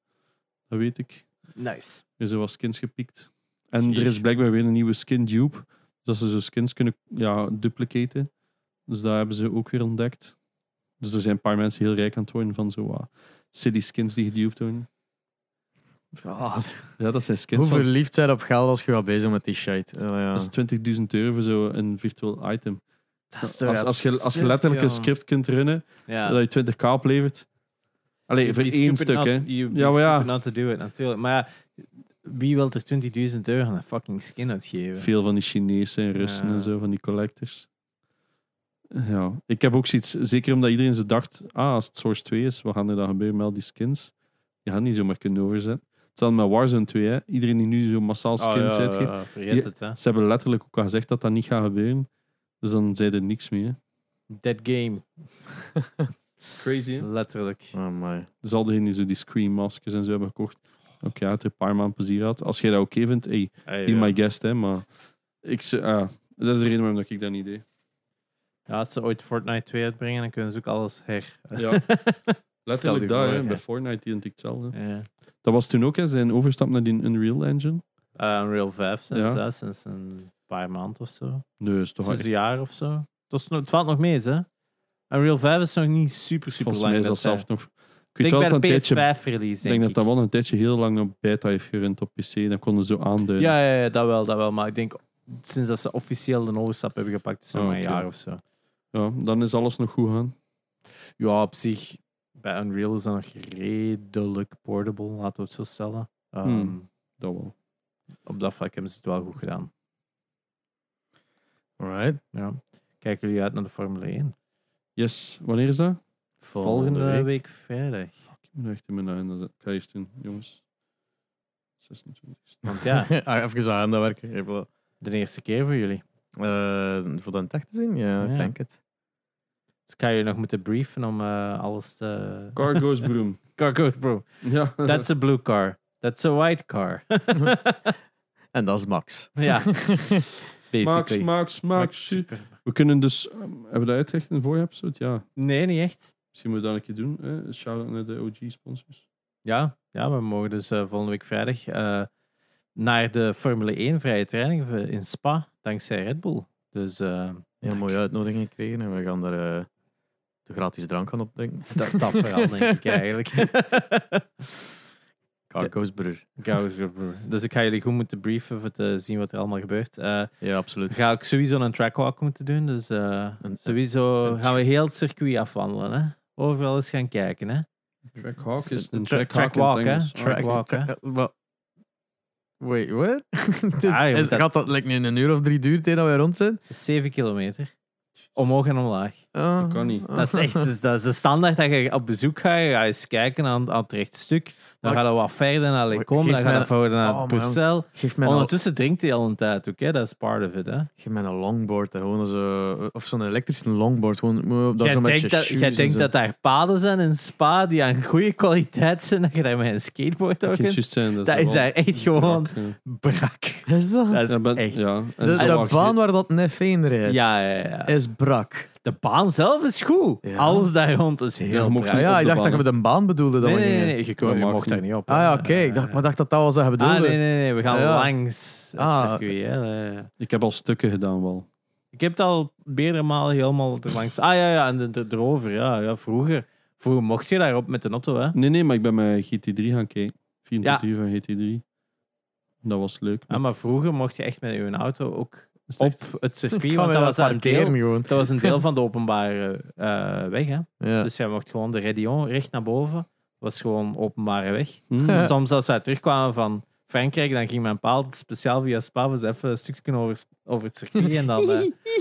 C: Dat weet
B: (laughs)
C: ik.
B: Nice.
C: Er zijn wat skins gepikt. En
A: Jeez.
C: er is blijkbaar weer een nieuwe skin dupe. Dat ze zo skins kunnen ja, duplicaten. Dus dat hebben ze ook weer ontdekt. Dus er zijn een paar mensen heel rijk aan het worden van zo wat city skins die geduped worden.
A: Ah,
C: Ja, dat zijn
A: (laughs)
C: skins
A: Hoe
C: van
A: verliefd zijn op geld als je wat bezig met die shit. Oh, ja.
C: dat is 20.000 euro voor zo'n virtueel item.
B: Dat is toch
C: als, als, je, als je
B: absurd,
C: letterlijk een
B: joh.
C: script kunt runnen,
B: Ja.
C: dat je 20k oplevert. Allee,
B: You'd
C: voor
B: be
C: één
B: stupid
C: stuk,
B: not-
C: hè.
B: you'd be
C: Ja, maar ja.
B: stupid not to do it, natuurlijk. Maar ja, wie wil er 20.000 euro aan een fucking skin uitgeven?
C: Veel van die Chinezen en Russen
B: Ja.
C: en zo, van die collectors. Ja, ik heb ook zoiets, zeker omdat iedereen zo dacht, ah, als het Source 2 is, wat gaan er dan gebeuren met al die skins? Je gaat niet zomaar kunnen overzetten. Hetzelfde met Warzone 2, hè. iedereen die nu zo massaal
B: Oh,
C: skins
B: ja,
C: uitgeeft.
B: ja, vergeet
C: Ja.
B: het, hè.
C: Ze hebben letterlijk ook al gezegd dat dat niet gaat gebeuren. Dus dan zei er niks meer.
B: Dead
C: (laughs)
B: game,
C: Crazy,
B: letterlijk.
A: Oh, my.
C: Dus al diegenen die zo die Scream-maskers en zo hebben gekocht. Oké, ja, het er een paar maanden plezier had. Als jij dat oké vindt, hey,
B: Ah,
C: be my
B: ja.
C: guest, hè. Maar ik, ze- ah, dat is de reden waarom dat ik dat niet deed.
B: Ja, als ze ooit Fortnite 2 uitbrengen, dan kunnen ze ook alles her.
C: Ja. Letterlijk
B: je
C: daar,
B: voor,
C: hè.
B: ja.
C: bij Fortnite die hetzelfde.
B: (laughs) ja.
C: Dat was toen ook hè, zijn overstap naar die Unreal Engine.
B: Eh, Unreal 5
C: Ja.
B: sinds, hè, sinds een paar maanden of zo.
C: Nee, is toch
B: Sinds een jaar of zo. Het, is nog- het valt nog mee, eens, hè. Unreal 5 is nog niet super, super
C: Volgens
B: lang.
C: mij is dat
B: best, hè.
C: zelf nog... Ik
B: Ik
C: weet wel
B: denk
C: dat
B: bij
C: een
B: de
C: tijdje... Ik
B: PS5-release,
C: denk dat dat wel een tijdje heel lang op beta heeft gerund op PC. Dan konden ze zo aanduiden.
B: Ja, ja, ja, dat wel, dat wel. Maar ik denk, sinds dat ze officieel de overstap hebben gepakt, is het nog
C: Oh,
B: maar een
C: oké.
B: jaar of zo.
C: Ja, dan is alles nog goed gaan.
B: Ja, op zich, bij Unreal is dat nog redelijk portable, laten we het zo stellen. Ehm,
C: Hmm. Dat wel.
B: Op dat vlak hebben ze het wel goed gedaan.
A: Alright.
B: Ja. Kijken jullie uit naar de Formule 1?
C: Yes, wanneer is dat?
A: Volgende
B: Volgende,
A: week.
B: week. vrijdag.
C: Ik moet echt in mijn agenda zetten. Ik ga eerst doen, jongens. 26.
B: Want ja, (laughs)
A: (laughs) Ah, Even aan dat werken. Even wat.
B: de eerste keer voor jullie.
A: Eh, voor de tech te zien? Ja, ik
B: Ja.
A: denk het.
B: Dus ik ga jullie nog moeten briefen om eh, alles te...
C: Car goes broom.
B: (laughs) Car goes bro.
C: ja.
B: That's a blue car. That's a white car. (laughs)
A: En dat is Max.
B: ja,
A: (laughs)
B: basically.
C: Max, Max, Max. We kunnen dus... ehm, hebben we dat uitgelegd in de vorige episode? Ja.
B: Nee, niet echt.
C: Misschien moeten we dat een keer doen. Hè? Shout-out naar de OG-sponsors.
B: Ja, ja, we mogen dus eh, volgende week vrijdag eh, naar de Formule 1 vrije training v- in Spa, dankzij Red Bull. Dus eh,
A: Heel mooie uitnodiging gekregen en we gaan er eh, de gratis drank aan opdrinken.
C: (laughs)
B: (laughs) dat, dat vooral, denk ik eigenlijk.
A: Ik Ah, Ghostbrother.
B: Gauws- Dus ik ga jullie goed moeten briefen voor te zien wat er allemaal gebeurt. Eh,
A: Ja, absoluut.
B: ga ik sowieso een trackwalk moeten doen. Dus eh,
A: Een-
B: sowieso
A: een-
B: gaan we heel het circuit afwandelen. Hè? Overal eens gaan kijken. Hè?
C: Trackhawk is
B: Tra-
C: een trackhawk
B: trackwalk,
C: in
B: hè?
C: het Engels. Ah,
B: Track- Trackwalk, hè?
A: Ja, wat- Wait, what? (laughs) Het is-
B: Ah, je moet
A: is-
B: dat-
A: Gaat dat like, in een uur of drie duurt dat we rond zijn?
B: Dat is 7 kilometer. Omhoog en omlaag.
A: Ah.
C: Dat kan niet.
B: Dat is
A: (laughs)
B: echt dus dat is- dat is de standaard dat je op bezoek gaat. Je gaat eens kijken aan, aan het rechtstuk. Dan
A: Maar-
B: gaat we wat verder naar Lecom.
A: Geef mij
B: Dan gaat we
A: een-
B: verder naar
A: Oh,
B: het
A: man.
B: Purcell.
A: Geef mij, een,
B: Ondertussen drinkt hij al een tijd ook. Hè? Dat is part of it. Hè?
A: geef mij een longboard. hè. Gewoon zo, of zo'n elektrische longboard. Gewoon, eh, daar
B: Jij
A: zo met
B: denkt,
A: je
B: dat,
A: shoes
B: jij
A: en
B: denkt
A: zo.
B: dat daar paden zijn in Spa die aan goede kwaliteit zijn. Dat je daar met een skateboard ook
C: Ik kan het
B: in.
C: juist zijn,
B: Dat is
C: wel-
B: daar echt gewoon
C: Trak, ja.
B: brak.
A: Is dat?
B: Dat is
C: Ja, ben-
B: echt. Ja.
C: Ja, en
A: dus
C: zo
A: de
C: wat
A: baan waar dat een F1 rijdt,
B: Ja, ja,
A: is brak.
B: De baan zelf is goed.
A: Ja.
B: Alles daar rond is heel
C: je mocht
B: brak.
A: Ah, ja,
C: op
A: ik
C: de
A: dacht dat je
C: baan,
A: met een baan bedoelde. Dat
B: Nee,
A: we
B: nee, nee,
A: gingen.
B: nee, je, kon-
C: Dat
B: je
C: mag
B: mocht
C: niet.
B: daar niet op.
A: Ah ja,
B: hè.
A: oké. Ik dacht, maar ik dacht dat dat was dat je bedoelde.
B: Ah, nee, nee, nee. We gaan
A: Ja.
B: langs het
A: Ah.
B: circuit. Hè. Ja, ja.
C: Ik heb al stukken gedaan wel.
B: Ik heb het al meerdere malen helemaal langs. Ah ja, ja, en de- de- erover. Ja, ja, vroeger. Vroeger mocht je daarop met de auto, hè?
C: Nee, nee, maar ik ben mijn GT3 gaan kijken. 24 uur van GT3. Dat was leuk.
B: Ja, maar vroeger mocht je echt met je auto ook
C: Is het
B: op
C: echt?
B: het
A: (laughs)
B: circuit.
A: Gaan
B: Want
A: we
B: dat
A: dat
B: was een
A: parkeren
B: deel,
A: gewoon.
B: dat was een deel
A: (laughs)
B: van de openbare eh, weg. Hè?
A: Ja.
B: Dus jij mocht gewoon de Redion recht naar boven. was gewoon openbare weg.
C: Hm.
A: (laughs) Ja.
B: Dus Soms als wij terugkwamen van Frankrijk, dan ging mijn paal speciaal via Spa was even een stukje over, over het circuit. En (laughs) dan... eh,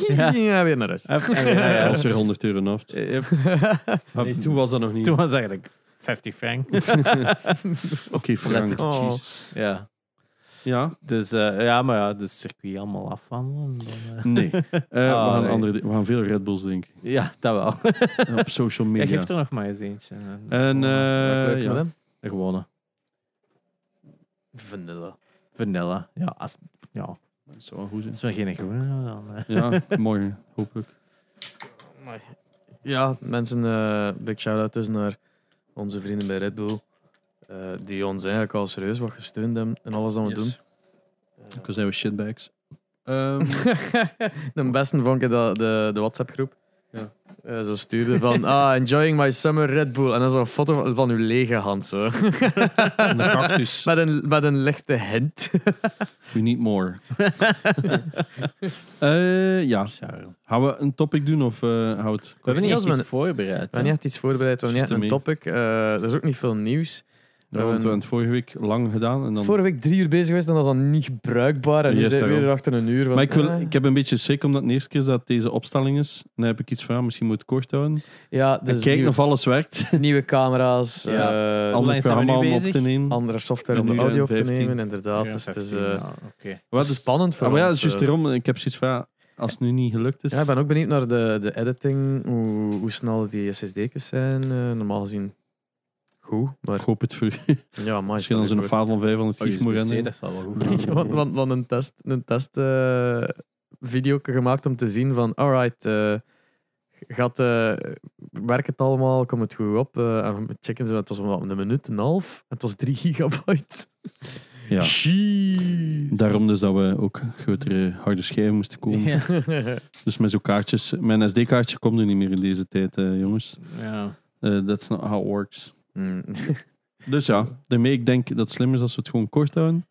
A: ja.
B: Ja.
A: weer naar
B: (laughs)
A: huis.
B: hup, en weer naar
C: Dat
B: huis.
C: was weer 100 euro af.
B: Eh, hup. (laughs)
C: Nee, toen was dat nog niet.
B: Toen was eigenlijk 50 (laughs) frank.
C: Oké, Frank.
A: Oh.
C: Jezus.
B: ja. (laughs)
C: Ja,
B: Dus eh, ja, maar ja, dus circuit allemaal afhandelen. Dan, eh,
C: nee. Eh,
B: Oh,
C: we, gaan
B: nee.
C: andere, di- we gaan veel Red Bulls drinken.
B: (laughs) ja, dat wel.
C: Op social
B: Jij
C: media.
B: geeft er nog maar eens eentje. eh,
C: En
A: Leuk,
C: eh
A: leuk,
C: ja.
A: madame.
B: Gewone. Vanilla. Vanilla. Ja, als, ja.
C: Dat zou wel goed zijn.
B: als we geen groene dan... eh.
C: Ja, (laughs) morgen, hopelijk.
A: Ja, mensen, eh, big shout-out dus naar onze vrienden bij Red Bull. eh, die ons eigenlijk al serieus wat gesteund hebben en alles dat we doen.
C: (laughs) Ook al zijn we shitbags. Ehm,
B: (laughs)
A: de beste vond ik dat de, de WhatsApp-groep.
C: Ja.
A: Eh, zo stuurde
C: (laughs)
A: van, ah, enjoying my summer Red Bull. En dan zo'n foto van, van uw lege hand. Zo. (laughs)
C: en de cactus.
A: met, een, met een lichte hint. (laughs)
C: We need more. (laughs) Eh, ja,
B: Charles.
C: gaan we een topic doen of eh hou het?
B: We hebben
A: niet
B: niet
A: als
B: echt
A: we-
B: iets
A: We
B: voorbereid.
A: hebben niet echt iets voorbereid, we hebben niet echt een
C: Just
A: topic. Eh, er is ook niet veel nieuws.
C: Ja, want we hebben het vorige week lang gedaan. En dan...
A: Vorige week drie uur bezig geweest en dat is dan niet bruikbaar. En nu
C: Yes,
A: zitten we weer
C: daarom.
A: achter een uur. van,
C: Maar ik, wil,
A: eh.
C: ik heb een beetje schrik omdat het de eerste keer is dat deze opstelling is. En dan heb ik iets van, ja, misschien moet ik het kort houden.
A: Ja,
C: Dan
A: dus
C: kijk
A: nieuwe,
C: of alles werkt.
A: nieuwe camera's,
B: Ja.
A: eh,
B: Al-
C: Ander
B: lang zijn we nu
C: programma om op
B: bezig?
C: te nemen.
A: andere software
C: Een
A: om de
C: uur en
A: audio op te
C: 15.
A: nemen, inderdaad. dus het is eh,
B: Oké.
C: Wat is...
A: spannend voor
C: Ah, maar ja,
A: ons.
C: dat is juist
A: eh.
C: daarom. Ik heb zoiets van, ja, als het nu niet gelukt is...
A: Ja, ik ben ook benieuwd naar de, de editing, hoe, hoe snel die SSD's zijn. eh, normaal gezien goed, maar
C: Ik hoop het voor
A: ja, maar
C: Misschien als een faal van 500
B: Oh,
C: gig moet
B: USB-C,
C: rennen.
B: dat zal wel
A: (laughs)
B: goed gaan.
A: want, want, want een test, een test eh, video gemaakt om te zien van alright, eh, gaat, eh, werkt het allemaal, komt het goed op? eh, en we checken ze, het was om een minuut en een half, het was 3 (laughs) gigabyte.
C: Ja.
A: Jeez.
C: Daarom dus dat we ook grotere harde schijven moesten komen.
B: Ja.
C: Dus met zo'n kaartjes. Mijn SD-kaartje komt er niet meer in deze tijd, eh, jongens.
B: Ja.
C: Eh, that's not how it
A: (laughs)
C: works.
A: Mm.
C: Dus ja, daarmee ik denk dat het slim is als we het gewoon kort houden.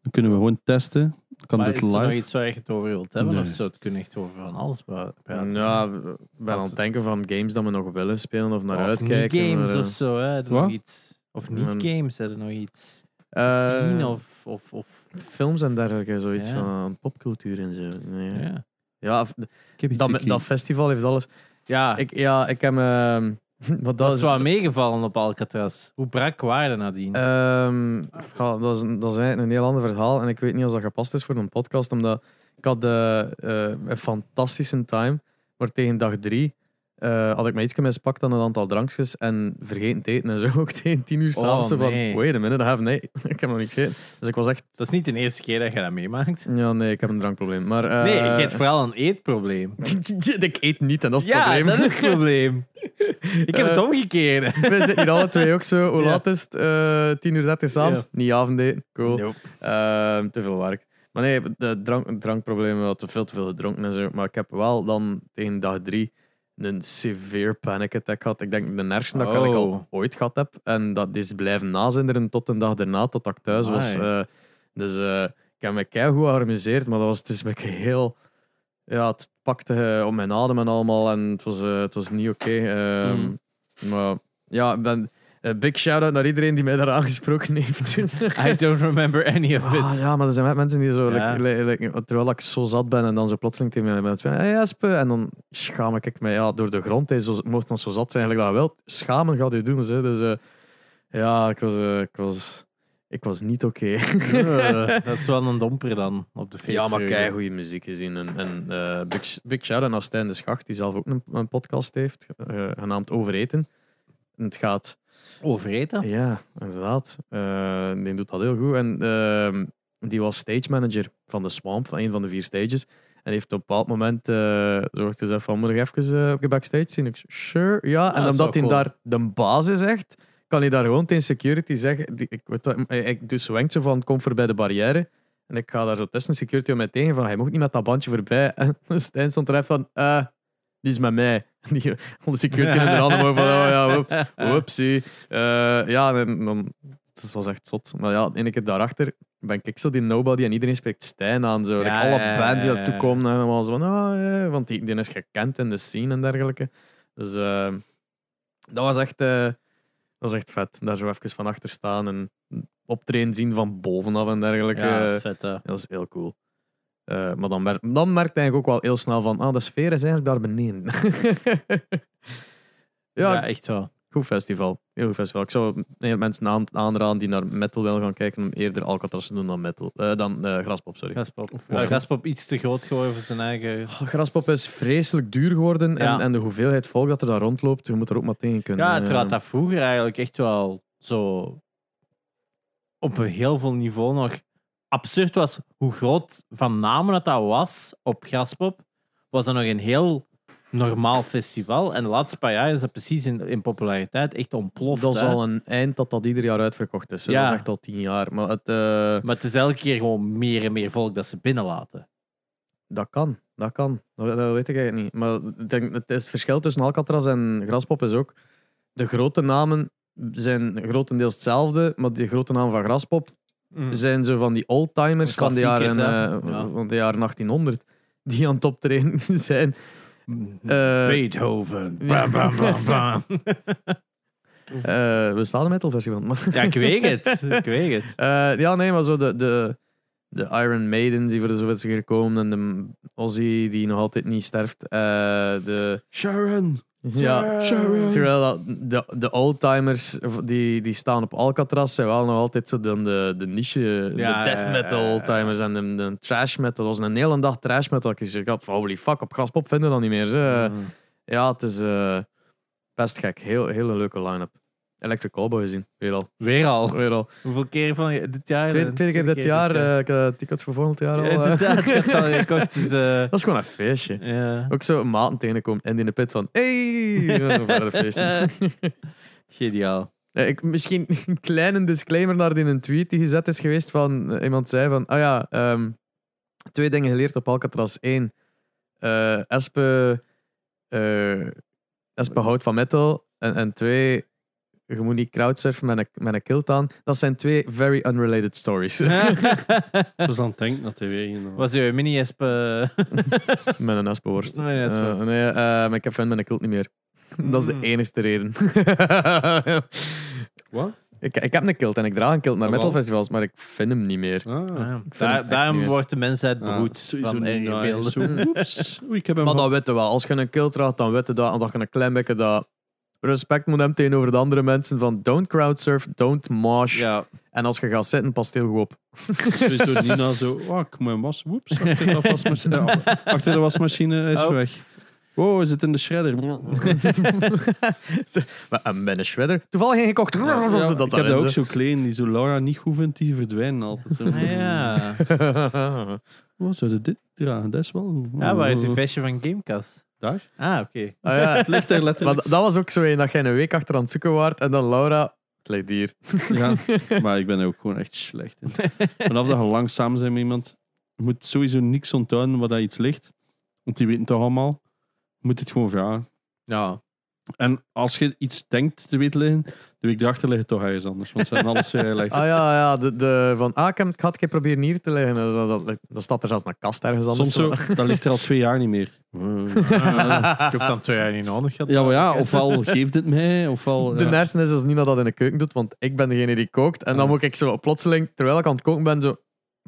C: Dan kunnen we gewoon testen. Dan kan
B: Maar
C: dit
B: is er nog
C: live.
B: iets waar je het over wilt hebben?
C: Nee.
B: Of zou het kunnen echt over van alles pra- praten?
A: Ja, we- we zijn aan het denken van games dat we nog willen spelen of naar
B: Of
A: uitkijken.
B: niet games
A: maar, eh,
B: of zo, hè? Er
C: Wat?
B: nog iets. Of niet
A: Mm.
B: games, hè? Er nog iets.
A: eh,
B: zien of. of, of
A: films en dergelijke, zoiets
B: Ja.
A: van popcultuur en zo. Nee. Ja,
B: ja.
A: f-
C: Ik heb iets
A: dat,
C: gekeken.
A: dat festival heeft alles.
B: ja.
A: Ah. Ik, ja, ik heb. ehm, (laughs) wat
B: Dat
A: dat
B: is wel meegevallen op Alcatraz. Hoe brak waren dat nadien?
A: Ehm, ja, dat, is, een- dat is eigenlijk een heel ander verhaal. En ik weet niet of dat gepast is voor een podcast, omdat ik had eh, eh, een fantastische time. Maar tegen dag drie eh, had ik mij iets mispakt aan een aantal drankjes en vergeten te eten. En zo (laughs) ook tegen tien uur s'avonds.
B: Oh,
A: zo van,
B: nee.
A: wait a minute, I have, nee, (laughs) ik heb nog niks gegeten. Dus ik was echt,
B: dat is niet de eerste keer dat je dat meemaakt.
A: ja nee, ik heb een drankprobleem. Maar, eh,
B: nee, ik heb vooral een eetprobleem.
A: (laughs) ik eet niet en dat is het
B: ja,
A: probleem.
B: dat
A: (laughs)
B: is het probleem. ik heb het
A: Eh,
B: omgekeerd.
A: We zitten hier alle twee ook zo. Hoe
B: Ja.
A: laat is het? Eh 10 uur 30 s'avonds.
B: Ja.
A: Niet avondeten. Cool.
B: Nope.
A: Ehm, te veel werk. Maar nee, de drank, drankproblemen, we hadden veel te veel gedronken en zo. Maar ik heb wel dan tegen dag drie een severe panic attack had. Ik denk de ergste dat ik eigenlijk
B: Oh.
A: al ooit gehad heb. En dat is blijven nazinderen tot een dag daarna, tot ik thuis was.
B: Amai.
A: Eh, dus eh, ik heb me keigoed geamuseerd, maar dat was, het is me heel... Ja, het pakte eh, op mijn adem en allemaal en het was, eh, het was niet oké. Ehm,
C: Mm.
A: Maar ja, ik ben, een big shout-out naar iedereen die mij daar aangesproken heeft.
B: (laughs) I don't remember any of it.
A: Ah, ja, maar er zijn mensen die zo.
B: Ja.
A: like- like- like, terwijl ik zo zat ben en dan zo plotseling tegen mij mensen. Hey, Jaspe. En dan schaam ik me ja, door de grond. Hey, zo, het mocht dan zo zat zijn. Eigenlijk dat wel. Schamen gaat u doen. Ze. Dus eh, ja, ik was, eh, ik, was, ik was niet oké. (laughs)
B: Eh, (laughs) dat is wel een domper dan op de feest.
A: Ja, maar kei goede muziek gezien. En, en eh, big, big shout-out naar Stijn de Schacht, die zelf ook een, een podcast heeft, eh, genaamd Overeten. En het gaat
B: Overeten?
A: Ja, inderdaad. Eh, die doet dat heel goed. En ehm, die was stage manager van de Swamp, van een van de vier stages. En heeft op een bepaald moment eh zorgd gezegd van, moet ik even eh, op de backstage zien? Ik zei, sure, ja. en
B: dat is
A: omdat hij
B: wel cool.
A: daar de baas is echt, kan hij daar gewoon tegen security zeggen, die, ik, weet wat, eh, ik dus wenkt zo van, kom voor bij de barrière. En ik ga daar zo tussen security om mij tegen van, hij mocht niet met dat bandje voorbij. (laughs) En Stijn stond er echt van, eh, die is met mij. (laughs) Die, de security
B: (laughs)
A: in de handen van, oh ja, whoop. Whoopsie. Eh, ja, en dan, het was echt zot. Maar ja, de ene keer daarachter ben ik zo die nobody en iedereen spreekt Stijn aan. Zo. Like,
B: Ja,
A: alle
B: ja, ja,
A: bands die
B: ja,
A: daartoe
B: ja.
A: komen, en allemaal zo van, ah, ja, want die, die is gekend in de scene en dergelijke. Dus eh, dat, was echt, eh, dat was echt vet. Daar zo even van achter staan en optreden zien van bovenaf en dergelijke.
B: Ja, dat is vet. hè.
A: Dat is heel cool. Eh, maar dan, mer dan merkte je eigenlijk ook wel heel snel van, ah, de sfeer is eigenlijk daar beneden. (laughs)
B: Ja,
A: ja,
B: echt wel.
A: Goed festival. Heel goed festival. Ik zou heel mensen aan, aanraden die naar metal willen gaan kijken om eerder Alcatraz te doen dan, metal, eh, dan eh, Graspop. Sorry.
B: Graspop.
A: Ja.
B: Ja, Graspop eh, iets te groot geworden voor zijn eigen...
A: Oh, Graspop is vreselijk duur geworden
B: Ja.
A: en, en de hoeveelheid volk dat er daar rondloopt, je moet er ook maar tegen kunnen.
B: Ja,
A: Eh,
B: terwijl dat vroeger eigenlijk echt wel zo op een heel veel niveau nog absurd was hoe groot van namen dat dat was op Graspop, was dat nog een heel normaal festival. En de laatste paar jaar is dat precies in, in populariteit echt ontploft.
A: dat is
B: hè.
A: al een eind dat dat ieder jaar uitverkocht is. hè.
B: Ja.
A: Dat is echt al tien jaar. Maar het, eh,
B: Maar het is elke keer gewoon meer en meer volk dat ze binnenlaten.
A: dat kan. Dat kan. Dat, dat weet ik eigenlijk niet. Maar ik denk, het, is, het verschil tussen Alcatraz en Graspop is ook... De grote namen zijn grotendeels hetzelfde, maar die grote namen van Graspop
B: Mm.
A: zijn zo van die oldtimers van de, jaren,
B: Hm. Klassiekers, hè?
A: eh,
B: Ja.
A: van de jaren 1800 die aan het optreden (laughs) zijn.
B: Mm.
A: Eh,
B: (laughs) Beethoven. Bam, bam, bam, bam.
A: eh, we staan de metalversie van. (laughs) Maar,
B: (laughs) ja, ik weet het. Ik weet het.
A: eh, ja, nee, maar zo de, de, de Iron Maiden die voor de zoveelste keer komen en de Ozzy die nog altijd niet sterft. eh, de,
C: Sharon!
A: ja,
C: Sharon!
A: terwijl dat de, de oldtimers die, die staan op Alcatraz zijn wel nog altijd zo dan de, de niche,
B: Ja,
A: de death
B: ja,
A: metal
B: ja, ja.
A: oldtimers en de, de trash metal. Dat was een hele dag trash metal. Ik zei, "God, holy fuck, op graspop vinden we dat niet meer. Ze.
B: Mm. Eh,
A: Ja, het is eh, best gek. Heel, hele leuke line-up. Electric Cowboy gezien. Weer al.
B: Weer al.
A: Weer al.
B: Hoeveel keer van je- dit jaar?
A: Tweede, tweede keer dit jaar. eh, ik had tickets voor volgend jaar al.
B: Ja,
A: eh.
B: inderdaad, ik heb ze al (laughs) gekocht. Dus, eh,
A: (laughs) Dat is gewoon een feestje.
B: ja.
A: Ook zo maten tegenkomen en die in de pit van... Hey! we gaan verder
B: (laughs)
A: feesten.
B: Geniaal.
A: Eh, ik, misschien (laughs) een kleine disclaimer naar die een tweet die gezet is geweest van... eh, iemand zei van... Ah ja, ehm, twee dingen geleerd op Alcatraz. Eén, eh, Espe... eh, Espe houdt van metal. En, en twee, je moet niet crowdsurfen met een, met een kilt aan. Dat zijn twee very unrelated stories.
C: Dus dan denk dat hij weer in.
B: Was je mini-esp? (laughs) eh,
A: (laughs) met een Espeworst.
B: Met een espenworst.
A: Eh, nee, eh, maar ik heb fan met een kilt niet meer. (laughs) Dat is de
C: Hmm.
B: Mm.
A: enigste reden. (laughs)
C: Wat?
A: ik, ik heb een kilt en ik draag een kilt naar
C: Ah, wel.
A: metalfestivals, maar ik vind hem niet meer.
C: Ah.
B: Ja.
A: vind
B: Daar-
A: het echt
B: daarom
A: niet
B: wordt de mensheid
C: Ah,
B: behoed
C: sowieso
B: van
C: niet
B: erge
C: nice.
B: beelden.
C: Zo, Oeps. Oei, ik heb hem
A: Maar
C: al-
A: dat weten we wel. Als je een kill draagt, dan weten dat. Omdat je een klein beetje dat respect moet hebben tegenover de andere mensen. Van don't crowdsurf, don't mosh.
B: Ja.
A: En als je gaat zitten, past heel goed
C: (laughs)
A: op.
C: Sowieso Nina zo, oh, ik moet mijn was, woeps, achter
B: (laughs)
C: de wasmachine, ja, achter de wasmachine hij is
B: Oh.
C: weg. Wow, hij zit in de
B: (laughs)
C: shredder.
A: Maar een ben een shredder. Toevallig geen gekocht.
C: Ja,
A: dat
C: ik heb
A: daarin,
C: dat ook
A: zo.
C: zo klein, die zo Laura niet goed vindt, die verdwijnen altijd.
B: Ah, ja. (laughs)
C: Wow, Oh, zou je dit dragen? Dat is wel...
B: ja, waar is uw vestje van Gamecast?
C: Daar?
B: Ah, oké.
A: (laughs) Ah, ja.
C: Het ligt daar
A: Maar
C: letterlijk.
A: dat dat was ook zo een dat jij een week achter aan het zoeken waart. En dan Laura, het ligt hier.
C: Ja, maar ik ben er ook gewoon echt slecht in. Vanaf dat je langzaam zijn met iemand, je moet sowieso niks onthouden wat dat iets ligt. Want die weten toch allemaal. Je moet het gewoon vragen.
B: Ja.
C: En als je iets denkt te weten liggen, de week erachter ligt het toch ergens anders. Want ze hebben alles weer gelegd.
A: (laughs) Ah ja, ja de, de, van ah, ik heb- ik had het keer proberen hier te leggen. Dat, dat, dat, dat staat er zelfs een kast ergens anders.
C: Soms
A: (laughs)
C: zo, dat ligt er al twee jaar niet meer.
B: ik heb dan twee jaar niet nodig gehad.
C: Ja, maar ja, ofwel geeft het mij, ofwel...
A: De
C: ja.
A: nersen is als niemand dat in de keuken doet, want ik ben degene die kookt. En dan
C: Ja.
A: moet ik zo plotseling, terwijl ik aan het koken ben, zo...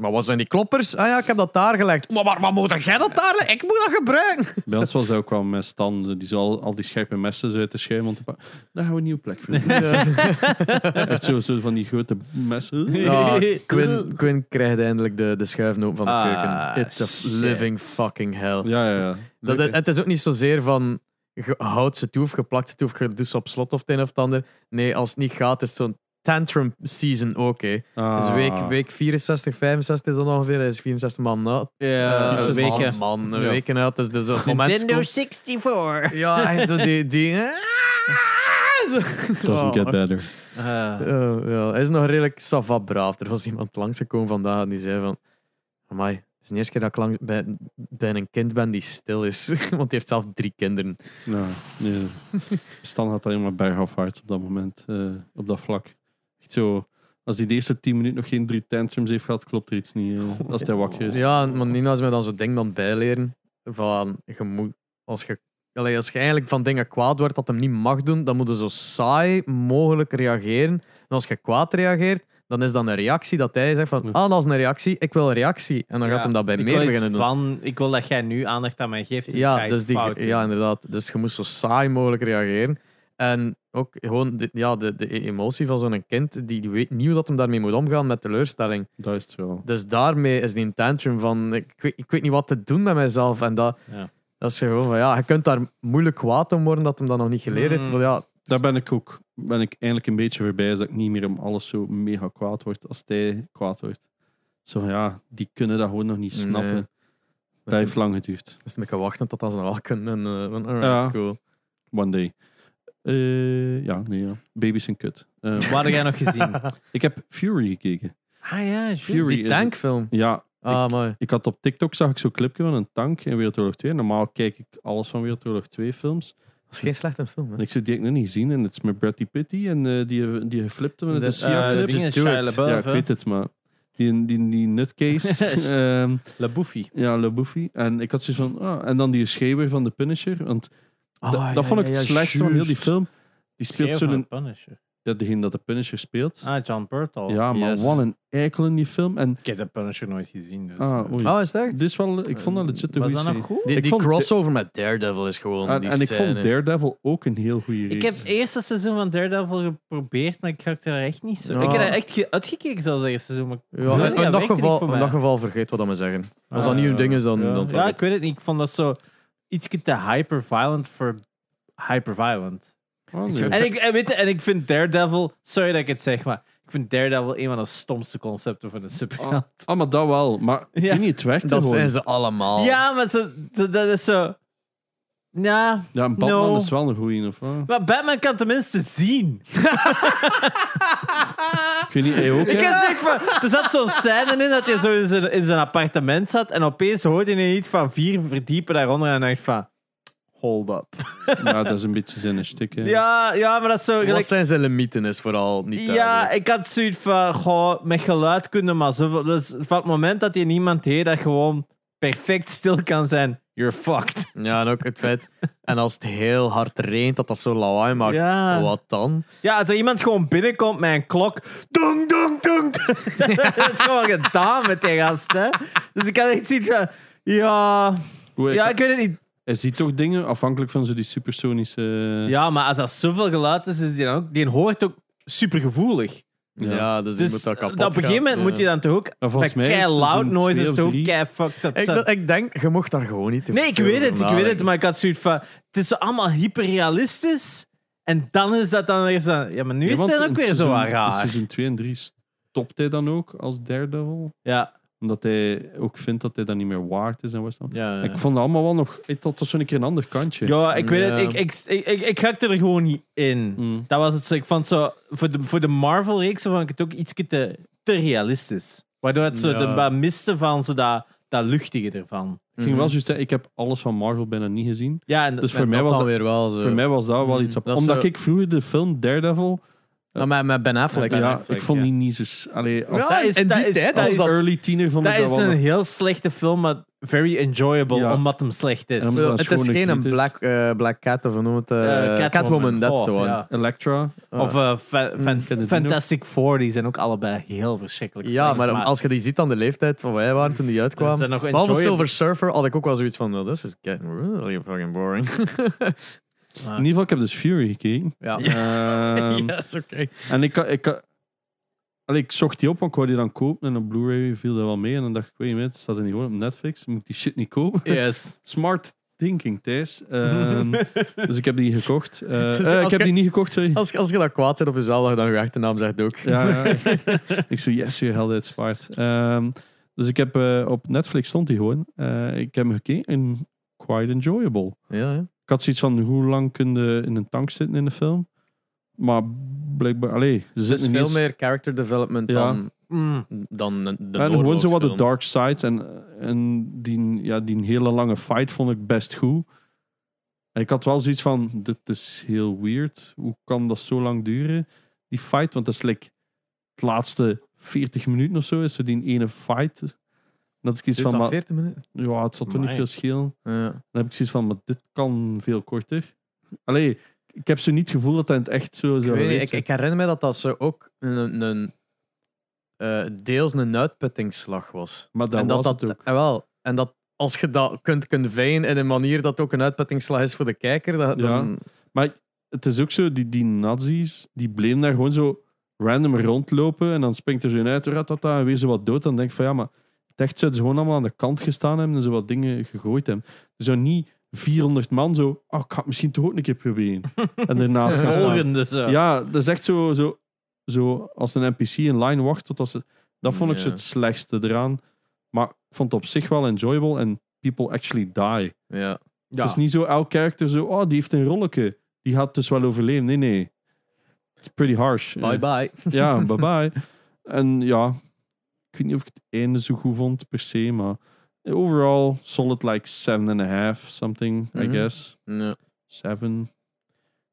A: Maar wat zijn die kloppers? Ah ja, ik heb dat daar gelegd. Maar, maar, maar moet jij dat daar leggen? Ik moet dat gebruiken.
C: Bij ons was dat ook wel met Stan, die zo al, al die scherpe messen zo uit de schuim. Want daar gaan we een nieuwe plek voor. doen.
A: (laughs)
C: Echt zo, zo van die grote messen.
A: Ja, Ah, Quinn, Quinn krijgt eindelijk de, de schuifnoop van de
B: Ah,
A: keuken. It's a
B: shit.
A: living fucking hell.
C: Ja, ja, ja.
A: Dat, het, het is ook niet zozeer van je houdt ze toe of geplakt ze toe of je doet ze op slot of het een of het ander. Nee, als het niet gaat, is het zo'n tantrum season ook. hè.
C: Ah.
A: Dus week, week 64, 65 is dat ongeveer. Dat is 64 man na.
B: Ja,
A: Eh,
C: een
B: weken.
A: Man, man, een
C: Ja.
A: week na. Dus, dus op het moment komt-
D: 64.
A: Ja, en zo die... die (laughs) Ah, zo.
C: Doesn't get better.
B: Eh,
A: Ja, ja. Hij is nog redelijk savat braaf. Er was iemand langsgekomen vandaag en die zei van... Amai, het is de eerste keer dat ik langs bij, bij een kind ben die stil is. (laughs) Want die heeft zelf drie kinderen.
C: Ja, nee. Stan had alleen maar bergafwaarts op dat moment, eh, op dat vlak. Echt zo, als hij de eerste 10 minuten nog geen drie tantrums heeft gehad, klopt er iets niet. eh, als hij wakker
B: Dus-
C: is.
A: Ja, maar Nina is mij dan zo'n ding dan bijleren. Van, je moet, als, je, allee, als je eigenlijk van dingen kwaad wordt dat hem niet mag doen, dan moet je zo saai mogelijk reageren. En als je kwaad reageert, dan is dat een reactie dat hij zegt van,
C: Ja.
A: ah, dat is een reactie, ik wil een reactie. En dan
B: ja,
A: gaat hem dat bij
B: ik
A: meer
B: wil iets
A: beginnen doen.
B: Van, ik wil dat jij nu aandacht aan mij geeft. Dus ik ga
A: Ja,
B: iets
A: dus die,
B: fout doen.
A: ja, inderdaad. Dus je moest zo saai mogelijk reageren. En ook gewoon de, ja, de, de emotie van zo'n kind, die, die weet niet hoe dat hem daarmee moet omgaan met teleurstelling.
C: Dat is het wel.
A: Dus daarmee is die een tantrum van ik weet, ik weet niet wat te doen met mezelf. En dat,
B: Ja.
A: dat is gewoon van ja, je kunt daar moeilijk kwaad om worden dat hem dat nog niet geleerd heeft.
B: Mm.
A: Want ja,
C: Daar ben ik ook ben ik eindelijk een beetje voorbij, is dat ik niet meer om alles zo mega kwaad word als hij kwaad wordt. Zo van, ja, die kunnen dat gewoon nog niet
A: Nee.
C: snappen. Dat heeft lang geduurd.
A: dus ik kan wachten tot dat ze dat wel kunnen. En, eh, van, alright,
C: Ja.
A: cool.
C: One day. Eh, ja, nee, ja. Baby's zijn kut. Eh,
B: Wat had jij nog
A: (laughs)
B: gezien?
C: (laughs) ik heb Fury gekeken.
B: ah ja,
C: Fury
A: Die
C: is-
A: tankfilm.
C: Ja,
A: Ah, mooi.
C: Ik had op TikTok zag ik zo'n clipje van een tank in Wereldoorlog 2. Normaal kijk ik alles van Wereldoorlog 2 films.
A: Dat is geen slechte film. Hè.
C: En ik zou die heb ik nog niet zien. En het is met Bradley Pitty en eh, die, die geflipte van de,
A: Dat-
C: Sia
B: eh,
C: clip.
B: ding is Shia LaBeouf,
C: ja, ik
B: hè?
C: weet het, maar die, die, die
B: (laughs)
C: nutcase. ehm,
B: La Bouffie.
C: ja, Le Buffy. En ik had zoiets van... ah, en dan die schreeuwer van The Punisher. Want da-
A: Ah, ja,
C: dat vond ik
A: ja,
C: het
A: ja,
C: slechtste van heel die
A: juist.
C: film. Die speelt
B: Schreeuw van
C: zo'n...
B: de Punisher.
C: Ja, degene dat de Punisher speelt.
B: Ah, John Burtall.
C: ja, maar
A: yes.
C: wat een eikel in die film. En...
B: Ik heb de Punisher nooit gezien. Dus.
C: Ah, oei.
A: Oh, is dat echt?
C: Dit is wel... Ik vond dat legit een
B: Was
C: goede
B: dat nog
C: serie.
B: goed?
A: Die,
C: Ik
A: die
C: vond de-
A: crossover met Daredevil is gewoon.
C: En,
A: die
C: en ik vond
A: scène.
C: Daredevil ook een heel goede
B: Ik
C: reeks.
B: heb het eerste seizoen van Daredevil geprobeerd, maar ik raakte daar echt niet zo...
A: Ja.
B: Ik heb daar echt ge- uitgekeken, zelfs het eerste seizoen. Maar
A: Ja,
B: Nee,
A: en-
B: dat
A: in, dat
B: werkte niet
A: geval,
B: voor
A: in
B: mij.
A: dat geval vergeet wat dat me zeggen. Als dat
B: Ah,
A: niet uw
B: ja.
A: ding is, dan.
B: ja.
A: dan
B: Ja, ik weet het niet. Ik vond dat zo iets te hyper-violent voor hyper-violent.
C: Oh,
A: Ik
C: nee.
A: vind-
B: En ik, en, weet je, en ik vind Daredevil... Sorry dat ik het zeg, maar ik vind Daredevil een van de stomste concepten van een superheld.
C: Ah, ah, maar dat wel. Maar ik
B: Ja.
C: weet niet, het werkt
A: dat
C: gewoon.
A: zijn ze allemaal.
B: Ja, maar zo, zo- dat is zo... Ja,
C: Ja, een Batman
B: No.
C: is wel een goeie, of wat?
B: maar Batman kan tenminste zien.
C: Ik weet niet, hij ook.
B: Ik
C: hè?
B: heb zoiets van, er zat zo'n scène in dat je zo in zijn, in zijn appartement zat en opeens hoorde je iets van vier verdiepen daaronder en dacht van... Hold up.
C: Ja, dat is een beetje zijn shtick. hè.
B: Ja, ja, maar dat is zo...
A: Wat
B: gelijk-
A: zijn zijn limieten is vooral niet
B: Ja, ik had zoiets van, goh, met geluid kunnen maar zoveel... Dus van het moment dat je niemand heet dat gewoon perfect stil kan zijn, you're fucked.
A: Ja, en ook het feit. En als het heel hard regent, dat dat zo lawaai maakt.
B: Ja.
A: Wat dan?
B: Ja, als er iemand gewoon binnenkomt met een klok, (laughs) dong, dong, dong, dong. dat is gewoon gedaan met die gast, hè. Dus ik had echt zoiets van, ja...
C: Hoe, ik-
B: Ja, ik weet het niet.
C: Hij ziet toch dingen afhankelijk van zo die supersonische. eh,
B: Ja, maar als dat zoveel geluid is, is die, dan ook, die hoort ook supergevoelig.
A: Ja, dus, die
B: Dus
A: moet dat
B: op
A: kapot
B: een gegeven moment
A: gaan.
B: moet je
A: Ja.
B: dan toch ook
C: En volgens
B: met
C: mij is
B: kei
C: seizoen
B: loud noises
C: twee of
B: toch ook
C: drie.
B: kei fucked up
A: Ik,
B: zijn.
A: dat- ik denk, je mocht daar gewoon niet te
B: Nee, ik
A: veel
B: weet
A: over
B: het, ik weet het,
A: nadenken.
B: maar ik had zoiets van, het is zo allemaal hyperrealistisch en dan is dat dan weer zo, ja, maar nu
C: Ja,
B: is
C: want
B: het
C: in
B: ook weer zo
C: seizoen-
B: wat
C: in
B: raar.
C: Seizoen 2 en 3 stopt hij dan ook als Daredevil.
B: Ja,
C: Omdat hij ook vindt dat hij dat niet meer waard is en wat dan.
B: ja.
C: Ik vond dat allemaal wel nog. Ik had zo'n keer een ander kantje.
B: Ja, ik weet
A: Ja.
B: het, ik, ik, ik, ik, ik hakte er gewoon niet in.
C: Mm.
B: Dat was het zo, ik vond zo, voor de, voor de Marvel-reeks vond ik het ook iets te, te realistisch. Waardoor het zo
A: Ja.
B: de wat miste van zo dat dat luchtige ervan.
C: Ik ging wel juist zeggen, ik heb alles van Marvel bijna niet gezien.
B: Ja, en
C: Dus
B: en
C: voor mij was
A: dan
C: dat,
A: weer wel
B: Eh,
A: zo.
C: voor mij was dat wel iets op.
A: Dat is
C: Omdat
A: zo-
C: ik vroeger de film Daredevil,
A: Nou, met, met Ben Affleck.
B: Ben
C: ja,
B: Affleck,
C: ik vond
B: ja.
C: die niet zo. Allee,
B: Ja,
C: als,
B: dat is-
A: in die
B: dat is-
A: tijd
B: dat
A: was
C: als
B: is-
A: dat...
C: early tiener vond ik
B: dat
C: dat
B: is
C: wel.
B: een
C: nog-
B: heel slechte film, maar very enjoyable
C: Ja.
B: omdat hem slecht is.
C: En eh, omdat-
A: Zo,
C: dat
A: het is
C: schone
A: geen een
C: griet is.
A: black, eh, black Cat of een noot.
B: Eh,
A: Catwoman, that's
B: Oh,
A: the one.
B: ja.
C: Elektra.
A: Ah.
B: Of eh, fa- fan-
C: ken Mm, die
B: Fantastic Four, die zijn ook allebei heel verschrikkelijk
A: Ja,
B: slecht,
A: maar, als je die ziet aan de leeftijd van wij waren toen die
B: Ze
A: uitkwam.
B: zijn nog
A: Behalve
B: enjoyable.
A: Silver Surfer had ik ook wel zoiets van, well, this is getting really fucking boring.
C: In ieder geval, ik heb dus Fury gekeken.
B: Ja. (laughs)
A: (laughs)
C: Ehm,
A: yes, oké.
C: En ik, ik, ik, allee, ik zocht die op, want ik wou die dan kopen. En op Blu-ray viel dat wel mee. En dan dacht ik, weet je wat, staat er niet gewoon op Netflix? Moet ik die shit niet kopen? (laughs)
B: Yes.
C: Smart thinking,
A: (laughs)
C: Thijs. Ehm, dus ik heb die gekocht. Eh,
A: Dus
C: eh,
A: als
C: ik
A: Oh.
C: heb
A: je-
C: die niet gekocht, sorry.
A: Als, als je dat kwaad zit op jezelf, dan je achternaam zegt ook.
C: Ja, ja.
A: (laughs)
C: ik zo, yes, weer helder, het spaart. Ehm, dus ik heb eh, op Netflix stond die gewoon. Eh, ik heb hem gekeken en quite enjoyable.
A: ja, ja.
C: Ik had zoiets van, hoe lang kun je in een tank zitten in de film? Maar blijkbaar, allee, ze
A: Dus
C: zitten niet
A: veel
C: eens-
A: meer character development
C: Ja.
A: dan,
B: Mm.
A: dan de
C: en gewoon zo wat de
A: oorlogsfilm.
C: dark sides. En, en die, ja, die hele lange fight vond ik best goed. En ik had wel zoiets van, dit is heel weird. Hoe kan dat zo lang duren, die fight? Want dat is like het laatste 40 minuten of zo, is zo die ene fight. En Dat ik iets
A: Duurt
C: van,
A: dat
C: maar,
A: 14 minuten?
C: ja, het zal toch niet
B: Amai.
C: veel schelen.
A: Ja.
C: Dan heb ik zoiets van, maar dit kan veel korter. Allee, ik heb zo niet het gevoel dat dat in het echt zo
A: Ik,
C: zou
A: weet niet,
C: geweest
A: ik,
C: zijn.
A: ik herinner me dat dat zo ook een, een, eh, deels een uitputtingsslag was.
C: Maar dat
A: en dat,
C: was
A: dat
C: het ook.
A: eh, wel, en dat als je dat kunt, kunt veien in een manier dat ook een uitputtingsslag is voor de kijker, dat,
C: Ja.
A: dan,
C: Maar het is ook zo, die, die nazi's, die bleven daar gewoon zo random rondlopen. En dan springt er zo een uit, ratata, en weer zo wat dood. Dan denk ik van, ja, maar het echt zouden ze gewoon allemaal aan de kant gestaan hebben en zo wat dingen gegooid hebben. Er zou niet 400 man zo, oh, ik ga het misschien toch ook een keer proberen. En daarnaast gaan staan.
B: Volgende zo.
C: Ja, dat is echt zo, zo, zo als een NPC in line wacht totdat ze... Dat vond ik zo
A: Ja.
C: het slechtste eraan. Maar ik vond het op zich wel enjoyable en people actually die.
A: ja.
B: Ja.
C: Het is niet zo elk karakter zo, oh, die heeft een rolletje. Die gaat dus wel overleven. Nee, nee. It's pretty harsh.
A: bye bye.
C: (laughs) Ja, bye bye. En ja, ik weet niet of ik het einde zo goed vond per se, maar overall solid like 7,5 something, I
A: Mhm.
C: guess.
A: Ja.
C: 7.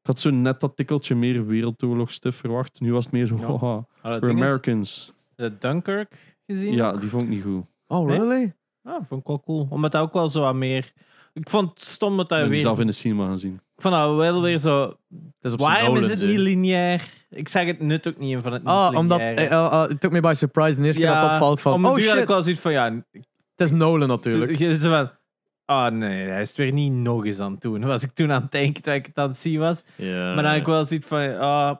C: Ik had zo net dat tikkeltje meer wereldoorlogstuff verwacht. Nu was het meer zo,
B: Ja.
C: haha,
B: Ah, dat
C: we're
B: ding is,
C: Americans.
B: de eh, Dunkirk gezien.
C: Ja, die vond ik niet goed.
A: Oh,
B: Nee?
A: really?
B: Ah, vond ik wel cool. Omdat dat ook wel zo wat meer. Ik vond het stom dat hij
C: En die
B: weer.
C: zelf in de cinema gezien.
B: Ik vond dat wel weer zo.
A: Dat is Dus op zijn
B: Waarom is
A: Nolan,
B: het
A: hè.
B: niet lineair? Ik zeg het nut ook niet in van het. niet
A: Ah, omdat...
B: lineaire.
A: eh, eh, eh, it took me by surprise de eerste keer dat het opvalt van...
B: om een
A: Oh
B: duur had ik
A: shit,
B: wel zoiets van ja.
A: het is Nolan
B: Toen,
A: natuurlijk.
B: je- zo van, ah nee, hij is het weer niet nog eens aan het doen. (laughs) Was ik toen aan het denken toen ik het aan het zien was.
A: Ja.
B: Maar dan had ik wel zoiets van. ah,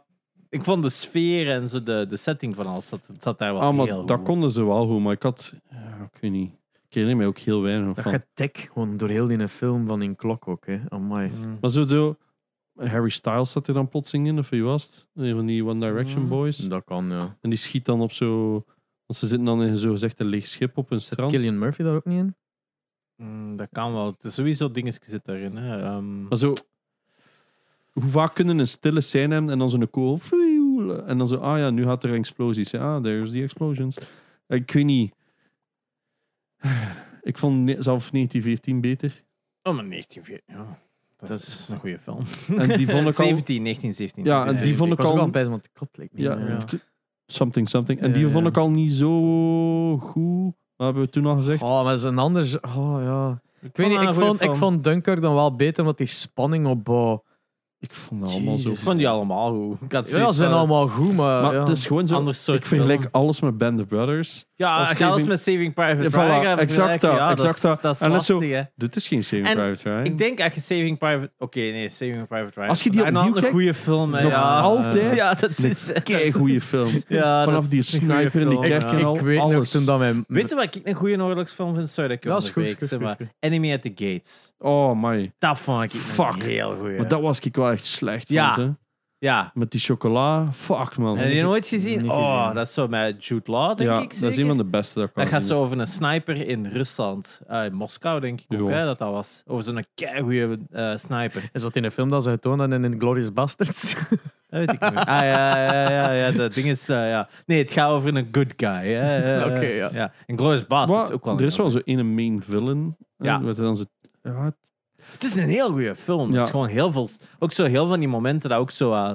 B: ik vond de sfeer en zo de, de setting van alles. Dat, dat zat daar wel
C: Ah,
B: heel
C: maar dat
B: goed.
C: konden ze wel goed, maar ik had... Ja, ik weet niet. Ik herinner me ook heel weinig
A: Dat
C: van.
A: getik gewoon door heel die film van in klok ook, hè. Amai.
B: Mm.
C: Maar zo, zo, Harry Styles zat er dan plotseling in, of wie was het? Een van die One Direction
A: Ah.
B: Mhm.
C: boys.
A: Dat kan, ja.
C: En die schiet dan op zo... Want ze zitten dan in zo'n gezegd een leeg schip op een strand.
A: Killian Murphy daar ook niet in?
B: Mm, dat kan wel. Het is sowieso dingetjes zit daarin. Hè. Ehm,
C: Maar zo... Hoe vaak kunnen een stille scène hebben en dan zo'n kool... fioel, En dan zo, ah ja, nu gaat er explosies. Ja, ah, there's the explosions. Ik weet niet... Ik vond ne- zelf 1914 beter.
B: Oh, maar 1914. Ja. Dat,
A: Dat
B: is
A: is-
B: een goede film.
C: En die
B: (laughs)
C: vond ik al...
B: 17, 1917.
C: Ja, en Ah, die vond
A: Ik
C: ik
A: was ook
C: al...
A: al aan het pijzen, want het klopt leek niet.
C: Ja,
A: meer.
B: Ja.
C: het- something, something. En
A: Ja,
C: die
A: ja.
C: vond ik al niet zo goed. Dat hebben we toen al gezegd.
A: Oh, maar dat is een ander... Oh, ja. Ik weet
B: dat
A: niet,
B: een
A: ik
B: goeie
A: vond, ik
B: film.
A: vond Dunkirk dan wel beter, omdat die spanning eh, opbouw...
C: ik vond dat allemaal zo.
A: Jezus.
B: Ik vond die allemaal goed. Ik had
A: Ja, ze zijn allemaal goed, maar...
C: Maar
A: ja.
C: het is gewoon zo.
B: anders soort
C: ik vergelijk
B: film.
C: alles met Band of Brothers.
B: Ja,
C: of
B: als je alles
C: Saving-
B: met Saving Private
C: Ja, voilà,
B: Ryan gaat
C: exact
B: vergelijken,
C: dat,
B: ja,
C: exact
B: is-
C: dat.
B: dat is
C: En dat is zo-
B: lastig, hè.
C: Dit is geen Saving
B: En
C: Private Ryan.
B: Ik denk als je Saving Private... Oké, nee, Saving Private Ryan.
C: Als je die
B: is
C: opnieuw
B: een
C: kijkt,
B: goede film, hè,
C: Nog
B: ja.
C: altijd.
B: Ja, dat is...
C: Kei goede film.
B: (laughs) Ja, dat
C: Vanaf
B: is
C: die
B: een goeie
C: sniper in die
B: film,
C: kerk
B: ja.
C: en al.
A: ik weet nog
C: alles.
A: toen dat mijn...
B: Weet je wat ik een goede oorlogsfilm vind? Sorry dat ik je
A: Ja, is goed, is
B: onderbreek,
A: goed,
B: zeg
A: is
B: maar.
A: goed.
B: Enemy at the Gates.
C: Oh my.
B: Dat vond ik een
C: Fuck.
B: heel goeie.
C: Maar dat was ik wel echt slecht
B: Ja.
C: van ze.
B: Ja.
C: Met die chocola. Fuck, man.
B: Heb je die nooit gezien?
A: Niet
B: oh,
A: gezien.
B: dat is zo met Jude Law, denk
C: ja,
B: ik.
C: dat is
B: zeker?
C: een van de beste dat ik
B: Dat
C: kan
B: gaat zo over een sniper in Rusland. Eh, in Moskou, denk ik ook,
C: Ja.
B: hè, dat dat was. Over zo'n keigoeie eh sniper.
A: Is dat in een film dat ze getoond hebben in Glorious Bastards?
B: Dat weet ik niet meer. (laughs) Ah, ja, ja, ja, ja, dat ding is... eh, ja. Nee, het gaat over een good guy. hè, (laughs) eh,
A: Oké,
B: eh,
A: ja.
B: En Glorious Bastards
C: Maar
B: is ook wel...
C: er is
B: een-
C: wel zo ene main villain. eh,
B: Ja.
C: Wat dan ze... ja,
B: Het is een heel goede film. Het
C: Ja.
B: is gewoon heel veel... Ook zo heel van die momenten dat ook zo eh,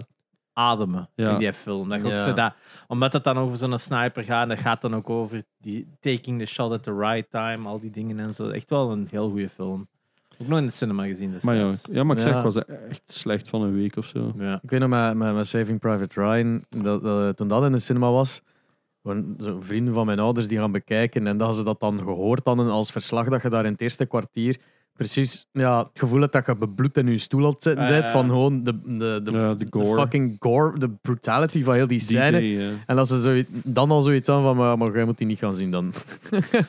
B: ademen
C: Ja.
B: in die film. Dat je ook
A: Ja.
B: zo dat, omdat het dan over zo'n sniper gaat, en dat gaat dan ook over die taking the shot at the right time, al die dingen en zo. Echt wel een heel goede film. Ook nog in de cinema gezien
C: maar ja,
B: destijds.
C: ja, maar ik zeg,
A: Ja.
C: ik was echt slecht van een week of zo.
B: ja.
A: Ik weet nog met, met, met Saving Private Ryan, dat, dat- toen dat in de cinema was, gewoon zo vrienden van mijn ouders die gaan bekijken en dat ze dat dan gehoord hadden als verslag dat je daar in het eerste kwartier precies ja, het gevoel hebt dat je bebloed in je stoel had zitten
B: Ah,
A: bent,
B: ja.
A: van gewoon de, de, de,
C: Ja, de
A: de
C: gore.
A: fucking gore, de brutality van heel die
C: Die
A: scène.
C: idee, hè.
A: En dat ze zoiets, dan al zoiets aan van, maar, maar jij moet die niet gaan zien dan.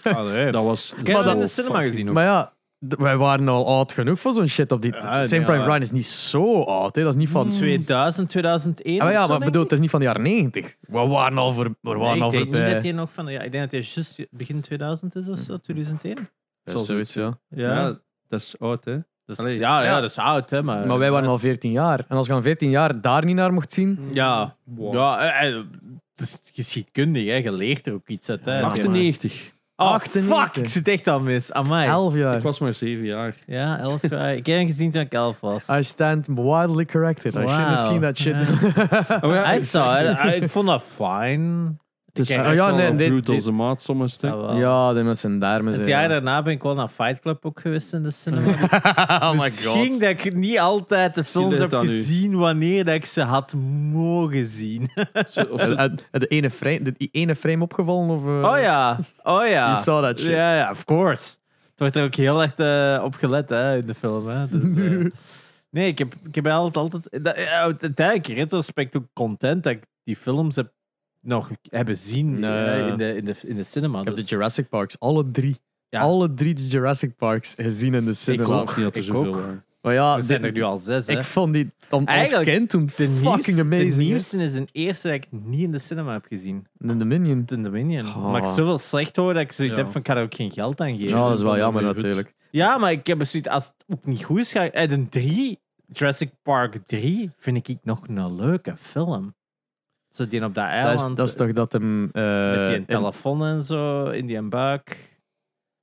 C: Dat Oh, was...
B: Ik heb
A: Maar
B: dat
A: dat-
B: in de cinema gezien ook.
A: Maar ja, d- wij waren al oud genoeg voor zo'n shit op die...
B: Ja,
A: Saving
B: ja. Hmm.
A: Private Ryan is niet zo oud, hè. dat is niet van...
B: 2000, 2001.
A: Ja, Ah, maar, ja,
B: of zo,
A: maar
B: denk
A: bedoel,
B: ik.
A: het is niet van de jaren 90. We waren al, voor, we waren
B: Nee,
A: al
B: ik denk niet
A: voorbij.
B: dat hij nog van... Ja, ik denk dat hij juist begin 2000 is of zo, 2001.
A: Dat is zoiets, ja.
C: Ja. dat is oud, hè.
B: Dat is-
C: Allee.
B: dus- ja, ja,
A: Ja.
B: dat is oud, hè. Maar,
A: Maar wij waren al 14 jaar. En als je aan 14 jaar daar niet naar mocht zien...
B: Ja,
C: Wow.
B: ja eh, eh, het is geschiedkundig, hè. je leert er ook iets uit. Hè.
A: Ach,
C: 98.
B: Oh,
A: 98.
B: fuck, ik zit echt al mis. Amai.
A: 11 jaar.
C: Ik was maar 7 jaar.
B: Ja, elf jaar. Ik heb hem gezien toen ik elf was.
A: I stand wildly corrected. I
B: Wow.
A: shouldn't have seen that shit. (laughs)
C: Oh, ja,
B: Hij
C: het
B: zou, hè. Ah, ik vond dat fijn.
C: is
B: Kijk,
C: echt
A: oh ja,
C: wel
A: nee,
C: een
A: dit-
C: brutal,
A: dit-
C: ze maat sommige stukken.
B: Jawel.
A: ja, die mensen daar met
B: Het
A: zijn...
B: jaar daarna ben ik wel naar Fight Club ook geweest in de cinema.
A: (laughs) oh my
B: Misschien
A: god.
B: dat ik niet altijd de films
C: leert
B: heb
C: dat nu.
B: gezien wanneer dat ik ze had mogen zien.
C: Zo- (laughs) of zo-
A: Eh, eh, De ene frame, de- die ene frame opgevallen? Of, eh,
B: Oh ja, oh ja.
A: You saw that shit.
B: Ja, ja, of course. Het wordt er ook heel erg eh, op gelet hè, in de film. Hè. Dus, eh, (laughs) nee, ik heb, ik heb altijd... altijd eh, dat, ja, uiteindelijk, retrospect ook content dat ik die films heb nog hebben zien
A: Ja.
B: eh, in, de, in, de, in de cinema.
A: Ik heb de
B: Dus,
A: Jurassic Parks, alle drie.
B: Ja.
A: Alle drie de Jurassic Parks gezien in de
C: ik
A: cinema.
C: geloof niet dat er
B: Ik
C: zoveel
B: ook.
C: waren.
A: Maar ja,
B: er zijn
A: dit-
B: er nu al zes. Hè.
A: ik vond die om, als
B: Eigenlijk,
A: kind toen
B: de
A: fucking
B: nieuwste-
A: amazing.
B: De
A: hè.
B: nieuwste is een eerste dat ik niet in de cinema heb gezien.
A: In de Minion.
B: In Dominion.
A: Oh.
B: Maar ik zoveel slecht hoor dat ik zoiets
C: Ja.
B: heb van ik ga er ook geen geld aan geven.
A: Ja, Nou, dat is wel
C: van
A: jammer
C: Hollywood.
A: natuurlijk.
B: Ja, maar ik heb er zoiets als het ook niet goed is. Ga, eh, de 3, Jurassic Park 3, vind ik nog een leuke film. Zo die op dat
A: Dat
B: eiland.
A: is, dat is toch dat hem... eh,
B: met die een
A: in-
B: telefoon en zo, in die buik.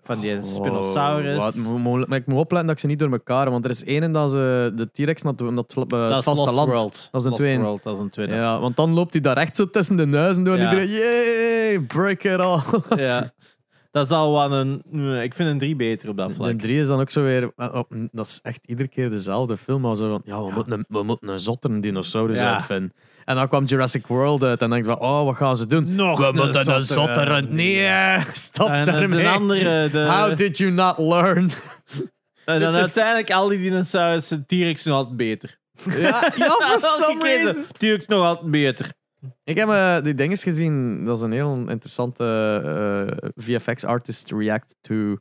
B: Van die
A: Oh,
B: Spinosaurus.
A: wat, mo- mo- maar ik moet opletten dat ik ze niet door elkaar... Want er is één en dat ze de T-Rex naar het- naar het eh,
B: dat is
A: vasteland...
B: Lost World.
A: Dat is een
B: Lost
A: tweede.
B: World, dat is een tweede.
A: Ja, want dan loopt hij daar echt zo tussen de neuzen door.
B: Ja.
A: En iedereen... Yay, break it
B: (laughs)
A: all.
B: Ja. Dat is al wel een... nee, Ik vind een 3 beter op dat vlak.
A: De drie is dan ook zo weer... eh, oh, mm, dat is echt iedere keer dezelfde film. Maar zo van, ja, we, Moeten, een- we moeten een zotter dinosaurus
B: Ja.
A: uitvinden. En dan kwam Jurassic World uit. En dan denk ik van, oh, wat gaan ze doen?
B: Nog
A: we
B: een
A: moeten een
B: zottere
A: zotter... Nee, eh, (laughs) stop
B: En eh,
A: daarmee.
B: de andere...
A: (laughs)
B: De,
A: How did you not learn?
B: en dan
A: this is-
B: uiteindelijk al die dinosaurussen, T-Rex nog altijd
A: (laughs)
B: beter.
A: ja, ja, for
B: (laughs) Elke
A: Oh, some
B: keer zo,
A: reason.
B: T-Rex nog altijd beter.
A: Ik heb eh, die dinges gezien. Dat is een heel interessante eh, VFX artist react to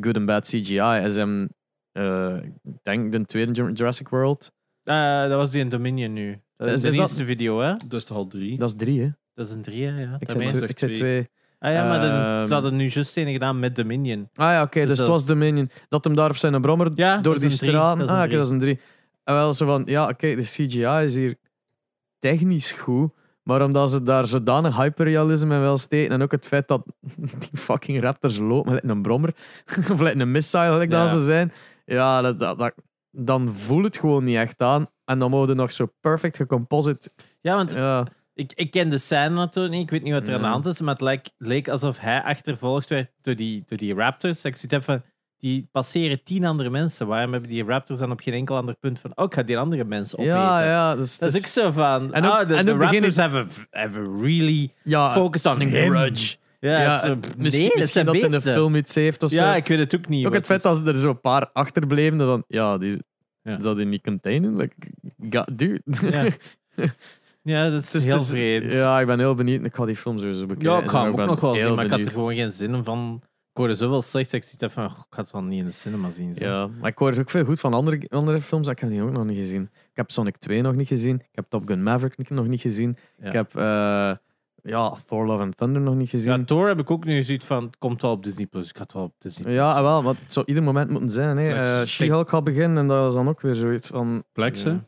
A: good and bad CGI. En ze hebben, eh, ik denk, de tweede Jur- Jurassic World.
B: Eh, dat was die in Dominion nu. Dat is,
A: Is-
B: de
A: is dat-
B: eerste video, hè?
C: Dat is toch al drie?
A: Dat is drie, hè?
B: Dat is een drieër, ja.
A: Ik
B: Dat
A: zei
B: meen-
C: meent
A: twee.
C: zich
A: Ik zei
C: twee.
A: twee.
B: Ah ja, maar dan-
A: Ehm.
B: ze hadden nu just een gedaan met Dominion.
A: Ah ja, oké. dus het
B: dat
A: was
B: is-
A: Dominion. Dat hem daar op zijn brommer
B: Ja, dat
A: door
B: is
A: die
B: een drie.
A: straat.
B: Dat
A: Ah,
B: is een
A: oké,
B: drie.
A: dat is een drie. En wel zo van, ja, oké, de CGI is hier technisch goed. Maar omdat ze daar zodanig hyperrealisme in wel steken. En ook het feit dat (laughs) die fucking raptors lopen met een brommer. (laughs) of met een missile, gelijk
B: Ja.
A: dat ze zijn. Ja, dat, dat, dat- dan voelt het gewoon niet echt aan. En dan mogen we nog zo perfect gecomposite.
B: Ja, want
A: Ja, Mm.
B: ik, ik ken de scène natuurlijk niet. Ik weet niet wat er aan de
A: Ja.
B: hand is. Maar het leek, leek alsof hij achtervolgd werd door die, door die raptors. Dat ik zoiets heb van... Die passeren tien andere mensen. Waarom hebben die raptors dan op geen enkel ander punt van... Oh, ik ga die andere mensen opeten.
A: ja, ja. Dus,
B: Dat is
A: dus-
B: ook zo van...
A: En ook-
B: oh, de,
A: en
B: de
A: ook begin
B: raptors have a, have a really
A: ja,
B: focused on
A: een
B: him.
A: grudge.
B: Ja,
A: ja,
B: zo-
A: misschien,
B: nee, dat
A: misschien
B: zijn
A: dat in de
B: beesten.
A: film iets heeft of zo.
B: Ja, ik weet het ook niet.
A: Ook het
B: wat
A: feit
B: is.
A: dat ze er zo'n paar achterbleven, dat dan, ja, die
B: Ja.
A: zou die niet containen. Like, god, dude. (laughs)
B: Ja. Ja, dat is
A: Dus
B: heel
A: het is-
B: vreemd.
A: Ja, ik ben heel benieuwd. Ik ga die film sowieso bekijken.
B: Ja, ik ga hem
A: ben
B: ook nog wel
A: heel
B: zien, maar ik had er
A: benieuwd.
B: gewoon geen zin om van Ik hoorde zoveel slecht, dat ik zoiets had van, "Goh, ik ga het wel niet in de cinema zien. zo."
A: Ja, maar ik hoor dus ook veel goed van andere, andere films. dat Ik heb die ook nog niet gezien. Ik heb Sonic 2 nog niet gezien. Ik heb Top Gun Maverick nog niet gezien.
B: Ja.
A: Ik heb eh, ja, Thor Love and Thunder nog niet gezien.
B: Ja, Thor heb ik ook nu zoiets van, het komt wel op Disney+. Plus. Ik ga het wel op Disney+. Plus.
A: Ja, ah, wel, want het zou ieder moment moeten zijn. hè.
C: Flex.
A: Eh, She-Hulk gaat beginnen en dat is dan ook weer zoiets van...
C: Plex,
B: Ja.
C: hè?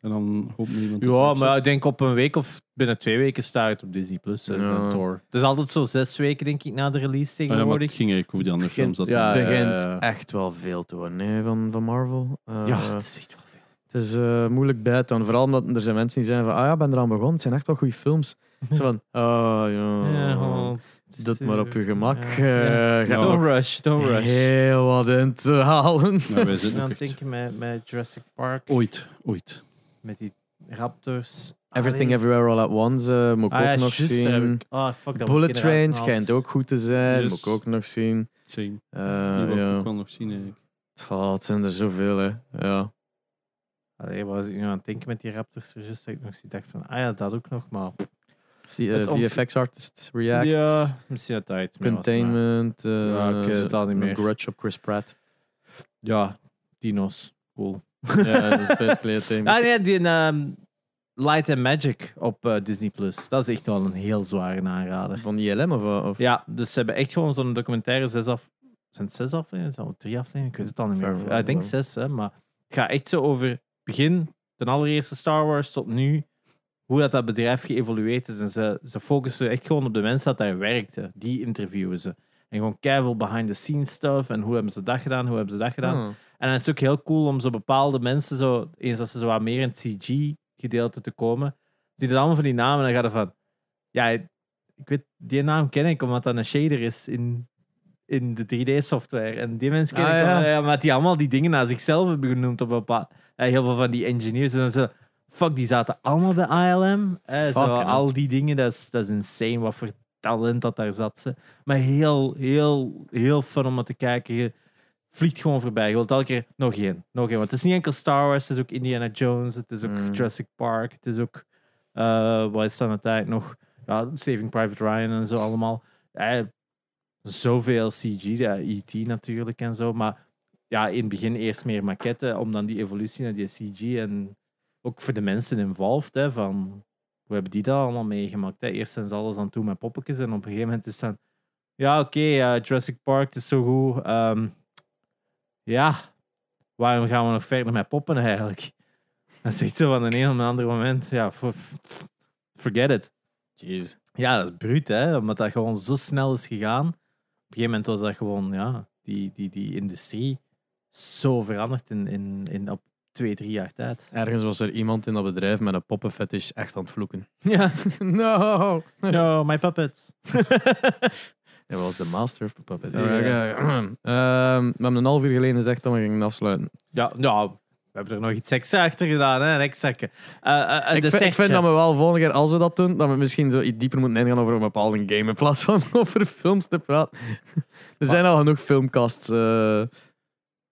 C: En dan hoopt niemand. dat
B: Ja,
C: Plex
B: maar
C: zit.
B: ik denk op een week of binnen twee weken staat het op Disney Plus. eh,
A: Ja.
B: met Thor. Het is altijd zo zes weken, denk ik, na de release
C: Ah, ja, maar
B: tegenwoordig.
C: het ging eigenlijk over die andere
A: Begin-
C: films. Dat
B: Ja,
A: Het
B: ja,
A: begint
B: ja.
A: echt wel veel te worden hè, van, van Marvel. Eh,
B: het is echt wel veel.
A: Het is eh, moeilijk bij te houden. Vooral omdat er zijn mensen die zeggen van... Ah ja, ik ben eraan begonnen. Het zijn echt wel goede
B: (laughs)
A: films. Ze van... Ah ja...
B: Ja, want het is,
A: Doe het maar op je gemak.
B: ja.
A: Eh,
B: Ja.
A: ga
B: Don't
A: nog
B: rush, don't rush.
A: Heel wat in te halen.
C: Maar wij
B: Ik ben
C: zitten
B: aan
C: ook
B: het
C: echt...
B: denken met, met Jurassic Park,
C: Ooit, ooit.
B: met die raptors.
A: (laughs) Everything
B: Allee.
A: Everywhere All At Once eh, moet ik
B: Ah, ja,
A: ook nog
B: juist, daar heb
A: zien.
B: ik- Ah, fuck, dat
A: Bullet
B: moet ik inderdaad
A: Train
B: nog
A: schijnt
B: eens-
A: ook goed te zijn.
C: Yes.
A: Moet ik ook nog zien.
C: Same.
A: Eh,
C: Die wil ik
A: ja.
C: ook wel nog zien, eigenlijk.
A: Pff, het zijn er zoveel, hè. Ja.
B: Allee, wat was ik nu aan het denken met die raptors? Just dat ik nog zoiets dacht van, ah ja, dat ook nog, maar...
A: Zie,
B: Het
A: eh,
B: ont-
A: VFX artist, React,
B: Ja, misschien dat daar iets mee was, maar-
A: Containment, eh,
B: Ja, ik, eh,
A: zo-
B: het al niet
A: een
B: meer.
A: Grudge op Chris
B: (laughs)
A: Pratt.
B: Ja, dino's. Cool.
A: (laughs) ja, dat is basically het ding.
B: (laughs) Ah nee, die ehm, Light and Magic op eh, Disney+. Plus. Dat is echt wel een heel zware aanrader.
A: Van ILM of... of
B: Ja, dus ze hebben echt gewoon zo'n documentaire, zes af... Zijn het zes afleveringen? Zijn het drie afleveringen? Ik weet het al niet meer.
A: Ver-
B: Eh, ik denk
A: ver-
B: zes, hè, maar het gaat echt zo over begin, de allereerste Star Wars tot nu, hoe dat, dat bedrijf geëvolueerd is. En ze, ze focussen echt gewoon op de mensen dat daar werkten. Die interviewen ze. En gewoon keiveel behind-the-scenes stuff. En hoe hebben ze dat gedaan? Hoe hebben ze dat gedaan?
A: Ah.
B: En dan is het ook heel cool om zo bepaalde mensen, zo, eens dat ze zo wat meer in het CG-gedeelte te komen, zie je dan allemaal van die namen en dan gaat er van, ja, ik weet, die naam ken ik omdat dat een shader is in, in de 3D-software. En die mensen ken
A: Ah,
B: ik
A: ja.
B: omdat- ja, maar die allemaal die dingen naar zichzelf hebben genoemd op een bepaal- eh, heel veel van die engineers. En dan zo, fuck, die zaten allemaal bij ILM. Eh, zo,
A: Fucking hell.
B: al die dingen, dat is, dat is insane wat voor talent dat daar zat. Ze. Maar heel, heel, heel fun om naar te kijken. Je vliegt gewoon voorbij. Je wilt elke keer nog één. Nog één. Want het is niet enkel Star Wars, het is ook Indiana Jones, het is ook
A: Mm.
B: Jurassic Park, het is ook. eh wat is dan tijd nog? Ja, Saving Private Ryan en zo allemaal. Eh, zoveel CG, ja, E.T. natuurlijk en zo. Maar ja, in het begin eerst meer maquetten, om dan die evolutie naar die CG en ook voor de mensen involved, hè, van hoe hebben die dat allemaal meegemaakt? Hè? Eerst zijn ze alles aan toe met poppetjes en op een gegeven moment is het dan ja, oké, eh, Jurassic Park het is zo goed. ehm, ja, waarom gaan we nog verder met poppen eigenlijk? (laughs) Dan zegt ze van de een op een ander moment, ja, f- f- forget it.
A: Jeez.
B: Ja, dat is bruut, hè? Omdat dat gewoon zo snel is gegaan. Op een gegeven moment was dat gewoon, ja, die, die, die industrie zo veranderd in, in, in op twee, drie jaar tijd.
A: Ergens was er iemand in dat bedrijf met een poppenfetish echt aan het vloeken.
B: (laughs) Ja,
A: (laughs) no!
B: no, my puppets.
A: Hij was de master of puppet.
B: Ja.
A: (clears throat) Ehm, we hebben een half uur geleden gezegd dat we gingen afsluiten.
B: ja, nou, we hebben er nog iets extra achter gedaan, hè? Een extraatje. Eh, eh, eh,
A: ik, vind, ik
B: dessertje.
A: vind dat we wel volgende keer, als we dat doen, dat we misschien zo iets dieper moeten ingaan over een bepaalde game in plaats van (laughs) over films te praten. (laughs) Er zijn al genoeg filmcasts. eh.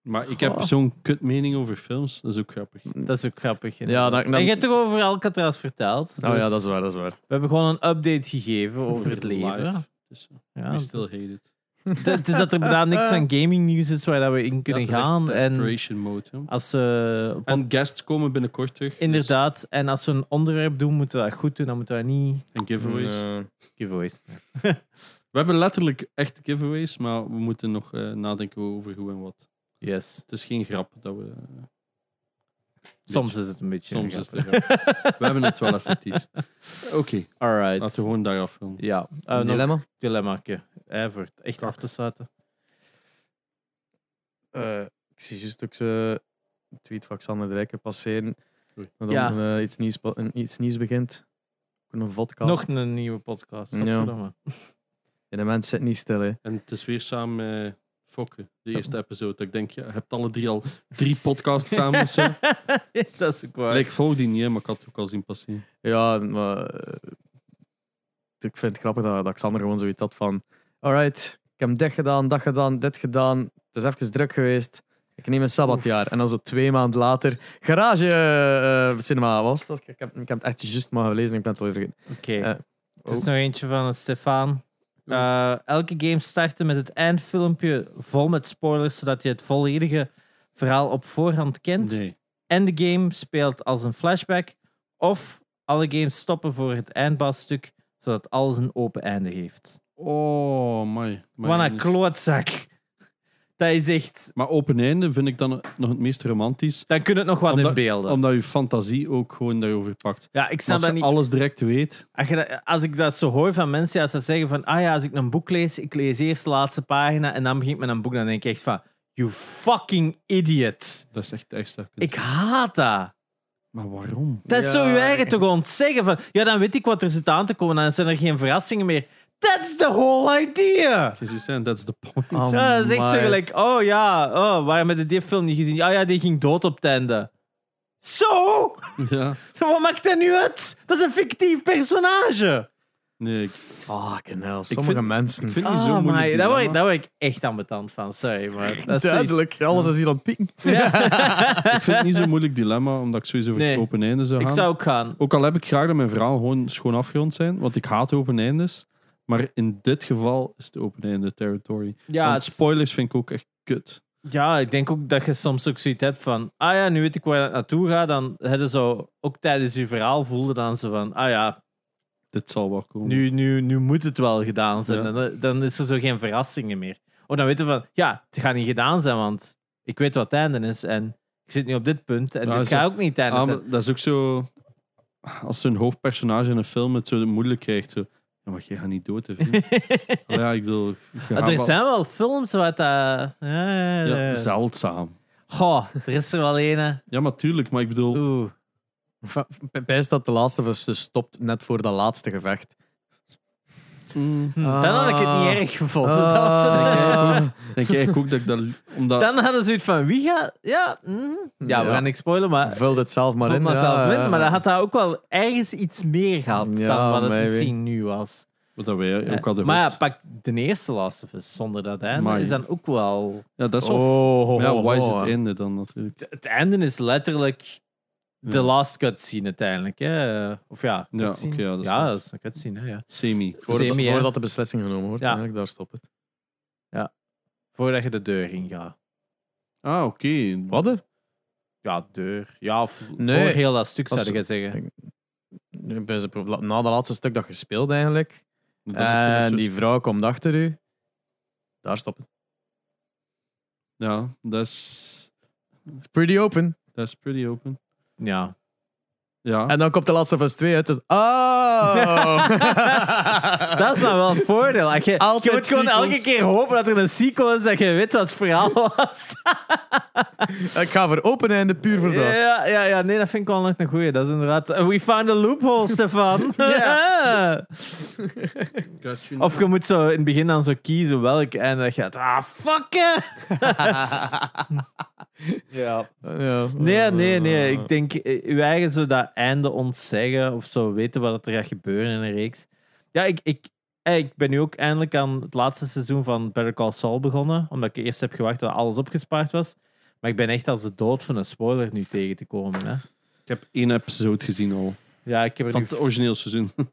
C: Maar ik
B: Goh.
C: heb zo'n kut mening over films. Dat is ook grappig.
B: Dat is ook grappig.
A: Ja, dat-
B: En je hebt toch over Alcatraz verteld?
A: oh
B: Dus
A: ja, dat is waar, dat is waar.
B: We hebben gewoon een update gegeven over het leven.
C: Live. Dus, uh,
B: Ja,
C: we still hate it.
B: het- het is dat er bijna niks (laughs) aan gaming nieuws is waar dat we in kunnen
C: Ja, het is echt
B: gaan. En
C: Desperation mode. hè.
B: als we op-
C: En guests komen binnenkort terug. dus-
B: Inderdaad, en als we een onderwerp doen, moeten we dat goed doen. Dan moeten we dat niet.
C: en giveaways.
A: Eh,
B: Giveaways.
C: We hebben letterlijk echt giveaways, maar we moeten nog eh, nadenken over hoe en wat.
B: Yes.
C: Het is geen grap dat we. eh,
B: Soms is het een beetje.
C: Soms
B: een
C: is het
B: grap.
C: een We hebben het wel effectief. (laughs) Oké,
B: Alright.
C: laten we gewoon daar afronden.
B: Ja, Eh,
A: een
B: nog
A: dilemma?
B: dilemmaatje. Eh, voor het echt af te sluiten.
A: Eh, ik zie juist ook ze een tweet van Xander de Rijken passeren.
C: Oei.
A: Dat
B: Ja.
A: er eh, iets, nieuws, pa- een- iets nieuws begint. Ook een vodcast.
B: Nog een nieuwe podcast.
A: Ja.
B: Godverdomme. (laughs)
A: Ja, de mens zit niet stil, hè.
C: En het is weer samen met Fokke, de eerste episode. Dat Ik denk, ja, je hebt alle drie al drie podcasts samen. of zo. (laughs)
B: dat is ook waar.
C: Nee, ik volg die niet, hè, maar ik had het ook al zien passeren.
A: Ja, maar eh, ik vind het grappig dat, dat Xander gewoon zoiets had van: alright, ik heb dit gedaan, dat gedaan, dit gedaan. Het is even druk geweest. Ik neem een sabbatjaar. En dan zo twee maanden later, garage eh, cinema was. Dat, ik, heb, ik heb het echt juist maar gelezen, ik ben het al even vergeten.
B: Oké.
A: Eh,
B: Het is
A: oh.
B: nog eentje van Stefan. Eh, elke game startte met het eindfilmpje vol met spoilers, zodat je het volledige verhaal op voorhand kent.
C: Nee.
B: En de game speelt als een flashback. Of alle games stoppen voor het eindbasstuk, zodat alles een open einde heeft.
C: Oh, mooi.
B: Wat een klootzak. Dat is echt...
C: Maar open einde vind ik dan nog het meest romantisch.
B: Dan kun je het nog wat in
C: Omdat-
B: beelden.
C: Omdat je fantasie ook gewoon daarover pakt.
B: ja, ik snap
C: Als
B: dat
C: je
B: niet.
C: alles direct weet.
B: Als, je dat- als ik dat zo hoor van mensen, als ze zeggen van, ah ja, als ik een boek lees, ik lees eerst de laatste pagina en dan begint met een boek, dan denk ik echt van, you fucking idiot.
C: Dat is echt echt slecht.
B: Ik haat dat.
C: Maar waarom?
B: Dat is
A: Ja,
B: zo je eigen
A: ik-
B: toch ontzeggen van, ja, dan weet ik wat er zit aan te komen, dan zijn er geen verrassingen meer. That's the whole idea.
C: As you said, that's the point.
A: Oh,
B: ja, dat is echt zo
A: my.
B: gelijk, oh ja, oh, waarom heb je die film niet gezien? Ah Ja, ja, die ging dood op het einde. Zo? (laughs)
C: Ja.
B: Wat maakt dat nu uit? Dat is een fictief personage.
C: Nee, ik
A: Fucking hell, sommige
C: vind-
A: mensen.
C: ik vind niet zo
B: Ah, maar
C: moeilijk.
B: daar word, ik-
C: dilemma.
B: daar word ik echt ambetant van, sorry. Maar dat is zoiets-
A: (laughs) Duidelijk, alles is hier aan het pieken.
C: Ik vind het niet zo'n moeilijk dilemma, omdat ik sowieso voor
B: Nee.
C: het open einde zou
B: Ik
C: gaan.
B: zou ook gaan.
C: Ook al heb ik graag dat mijn verhaal gewoon schoon afgerond zijn, want ik haat open eindes. Maar in dit geval is het open einde territory.
B: Ja,
C: want
B: het-
C: spoilers vind ik ook echt kut.
B: ja, ik denk ook dat je soms ook zoiets hebt van... Ah ja, nu weet ik waar het naartoe gaat. Dan hadden zo... Ook tijdens je verhaal voelde dan ze van... Ah ja,
C: Dit zal wel komen.
B: nu, nu, nu moet het wel gedaan zijn.
C: Ja.
B: En dan, dan is er zo geen verrassingen meer. Of dan weten we van... Ja, het gaat niet gedaan zijn, want ik weet wat het einde is. En ik zit nu op dit punt. En
C: Ja,
B: dit
C: zo-
B: gaat ook niet het einde
C: Ah,
B: zijn.
C: maar dat is ook zo... Als zo'n hoofdpersonage in een film het zo moeilijk krijgt, zo... Ja, maar jij gaat niet dood,
B: (laughs)
C: hè, vriend. Allee, ja, ik bedoel... je gaat
B: er
C: wel-
B: zijn wel films wat... dat ja, ja, ja.
C: Ah, Ja, zeldzaam.
B: Goh, er is er wel een.
C: Ja, maar tuurlijk, maar ik bedoel...
B: Oeh.
A: Va- bij- Bij is dat de laatste was, ze dus stopt net voor dat laatste gevecht.
C: mm,
B: Hm, Dan had ik het niet erg gevonden.
A: Ah.
B: Dat was het.
A: eh,
C: denk ik eigenlijk ook dat ik dat...
B: (laughs)
C: Omdat...
B: Dan hadden ze het van wie gaat. Ja, mhm. ja, we
A: Ja.
B: gaan niks spoilen, maar.
A: Vul het zelf maar
B: Vond
A: in.
B: mezelf
A: ja,
B: in,
A: ja.
B: Ah. maar dan had dat ook wel ergens iets meer gehad
A: Ja,
B: dan wat het
A: maybe.
B: misschien nu was.
C: Wat dat wij ook hadden
B: Eh, maar ja,
C: gehoord.
B: pak de eerste Last of Us zonder dat einde.
C: Amai.
B: Is dan ook wel. Oh.
C: Ja, dat is
A: Oh,
C: wel...
A: ho,
C: ja,
A: ho,
C: waar is
A: ho,
C: het
A: hè.
C: einde dan natuurlijk?
B: Het- Het einde is letterlijk de
C: Ja.
B: last cutscene uiteindelijk. Hè? Of ja,
C: Ja,
B: cutscene.
C: oké, ja, dat is
B: ja,
C: waar.
B: dat is een cutscene. hè, Ja.
C: Semi.
A: Voordat,
B: Semi, hè.
A: voordat de beslissing genomen wordt,
B: Ja.
A: eigenlijk, daar stopt het.
B: Voordat je de deur ingaat.
C: Ah, oké.
A: Wat? er?
B: Ja, deur. Ja, of
A: Nee.
B: voor heel dat stuk
A: Als-
B: zou je zeggen.
A: Nu ben ze pro- Na dat laatste stuk dat je speelt, eigenlijk.
C: Dat is
A: En
C: zo-
A: die vrouw komt achter u. Daar stopt het.
C: Ja, dat is...
A: It's pretty open.
C: Dat is pretty open.
B: Ja.
C: Ja.
B: Ah.
A: En dan komt de laatste van twee uit. Dus, oh!
B: (laughs) Dat is nou wel het voordeel. Als Je, je
A: Altijd
B: moet gewoon
A: sequels.
B: elke keer hopen dat er een sequel is dat je weet wat het
C: (laughs)
B: verhaal was.
A: Ik ga voor open einde puur voor dat.
B: ja, ja, ja, nee, dat vind ik wel nog een goeie. Dat is inderdaad... We found a loophole,
C: (laughs)
B: Stefan. (laughs)
A: Ja.
C: Got you.
B: of je moet zo in het begin dan zo kiezen welk en dan gaat... Ah, fuck it. ja.
A: Ja.
B: Nee, nee, nee. Ik denk, eh, uw eigen zo dat einde ontzeggen of zo weten wat er gaat gebeuren in een reeks. Ja, ik, ik, eh, ik ben nu ook eindelijk aan het laatste seizoen van Better Call Saul begonnen. Omdat ik eerst heb gewacht dat alles opgespaard was. Maar ik ben echt als de dood van een spoiler nu tegen te komen. Hè.
C: Ik heb één episode gezien al.
B: Ja, ik heb er
C: Van
B: nu
C: het origineel seizoen. (laughs)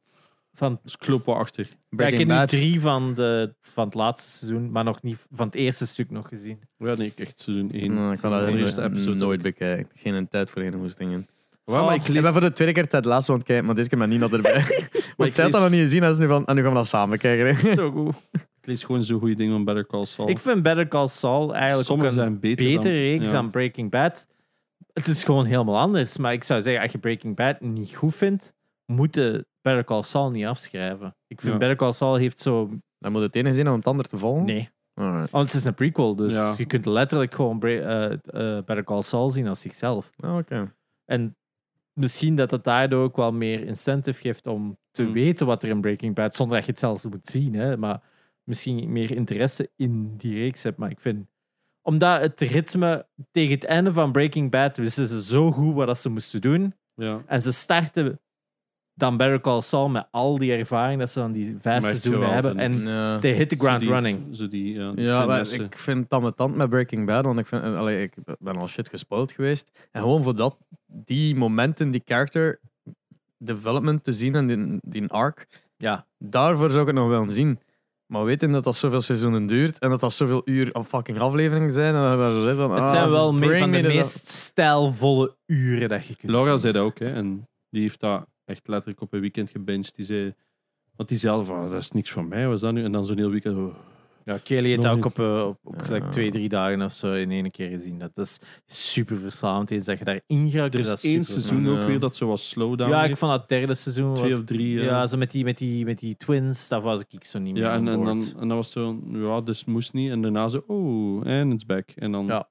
B: van...
C: Dus kloppen achter.
B: Ja, ik heb
A: Breaking
B: nu
A: Bad.
B: drie van, de, van het laatste seizoen, maar nog niet van het eerste stuk nog
C: (laughs)
B: gezien.
C: Ja, nee, ik echt seizoen één.
A: Nou, ik kan
C: de
A: dat
C: eerste episode.
A: nooit Oh. bekijken. Geen tijd voor geen hoestingen.
C: Waar, maar ik
A: Ik
C: lees...
A: ben voor de tweede keer tijd laatste want kijken, maar deze keer met Nina erbij. (laughs)
C: Maar
A: Want zij had dat nog niet gezien, en ze nu van, en nu gaan we dat samen kijken. (laughs) hè.
B: Zo goed.
C: Ik lees gewoon zo'n goede dingen om Better Call Saul.
B: Ik vind Better Call Saul eigenlijk ook
C: Sommige
B: een
C: zijn beter,
B: betere
C: dan,
B: reeks
C: ja.
B: dan Breaking Bad. Het is gewoon helemaal anders. Maar ik zou zeggen, als je Breaking Bad niet goed vindt, moet je Better Call Saul niet afschrijven. Ik vind
C: Ja.
B: Better Call Saul heeft zo...
A: Dan moet het ene zien om het ander te volgen.
B: Nee.
A: Alright.
B: Oh, het is een prequel, dus
C: Ja.
B: je kunt letterlijk gewoon Bra- eh, eh, Better Call Saul zien als zichzelf.
A: Ah, Oké.
B: En misschien dat dat daardoor ook wel meer incentive geeft om te
C: Hmm.
B: weten wat er in Breaking Bad, zonder dat je het zelfs moet zien, hè, maar misschien meer interesse in die reeks hebt. Maar ik vind, omdat het ritme tegen het einde van Breaking Bad wisten ze zo goed wat dat ze moesten doen.
C: Ja.
B: En ze starten dan Better Call Saul met al die ervaring dat ze van die vijf
C: Maar het
B: seizoenen
C: geweld
B: hebben.
C: en-
B: En
A: Ja.
B: they hit the ground
C: Zo die-
B: running.
C: Zo die, ja. die
A: Ja, maar
C: finesse.
A: ik vind het ambetant met Breaking Bad, want ik, vind, eh, allee, ik ben al shit gespoild geweest. En gewoon voor dat, die momenten, die character development te zien en die, die arc,
B: Ja,
A: daarvoor zou ik het nog wel zien. Maar weten dat dat zoveel seizoenen duurt en dat dat zoveel uur aan fucking afleveringen zijn. En dan hebben we zoiets van,
B: Het
A: ah,
B: zijn wel
A: just
B: meer
A: bring
B: van de
A: me the-
B: meest stijlvolle uren dat je kunt
C: Laura
B: zien.
C: zei dat ook, hè, en die heeft dat echt letterlijk op een weekend gebinged. Die zei, want die zei al van, dat is niks voor mij, was dat nu? En dan zo'n heel weekend, oh,
B: Ja, Kelly heeft
C: Nog
B: dat ook
C: niet.
B: op, eh, op, op gelijk
A: Ja.
B: twee, drie dagen of zo in één keer gezien. Dat is super verslavend. Is dat je daarin geraakt.
C: er
B: dat
C: is één
B: super-
C: seizoen
A: Ja.
C: ook weer dat zo was slowdown
B: Ja, ik
C: heeft.
B: vond dat derde seizoen was...
C: Twee of drie. eh,
B: Ja, zo met die, met, die, met die twins, daar was ik zo niet meer
C: Ja, en,
B: aan
C: en,
B: boord.
C: dan, en dan was zo, ja, dus moest niet. En daarna zo, oh, en it's back. En dan
A: Ja.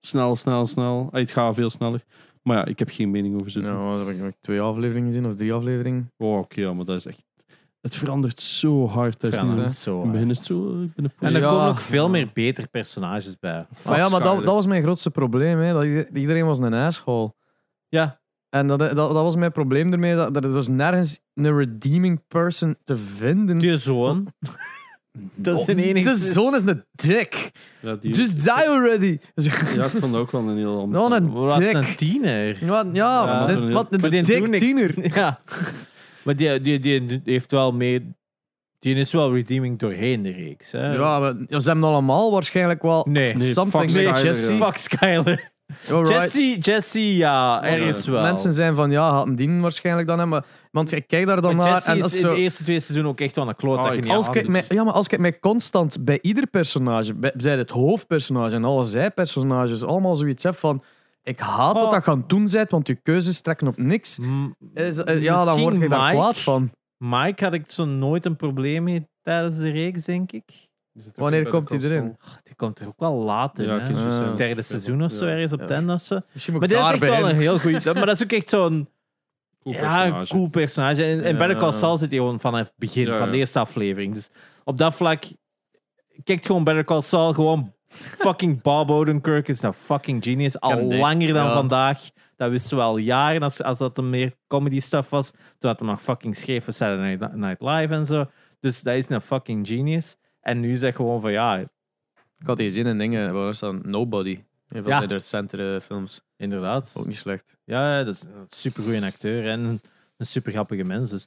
C: snel, snel, snel. Ay, het gaat veel sneller. Maar ja, ik heb geen mening over zo'n.
A: Nou, daar heb ik nog twee afleveringen gezien of drie afleveringen.
C: Oh, oké, ja, maar dat is echt... Het verandert zo hard.
B: Het
C: Dat is
B: verandert
C: niet-
B: zo
C: in het begin
B: hard.
C: is het zo, eh, ik ben een
B: En er
A: Ja.
B: komen ook veel meer beter personages bij.
A: Maar ja, maar dat,
C: Afschuwelijk.
A: dat was mijn grootste probleem. Hè. Dat ieder- iedereen was een asshole.
B: Ja,
A: En dat, dat, dat was mijn probleem ermee. Dat, dat er dus nergens een redeeming person te vinden.
B: je
A: (laughs)
B: zoon. dat is een enige...
A: De zoon Oh, is een dik.
C: Ja, die-
B: Dus-
A: Just die already. Dus, (laughs)
C: ja, ik vond dat ook wel een
B: (laughs)
C: heel ander.
A: Nou, een
B: Wat een
A: dik.
B: tiener. (laughs)
A: Ja, ja,
B: Ja.
A: dit- wat
B: Maar
A: een
B: die doet
A: dik
B: niks.
A: tiener.
B: (laughs) Ja. Maar die, die, die heeft wel mee... Die is wel redeeming doorheen de reeks. Hè?
A: Ja, maar ze hebben allemaal waarschijnlijk wel
B: Nee.
C: Nee,
A: something
C: fuck
A: met
C: Skyler,
A: Jesse.
C: ja.
B: Fuck Skyler.
A: Alright.
B: Jesse, Jesse, ja, ergens wel.
A: Mensen zijn van, ja, hadden die waarschijnlijk dan hebben. Want ik kijk daar dan
B: Maar
A: naar
B: Jesse
A: en
B: is
A: dat is
B: in
A: zo...
B: de eerste twee seizoenen ook echt wel een kloot.
C: Ah,
B: dat je
C: ik-
B: niet
A: Als
B: aan-
A: ik mij,
C: dus-
A: ja, maar als ik mij constant bij ieder personage, bij, bij het hoofdpersonage en alle zijpersonages, allemaal zoiets heb van... Ik haat
B: Oh.
A: wat dat gaan doen bent, want je keuzes trekken op niks.
B: M-
A: Is- eh, ja, dan
B: Misschien
A: word ik daar
B: Mike.
A: kwaad van.
B: Mike had ik zo nooit een probleem mee tijdens de reeks, denk ik.
C: Die zit ook
A: Wanneer
C: bij de
A: komt die
C: console.
A: erin?
B: Ach, die komt er ook wel later.
C: Ja, ik
B: hè?
C: kan zo
A: Ah.
C: zeggen.
B: Derde seizoen of zo,
C: Ja.
B: ergens op
A: Ja.
B: het einde of zo.
A: Misschien moet
B: Maar
A: ik
B: dit is
A: daar
B: echt wel een
A: beginnen.
B: heel
C: (laughs)
B: goeie. dat- Maar dat is ook echt zo'n
C: Cool
B: ja, een
C: personage.
B: cool personage. En, en
A: Ja.
B: Better Call Saul zit hier gewoon vanaf het begin,
C: Ja,
B: van
C: ja.
B: de eerste aflevering. Dus op dat vlak, kijkt gewoon Better Call
A: (laughs)
B: Saul, gewoon fucking Bob Odenkirk is een fucking genius. Al
A: hem dik.
B: langer dan
A: Ja.
B: vandaag. Dat wisten we al jaren, als, als dat een meer comedy stuff was. Toen had hij nog fucking schreef voor Saturday Night Live en zo. Dus dat is een fucking genius. En nu zeg gewoon van ja,
A: Ik had hier zin in dingen, waar staan Nobody. Een van
B: Ja.
A: de recentere films.
B: inderdaad.
A: Ook niet slecht.
B: Ja, ja, dat is een supergoeie acteur en een- een super grappige mens. Dus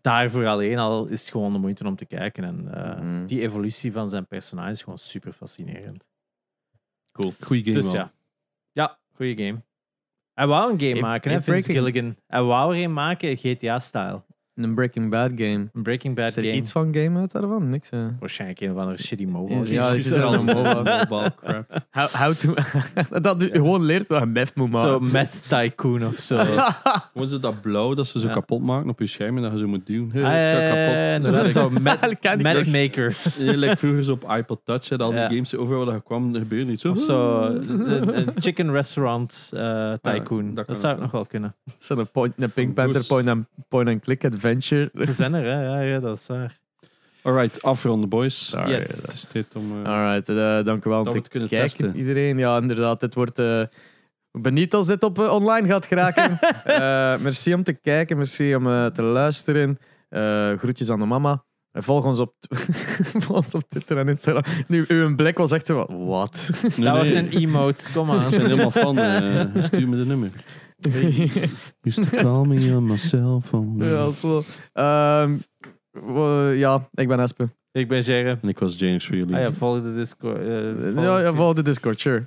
B: daarvoor alleen al is het gewoon de moeite om te kijken. En eh,
A: Mhm.
B: die evolutie van zijn personage is gewoon super fascinerend.
C: Cool. Goeie game.
B: dus
C: wel.
B: ja. Ja, goede game. Hij wou een game
A: Heeft-
B: maken, hè,
A: heeft
B: Vince
A: Breaking-
B: Gilligan. Hij wou er een maken, GTA-style.
A: Een Breaking Bad game.
B: Een Breaking Bad
A: Is er
B: game.
A: iets van game uit daarvan? Niks, hè.
B: Waarschijnlijk een of andere shitty mobile
A: Ja,
B: game.
A: het
B: (laughs)
A: is wel een mobile.
C: Mobile crap.
A: How, how to... (laughs) dat je gewoon leert dat je meth moet maken.
B: Zo Meth Tycoon of
A: (laughs)
B: zo. Ah,
C: Gewoon zo dat blauw dat ze zo
B: Ja. Ah,
C: kapot maken op je scherm en dat je zo moet duwen. Hey, het
B: ja,
C: gaat
B: ja, ja,
C: kapot.
B: Eh, inderdaad,
A: (laughs)
B: Zo Meth
A: Ik ken die
B: Meth
A: games.
B: Maker.
C: Ja, like vroeger zo op iPod Touch, hè, dat al die
B: Ja.
C: games overal waar dat kwam, er gebeurde niet zo.
B: Of
A: (laughs)
B: zo een, een chicken restaurant eh, tycoon.
C: dat
B: dat,
C: kan
B: zou
C: ook
B: ik nog wel kunnen.
A: Zo'n point- een Pink
C: Een
A: Panther
C: bus.
A: point-and- point-and-click adventure. (laughs)
B: Ze zijn er, hè? Ja, ja, dat is waar.
C: Alright, afronden, boys.
A: Sorry,
B: Yes.
A: dat
C: Het
A: is-
C: is tijd om. eh,
A: Alright, eh, dank u wel.
C: Dat
A: om
C: we
A: te
C: het kunnen
A: kijken,
C: testen.
A: iedereen. Ja, inderdaad. Dit wordt. eh, benieuwd als dit op eh, online gaat
B: (laughs)
A: geraken. Eh, merci om te kijken, merci om eh, te luisteren. Eh, groetjes aan de mama. En volg ons op, (laughs) volg ons op Twitter en Instagram. Nu, uw blik was echt zo van, wat?
C: nee,
B: dat
C: nee,
B: wordt Nou, een emote, kom aan.
C: Ik
A: (laughs)
C: ben helemaal
B: (laughs)
C: fan. eh, stuur me de nummer. Used to call me on my cell phone.
A: ja, zo. Ehm, we- ja, ik ben Espen.
B: ik ben Jerry.
C: En ik was James voor jullie.
B: Ah ja, volg de Discord. eh, volg-
A: Ja, ja, volg de Discord, sure. (laughs)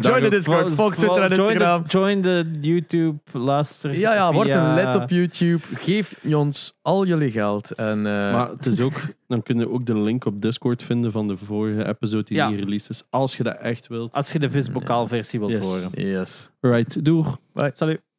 A: Join de Discord,
B: Vol-
A: volg Twitter en
B: join de-
A: Instagram.
B: Join de YouTube, luister.
A: Ja, ja, word
B: via-
A: een lid op YouTube. Geef ons al jullie geld. En, eh,
C: Maar het is ook, dan kunnen we ook de link op Discord vinden van de vorige episode die
B: Ja.
C: hier released is. Als je dat echt wilt.
A: Mm,
B: Als je de visbokaalversie wilt
C: Yes.
B: horen.
A: yes.
C: Alright, doeg.
B: Salut.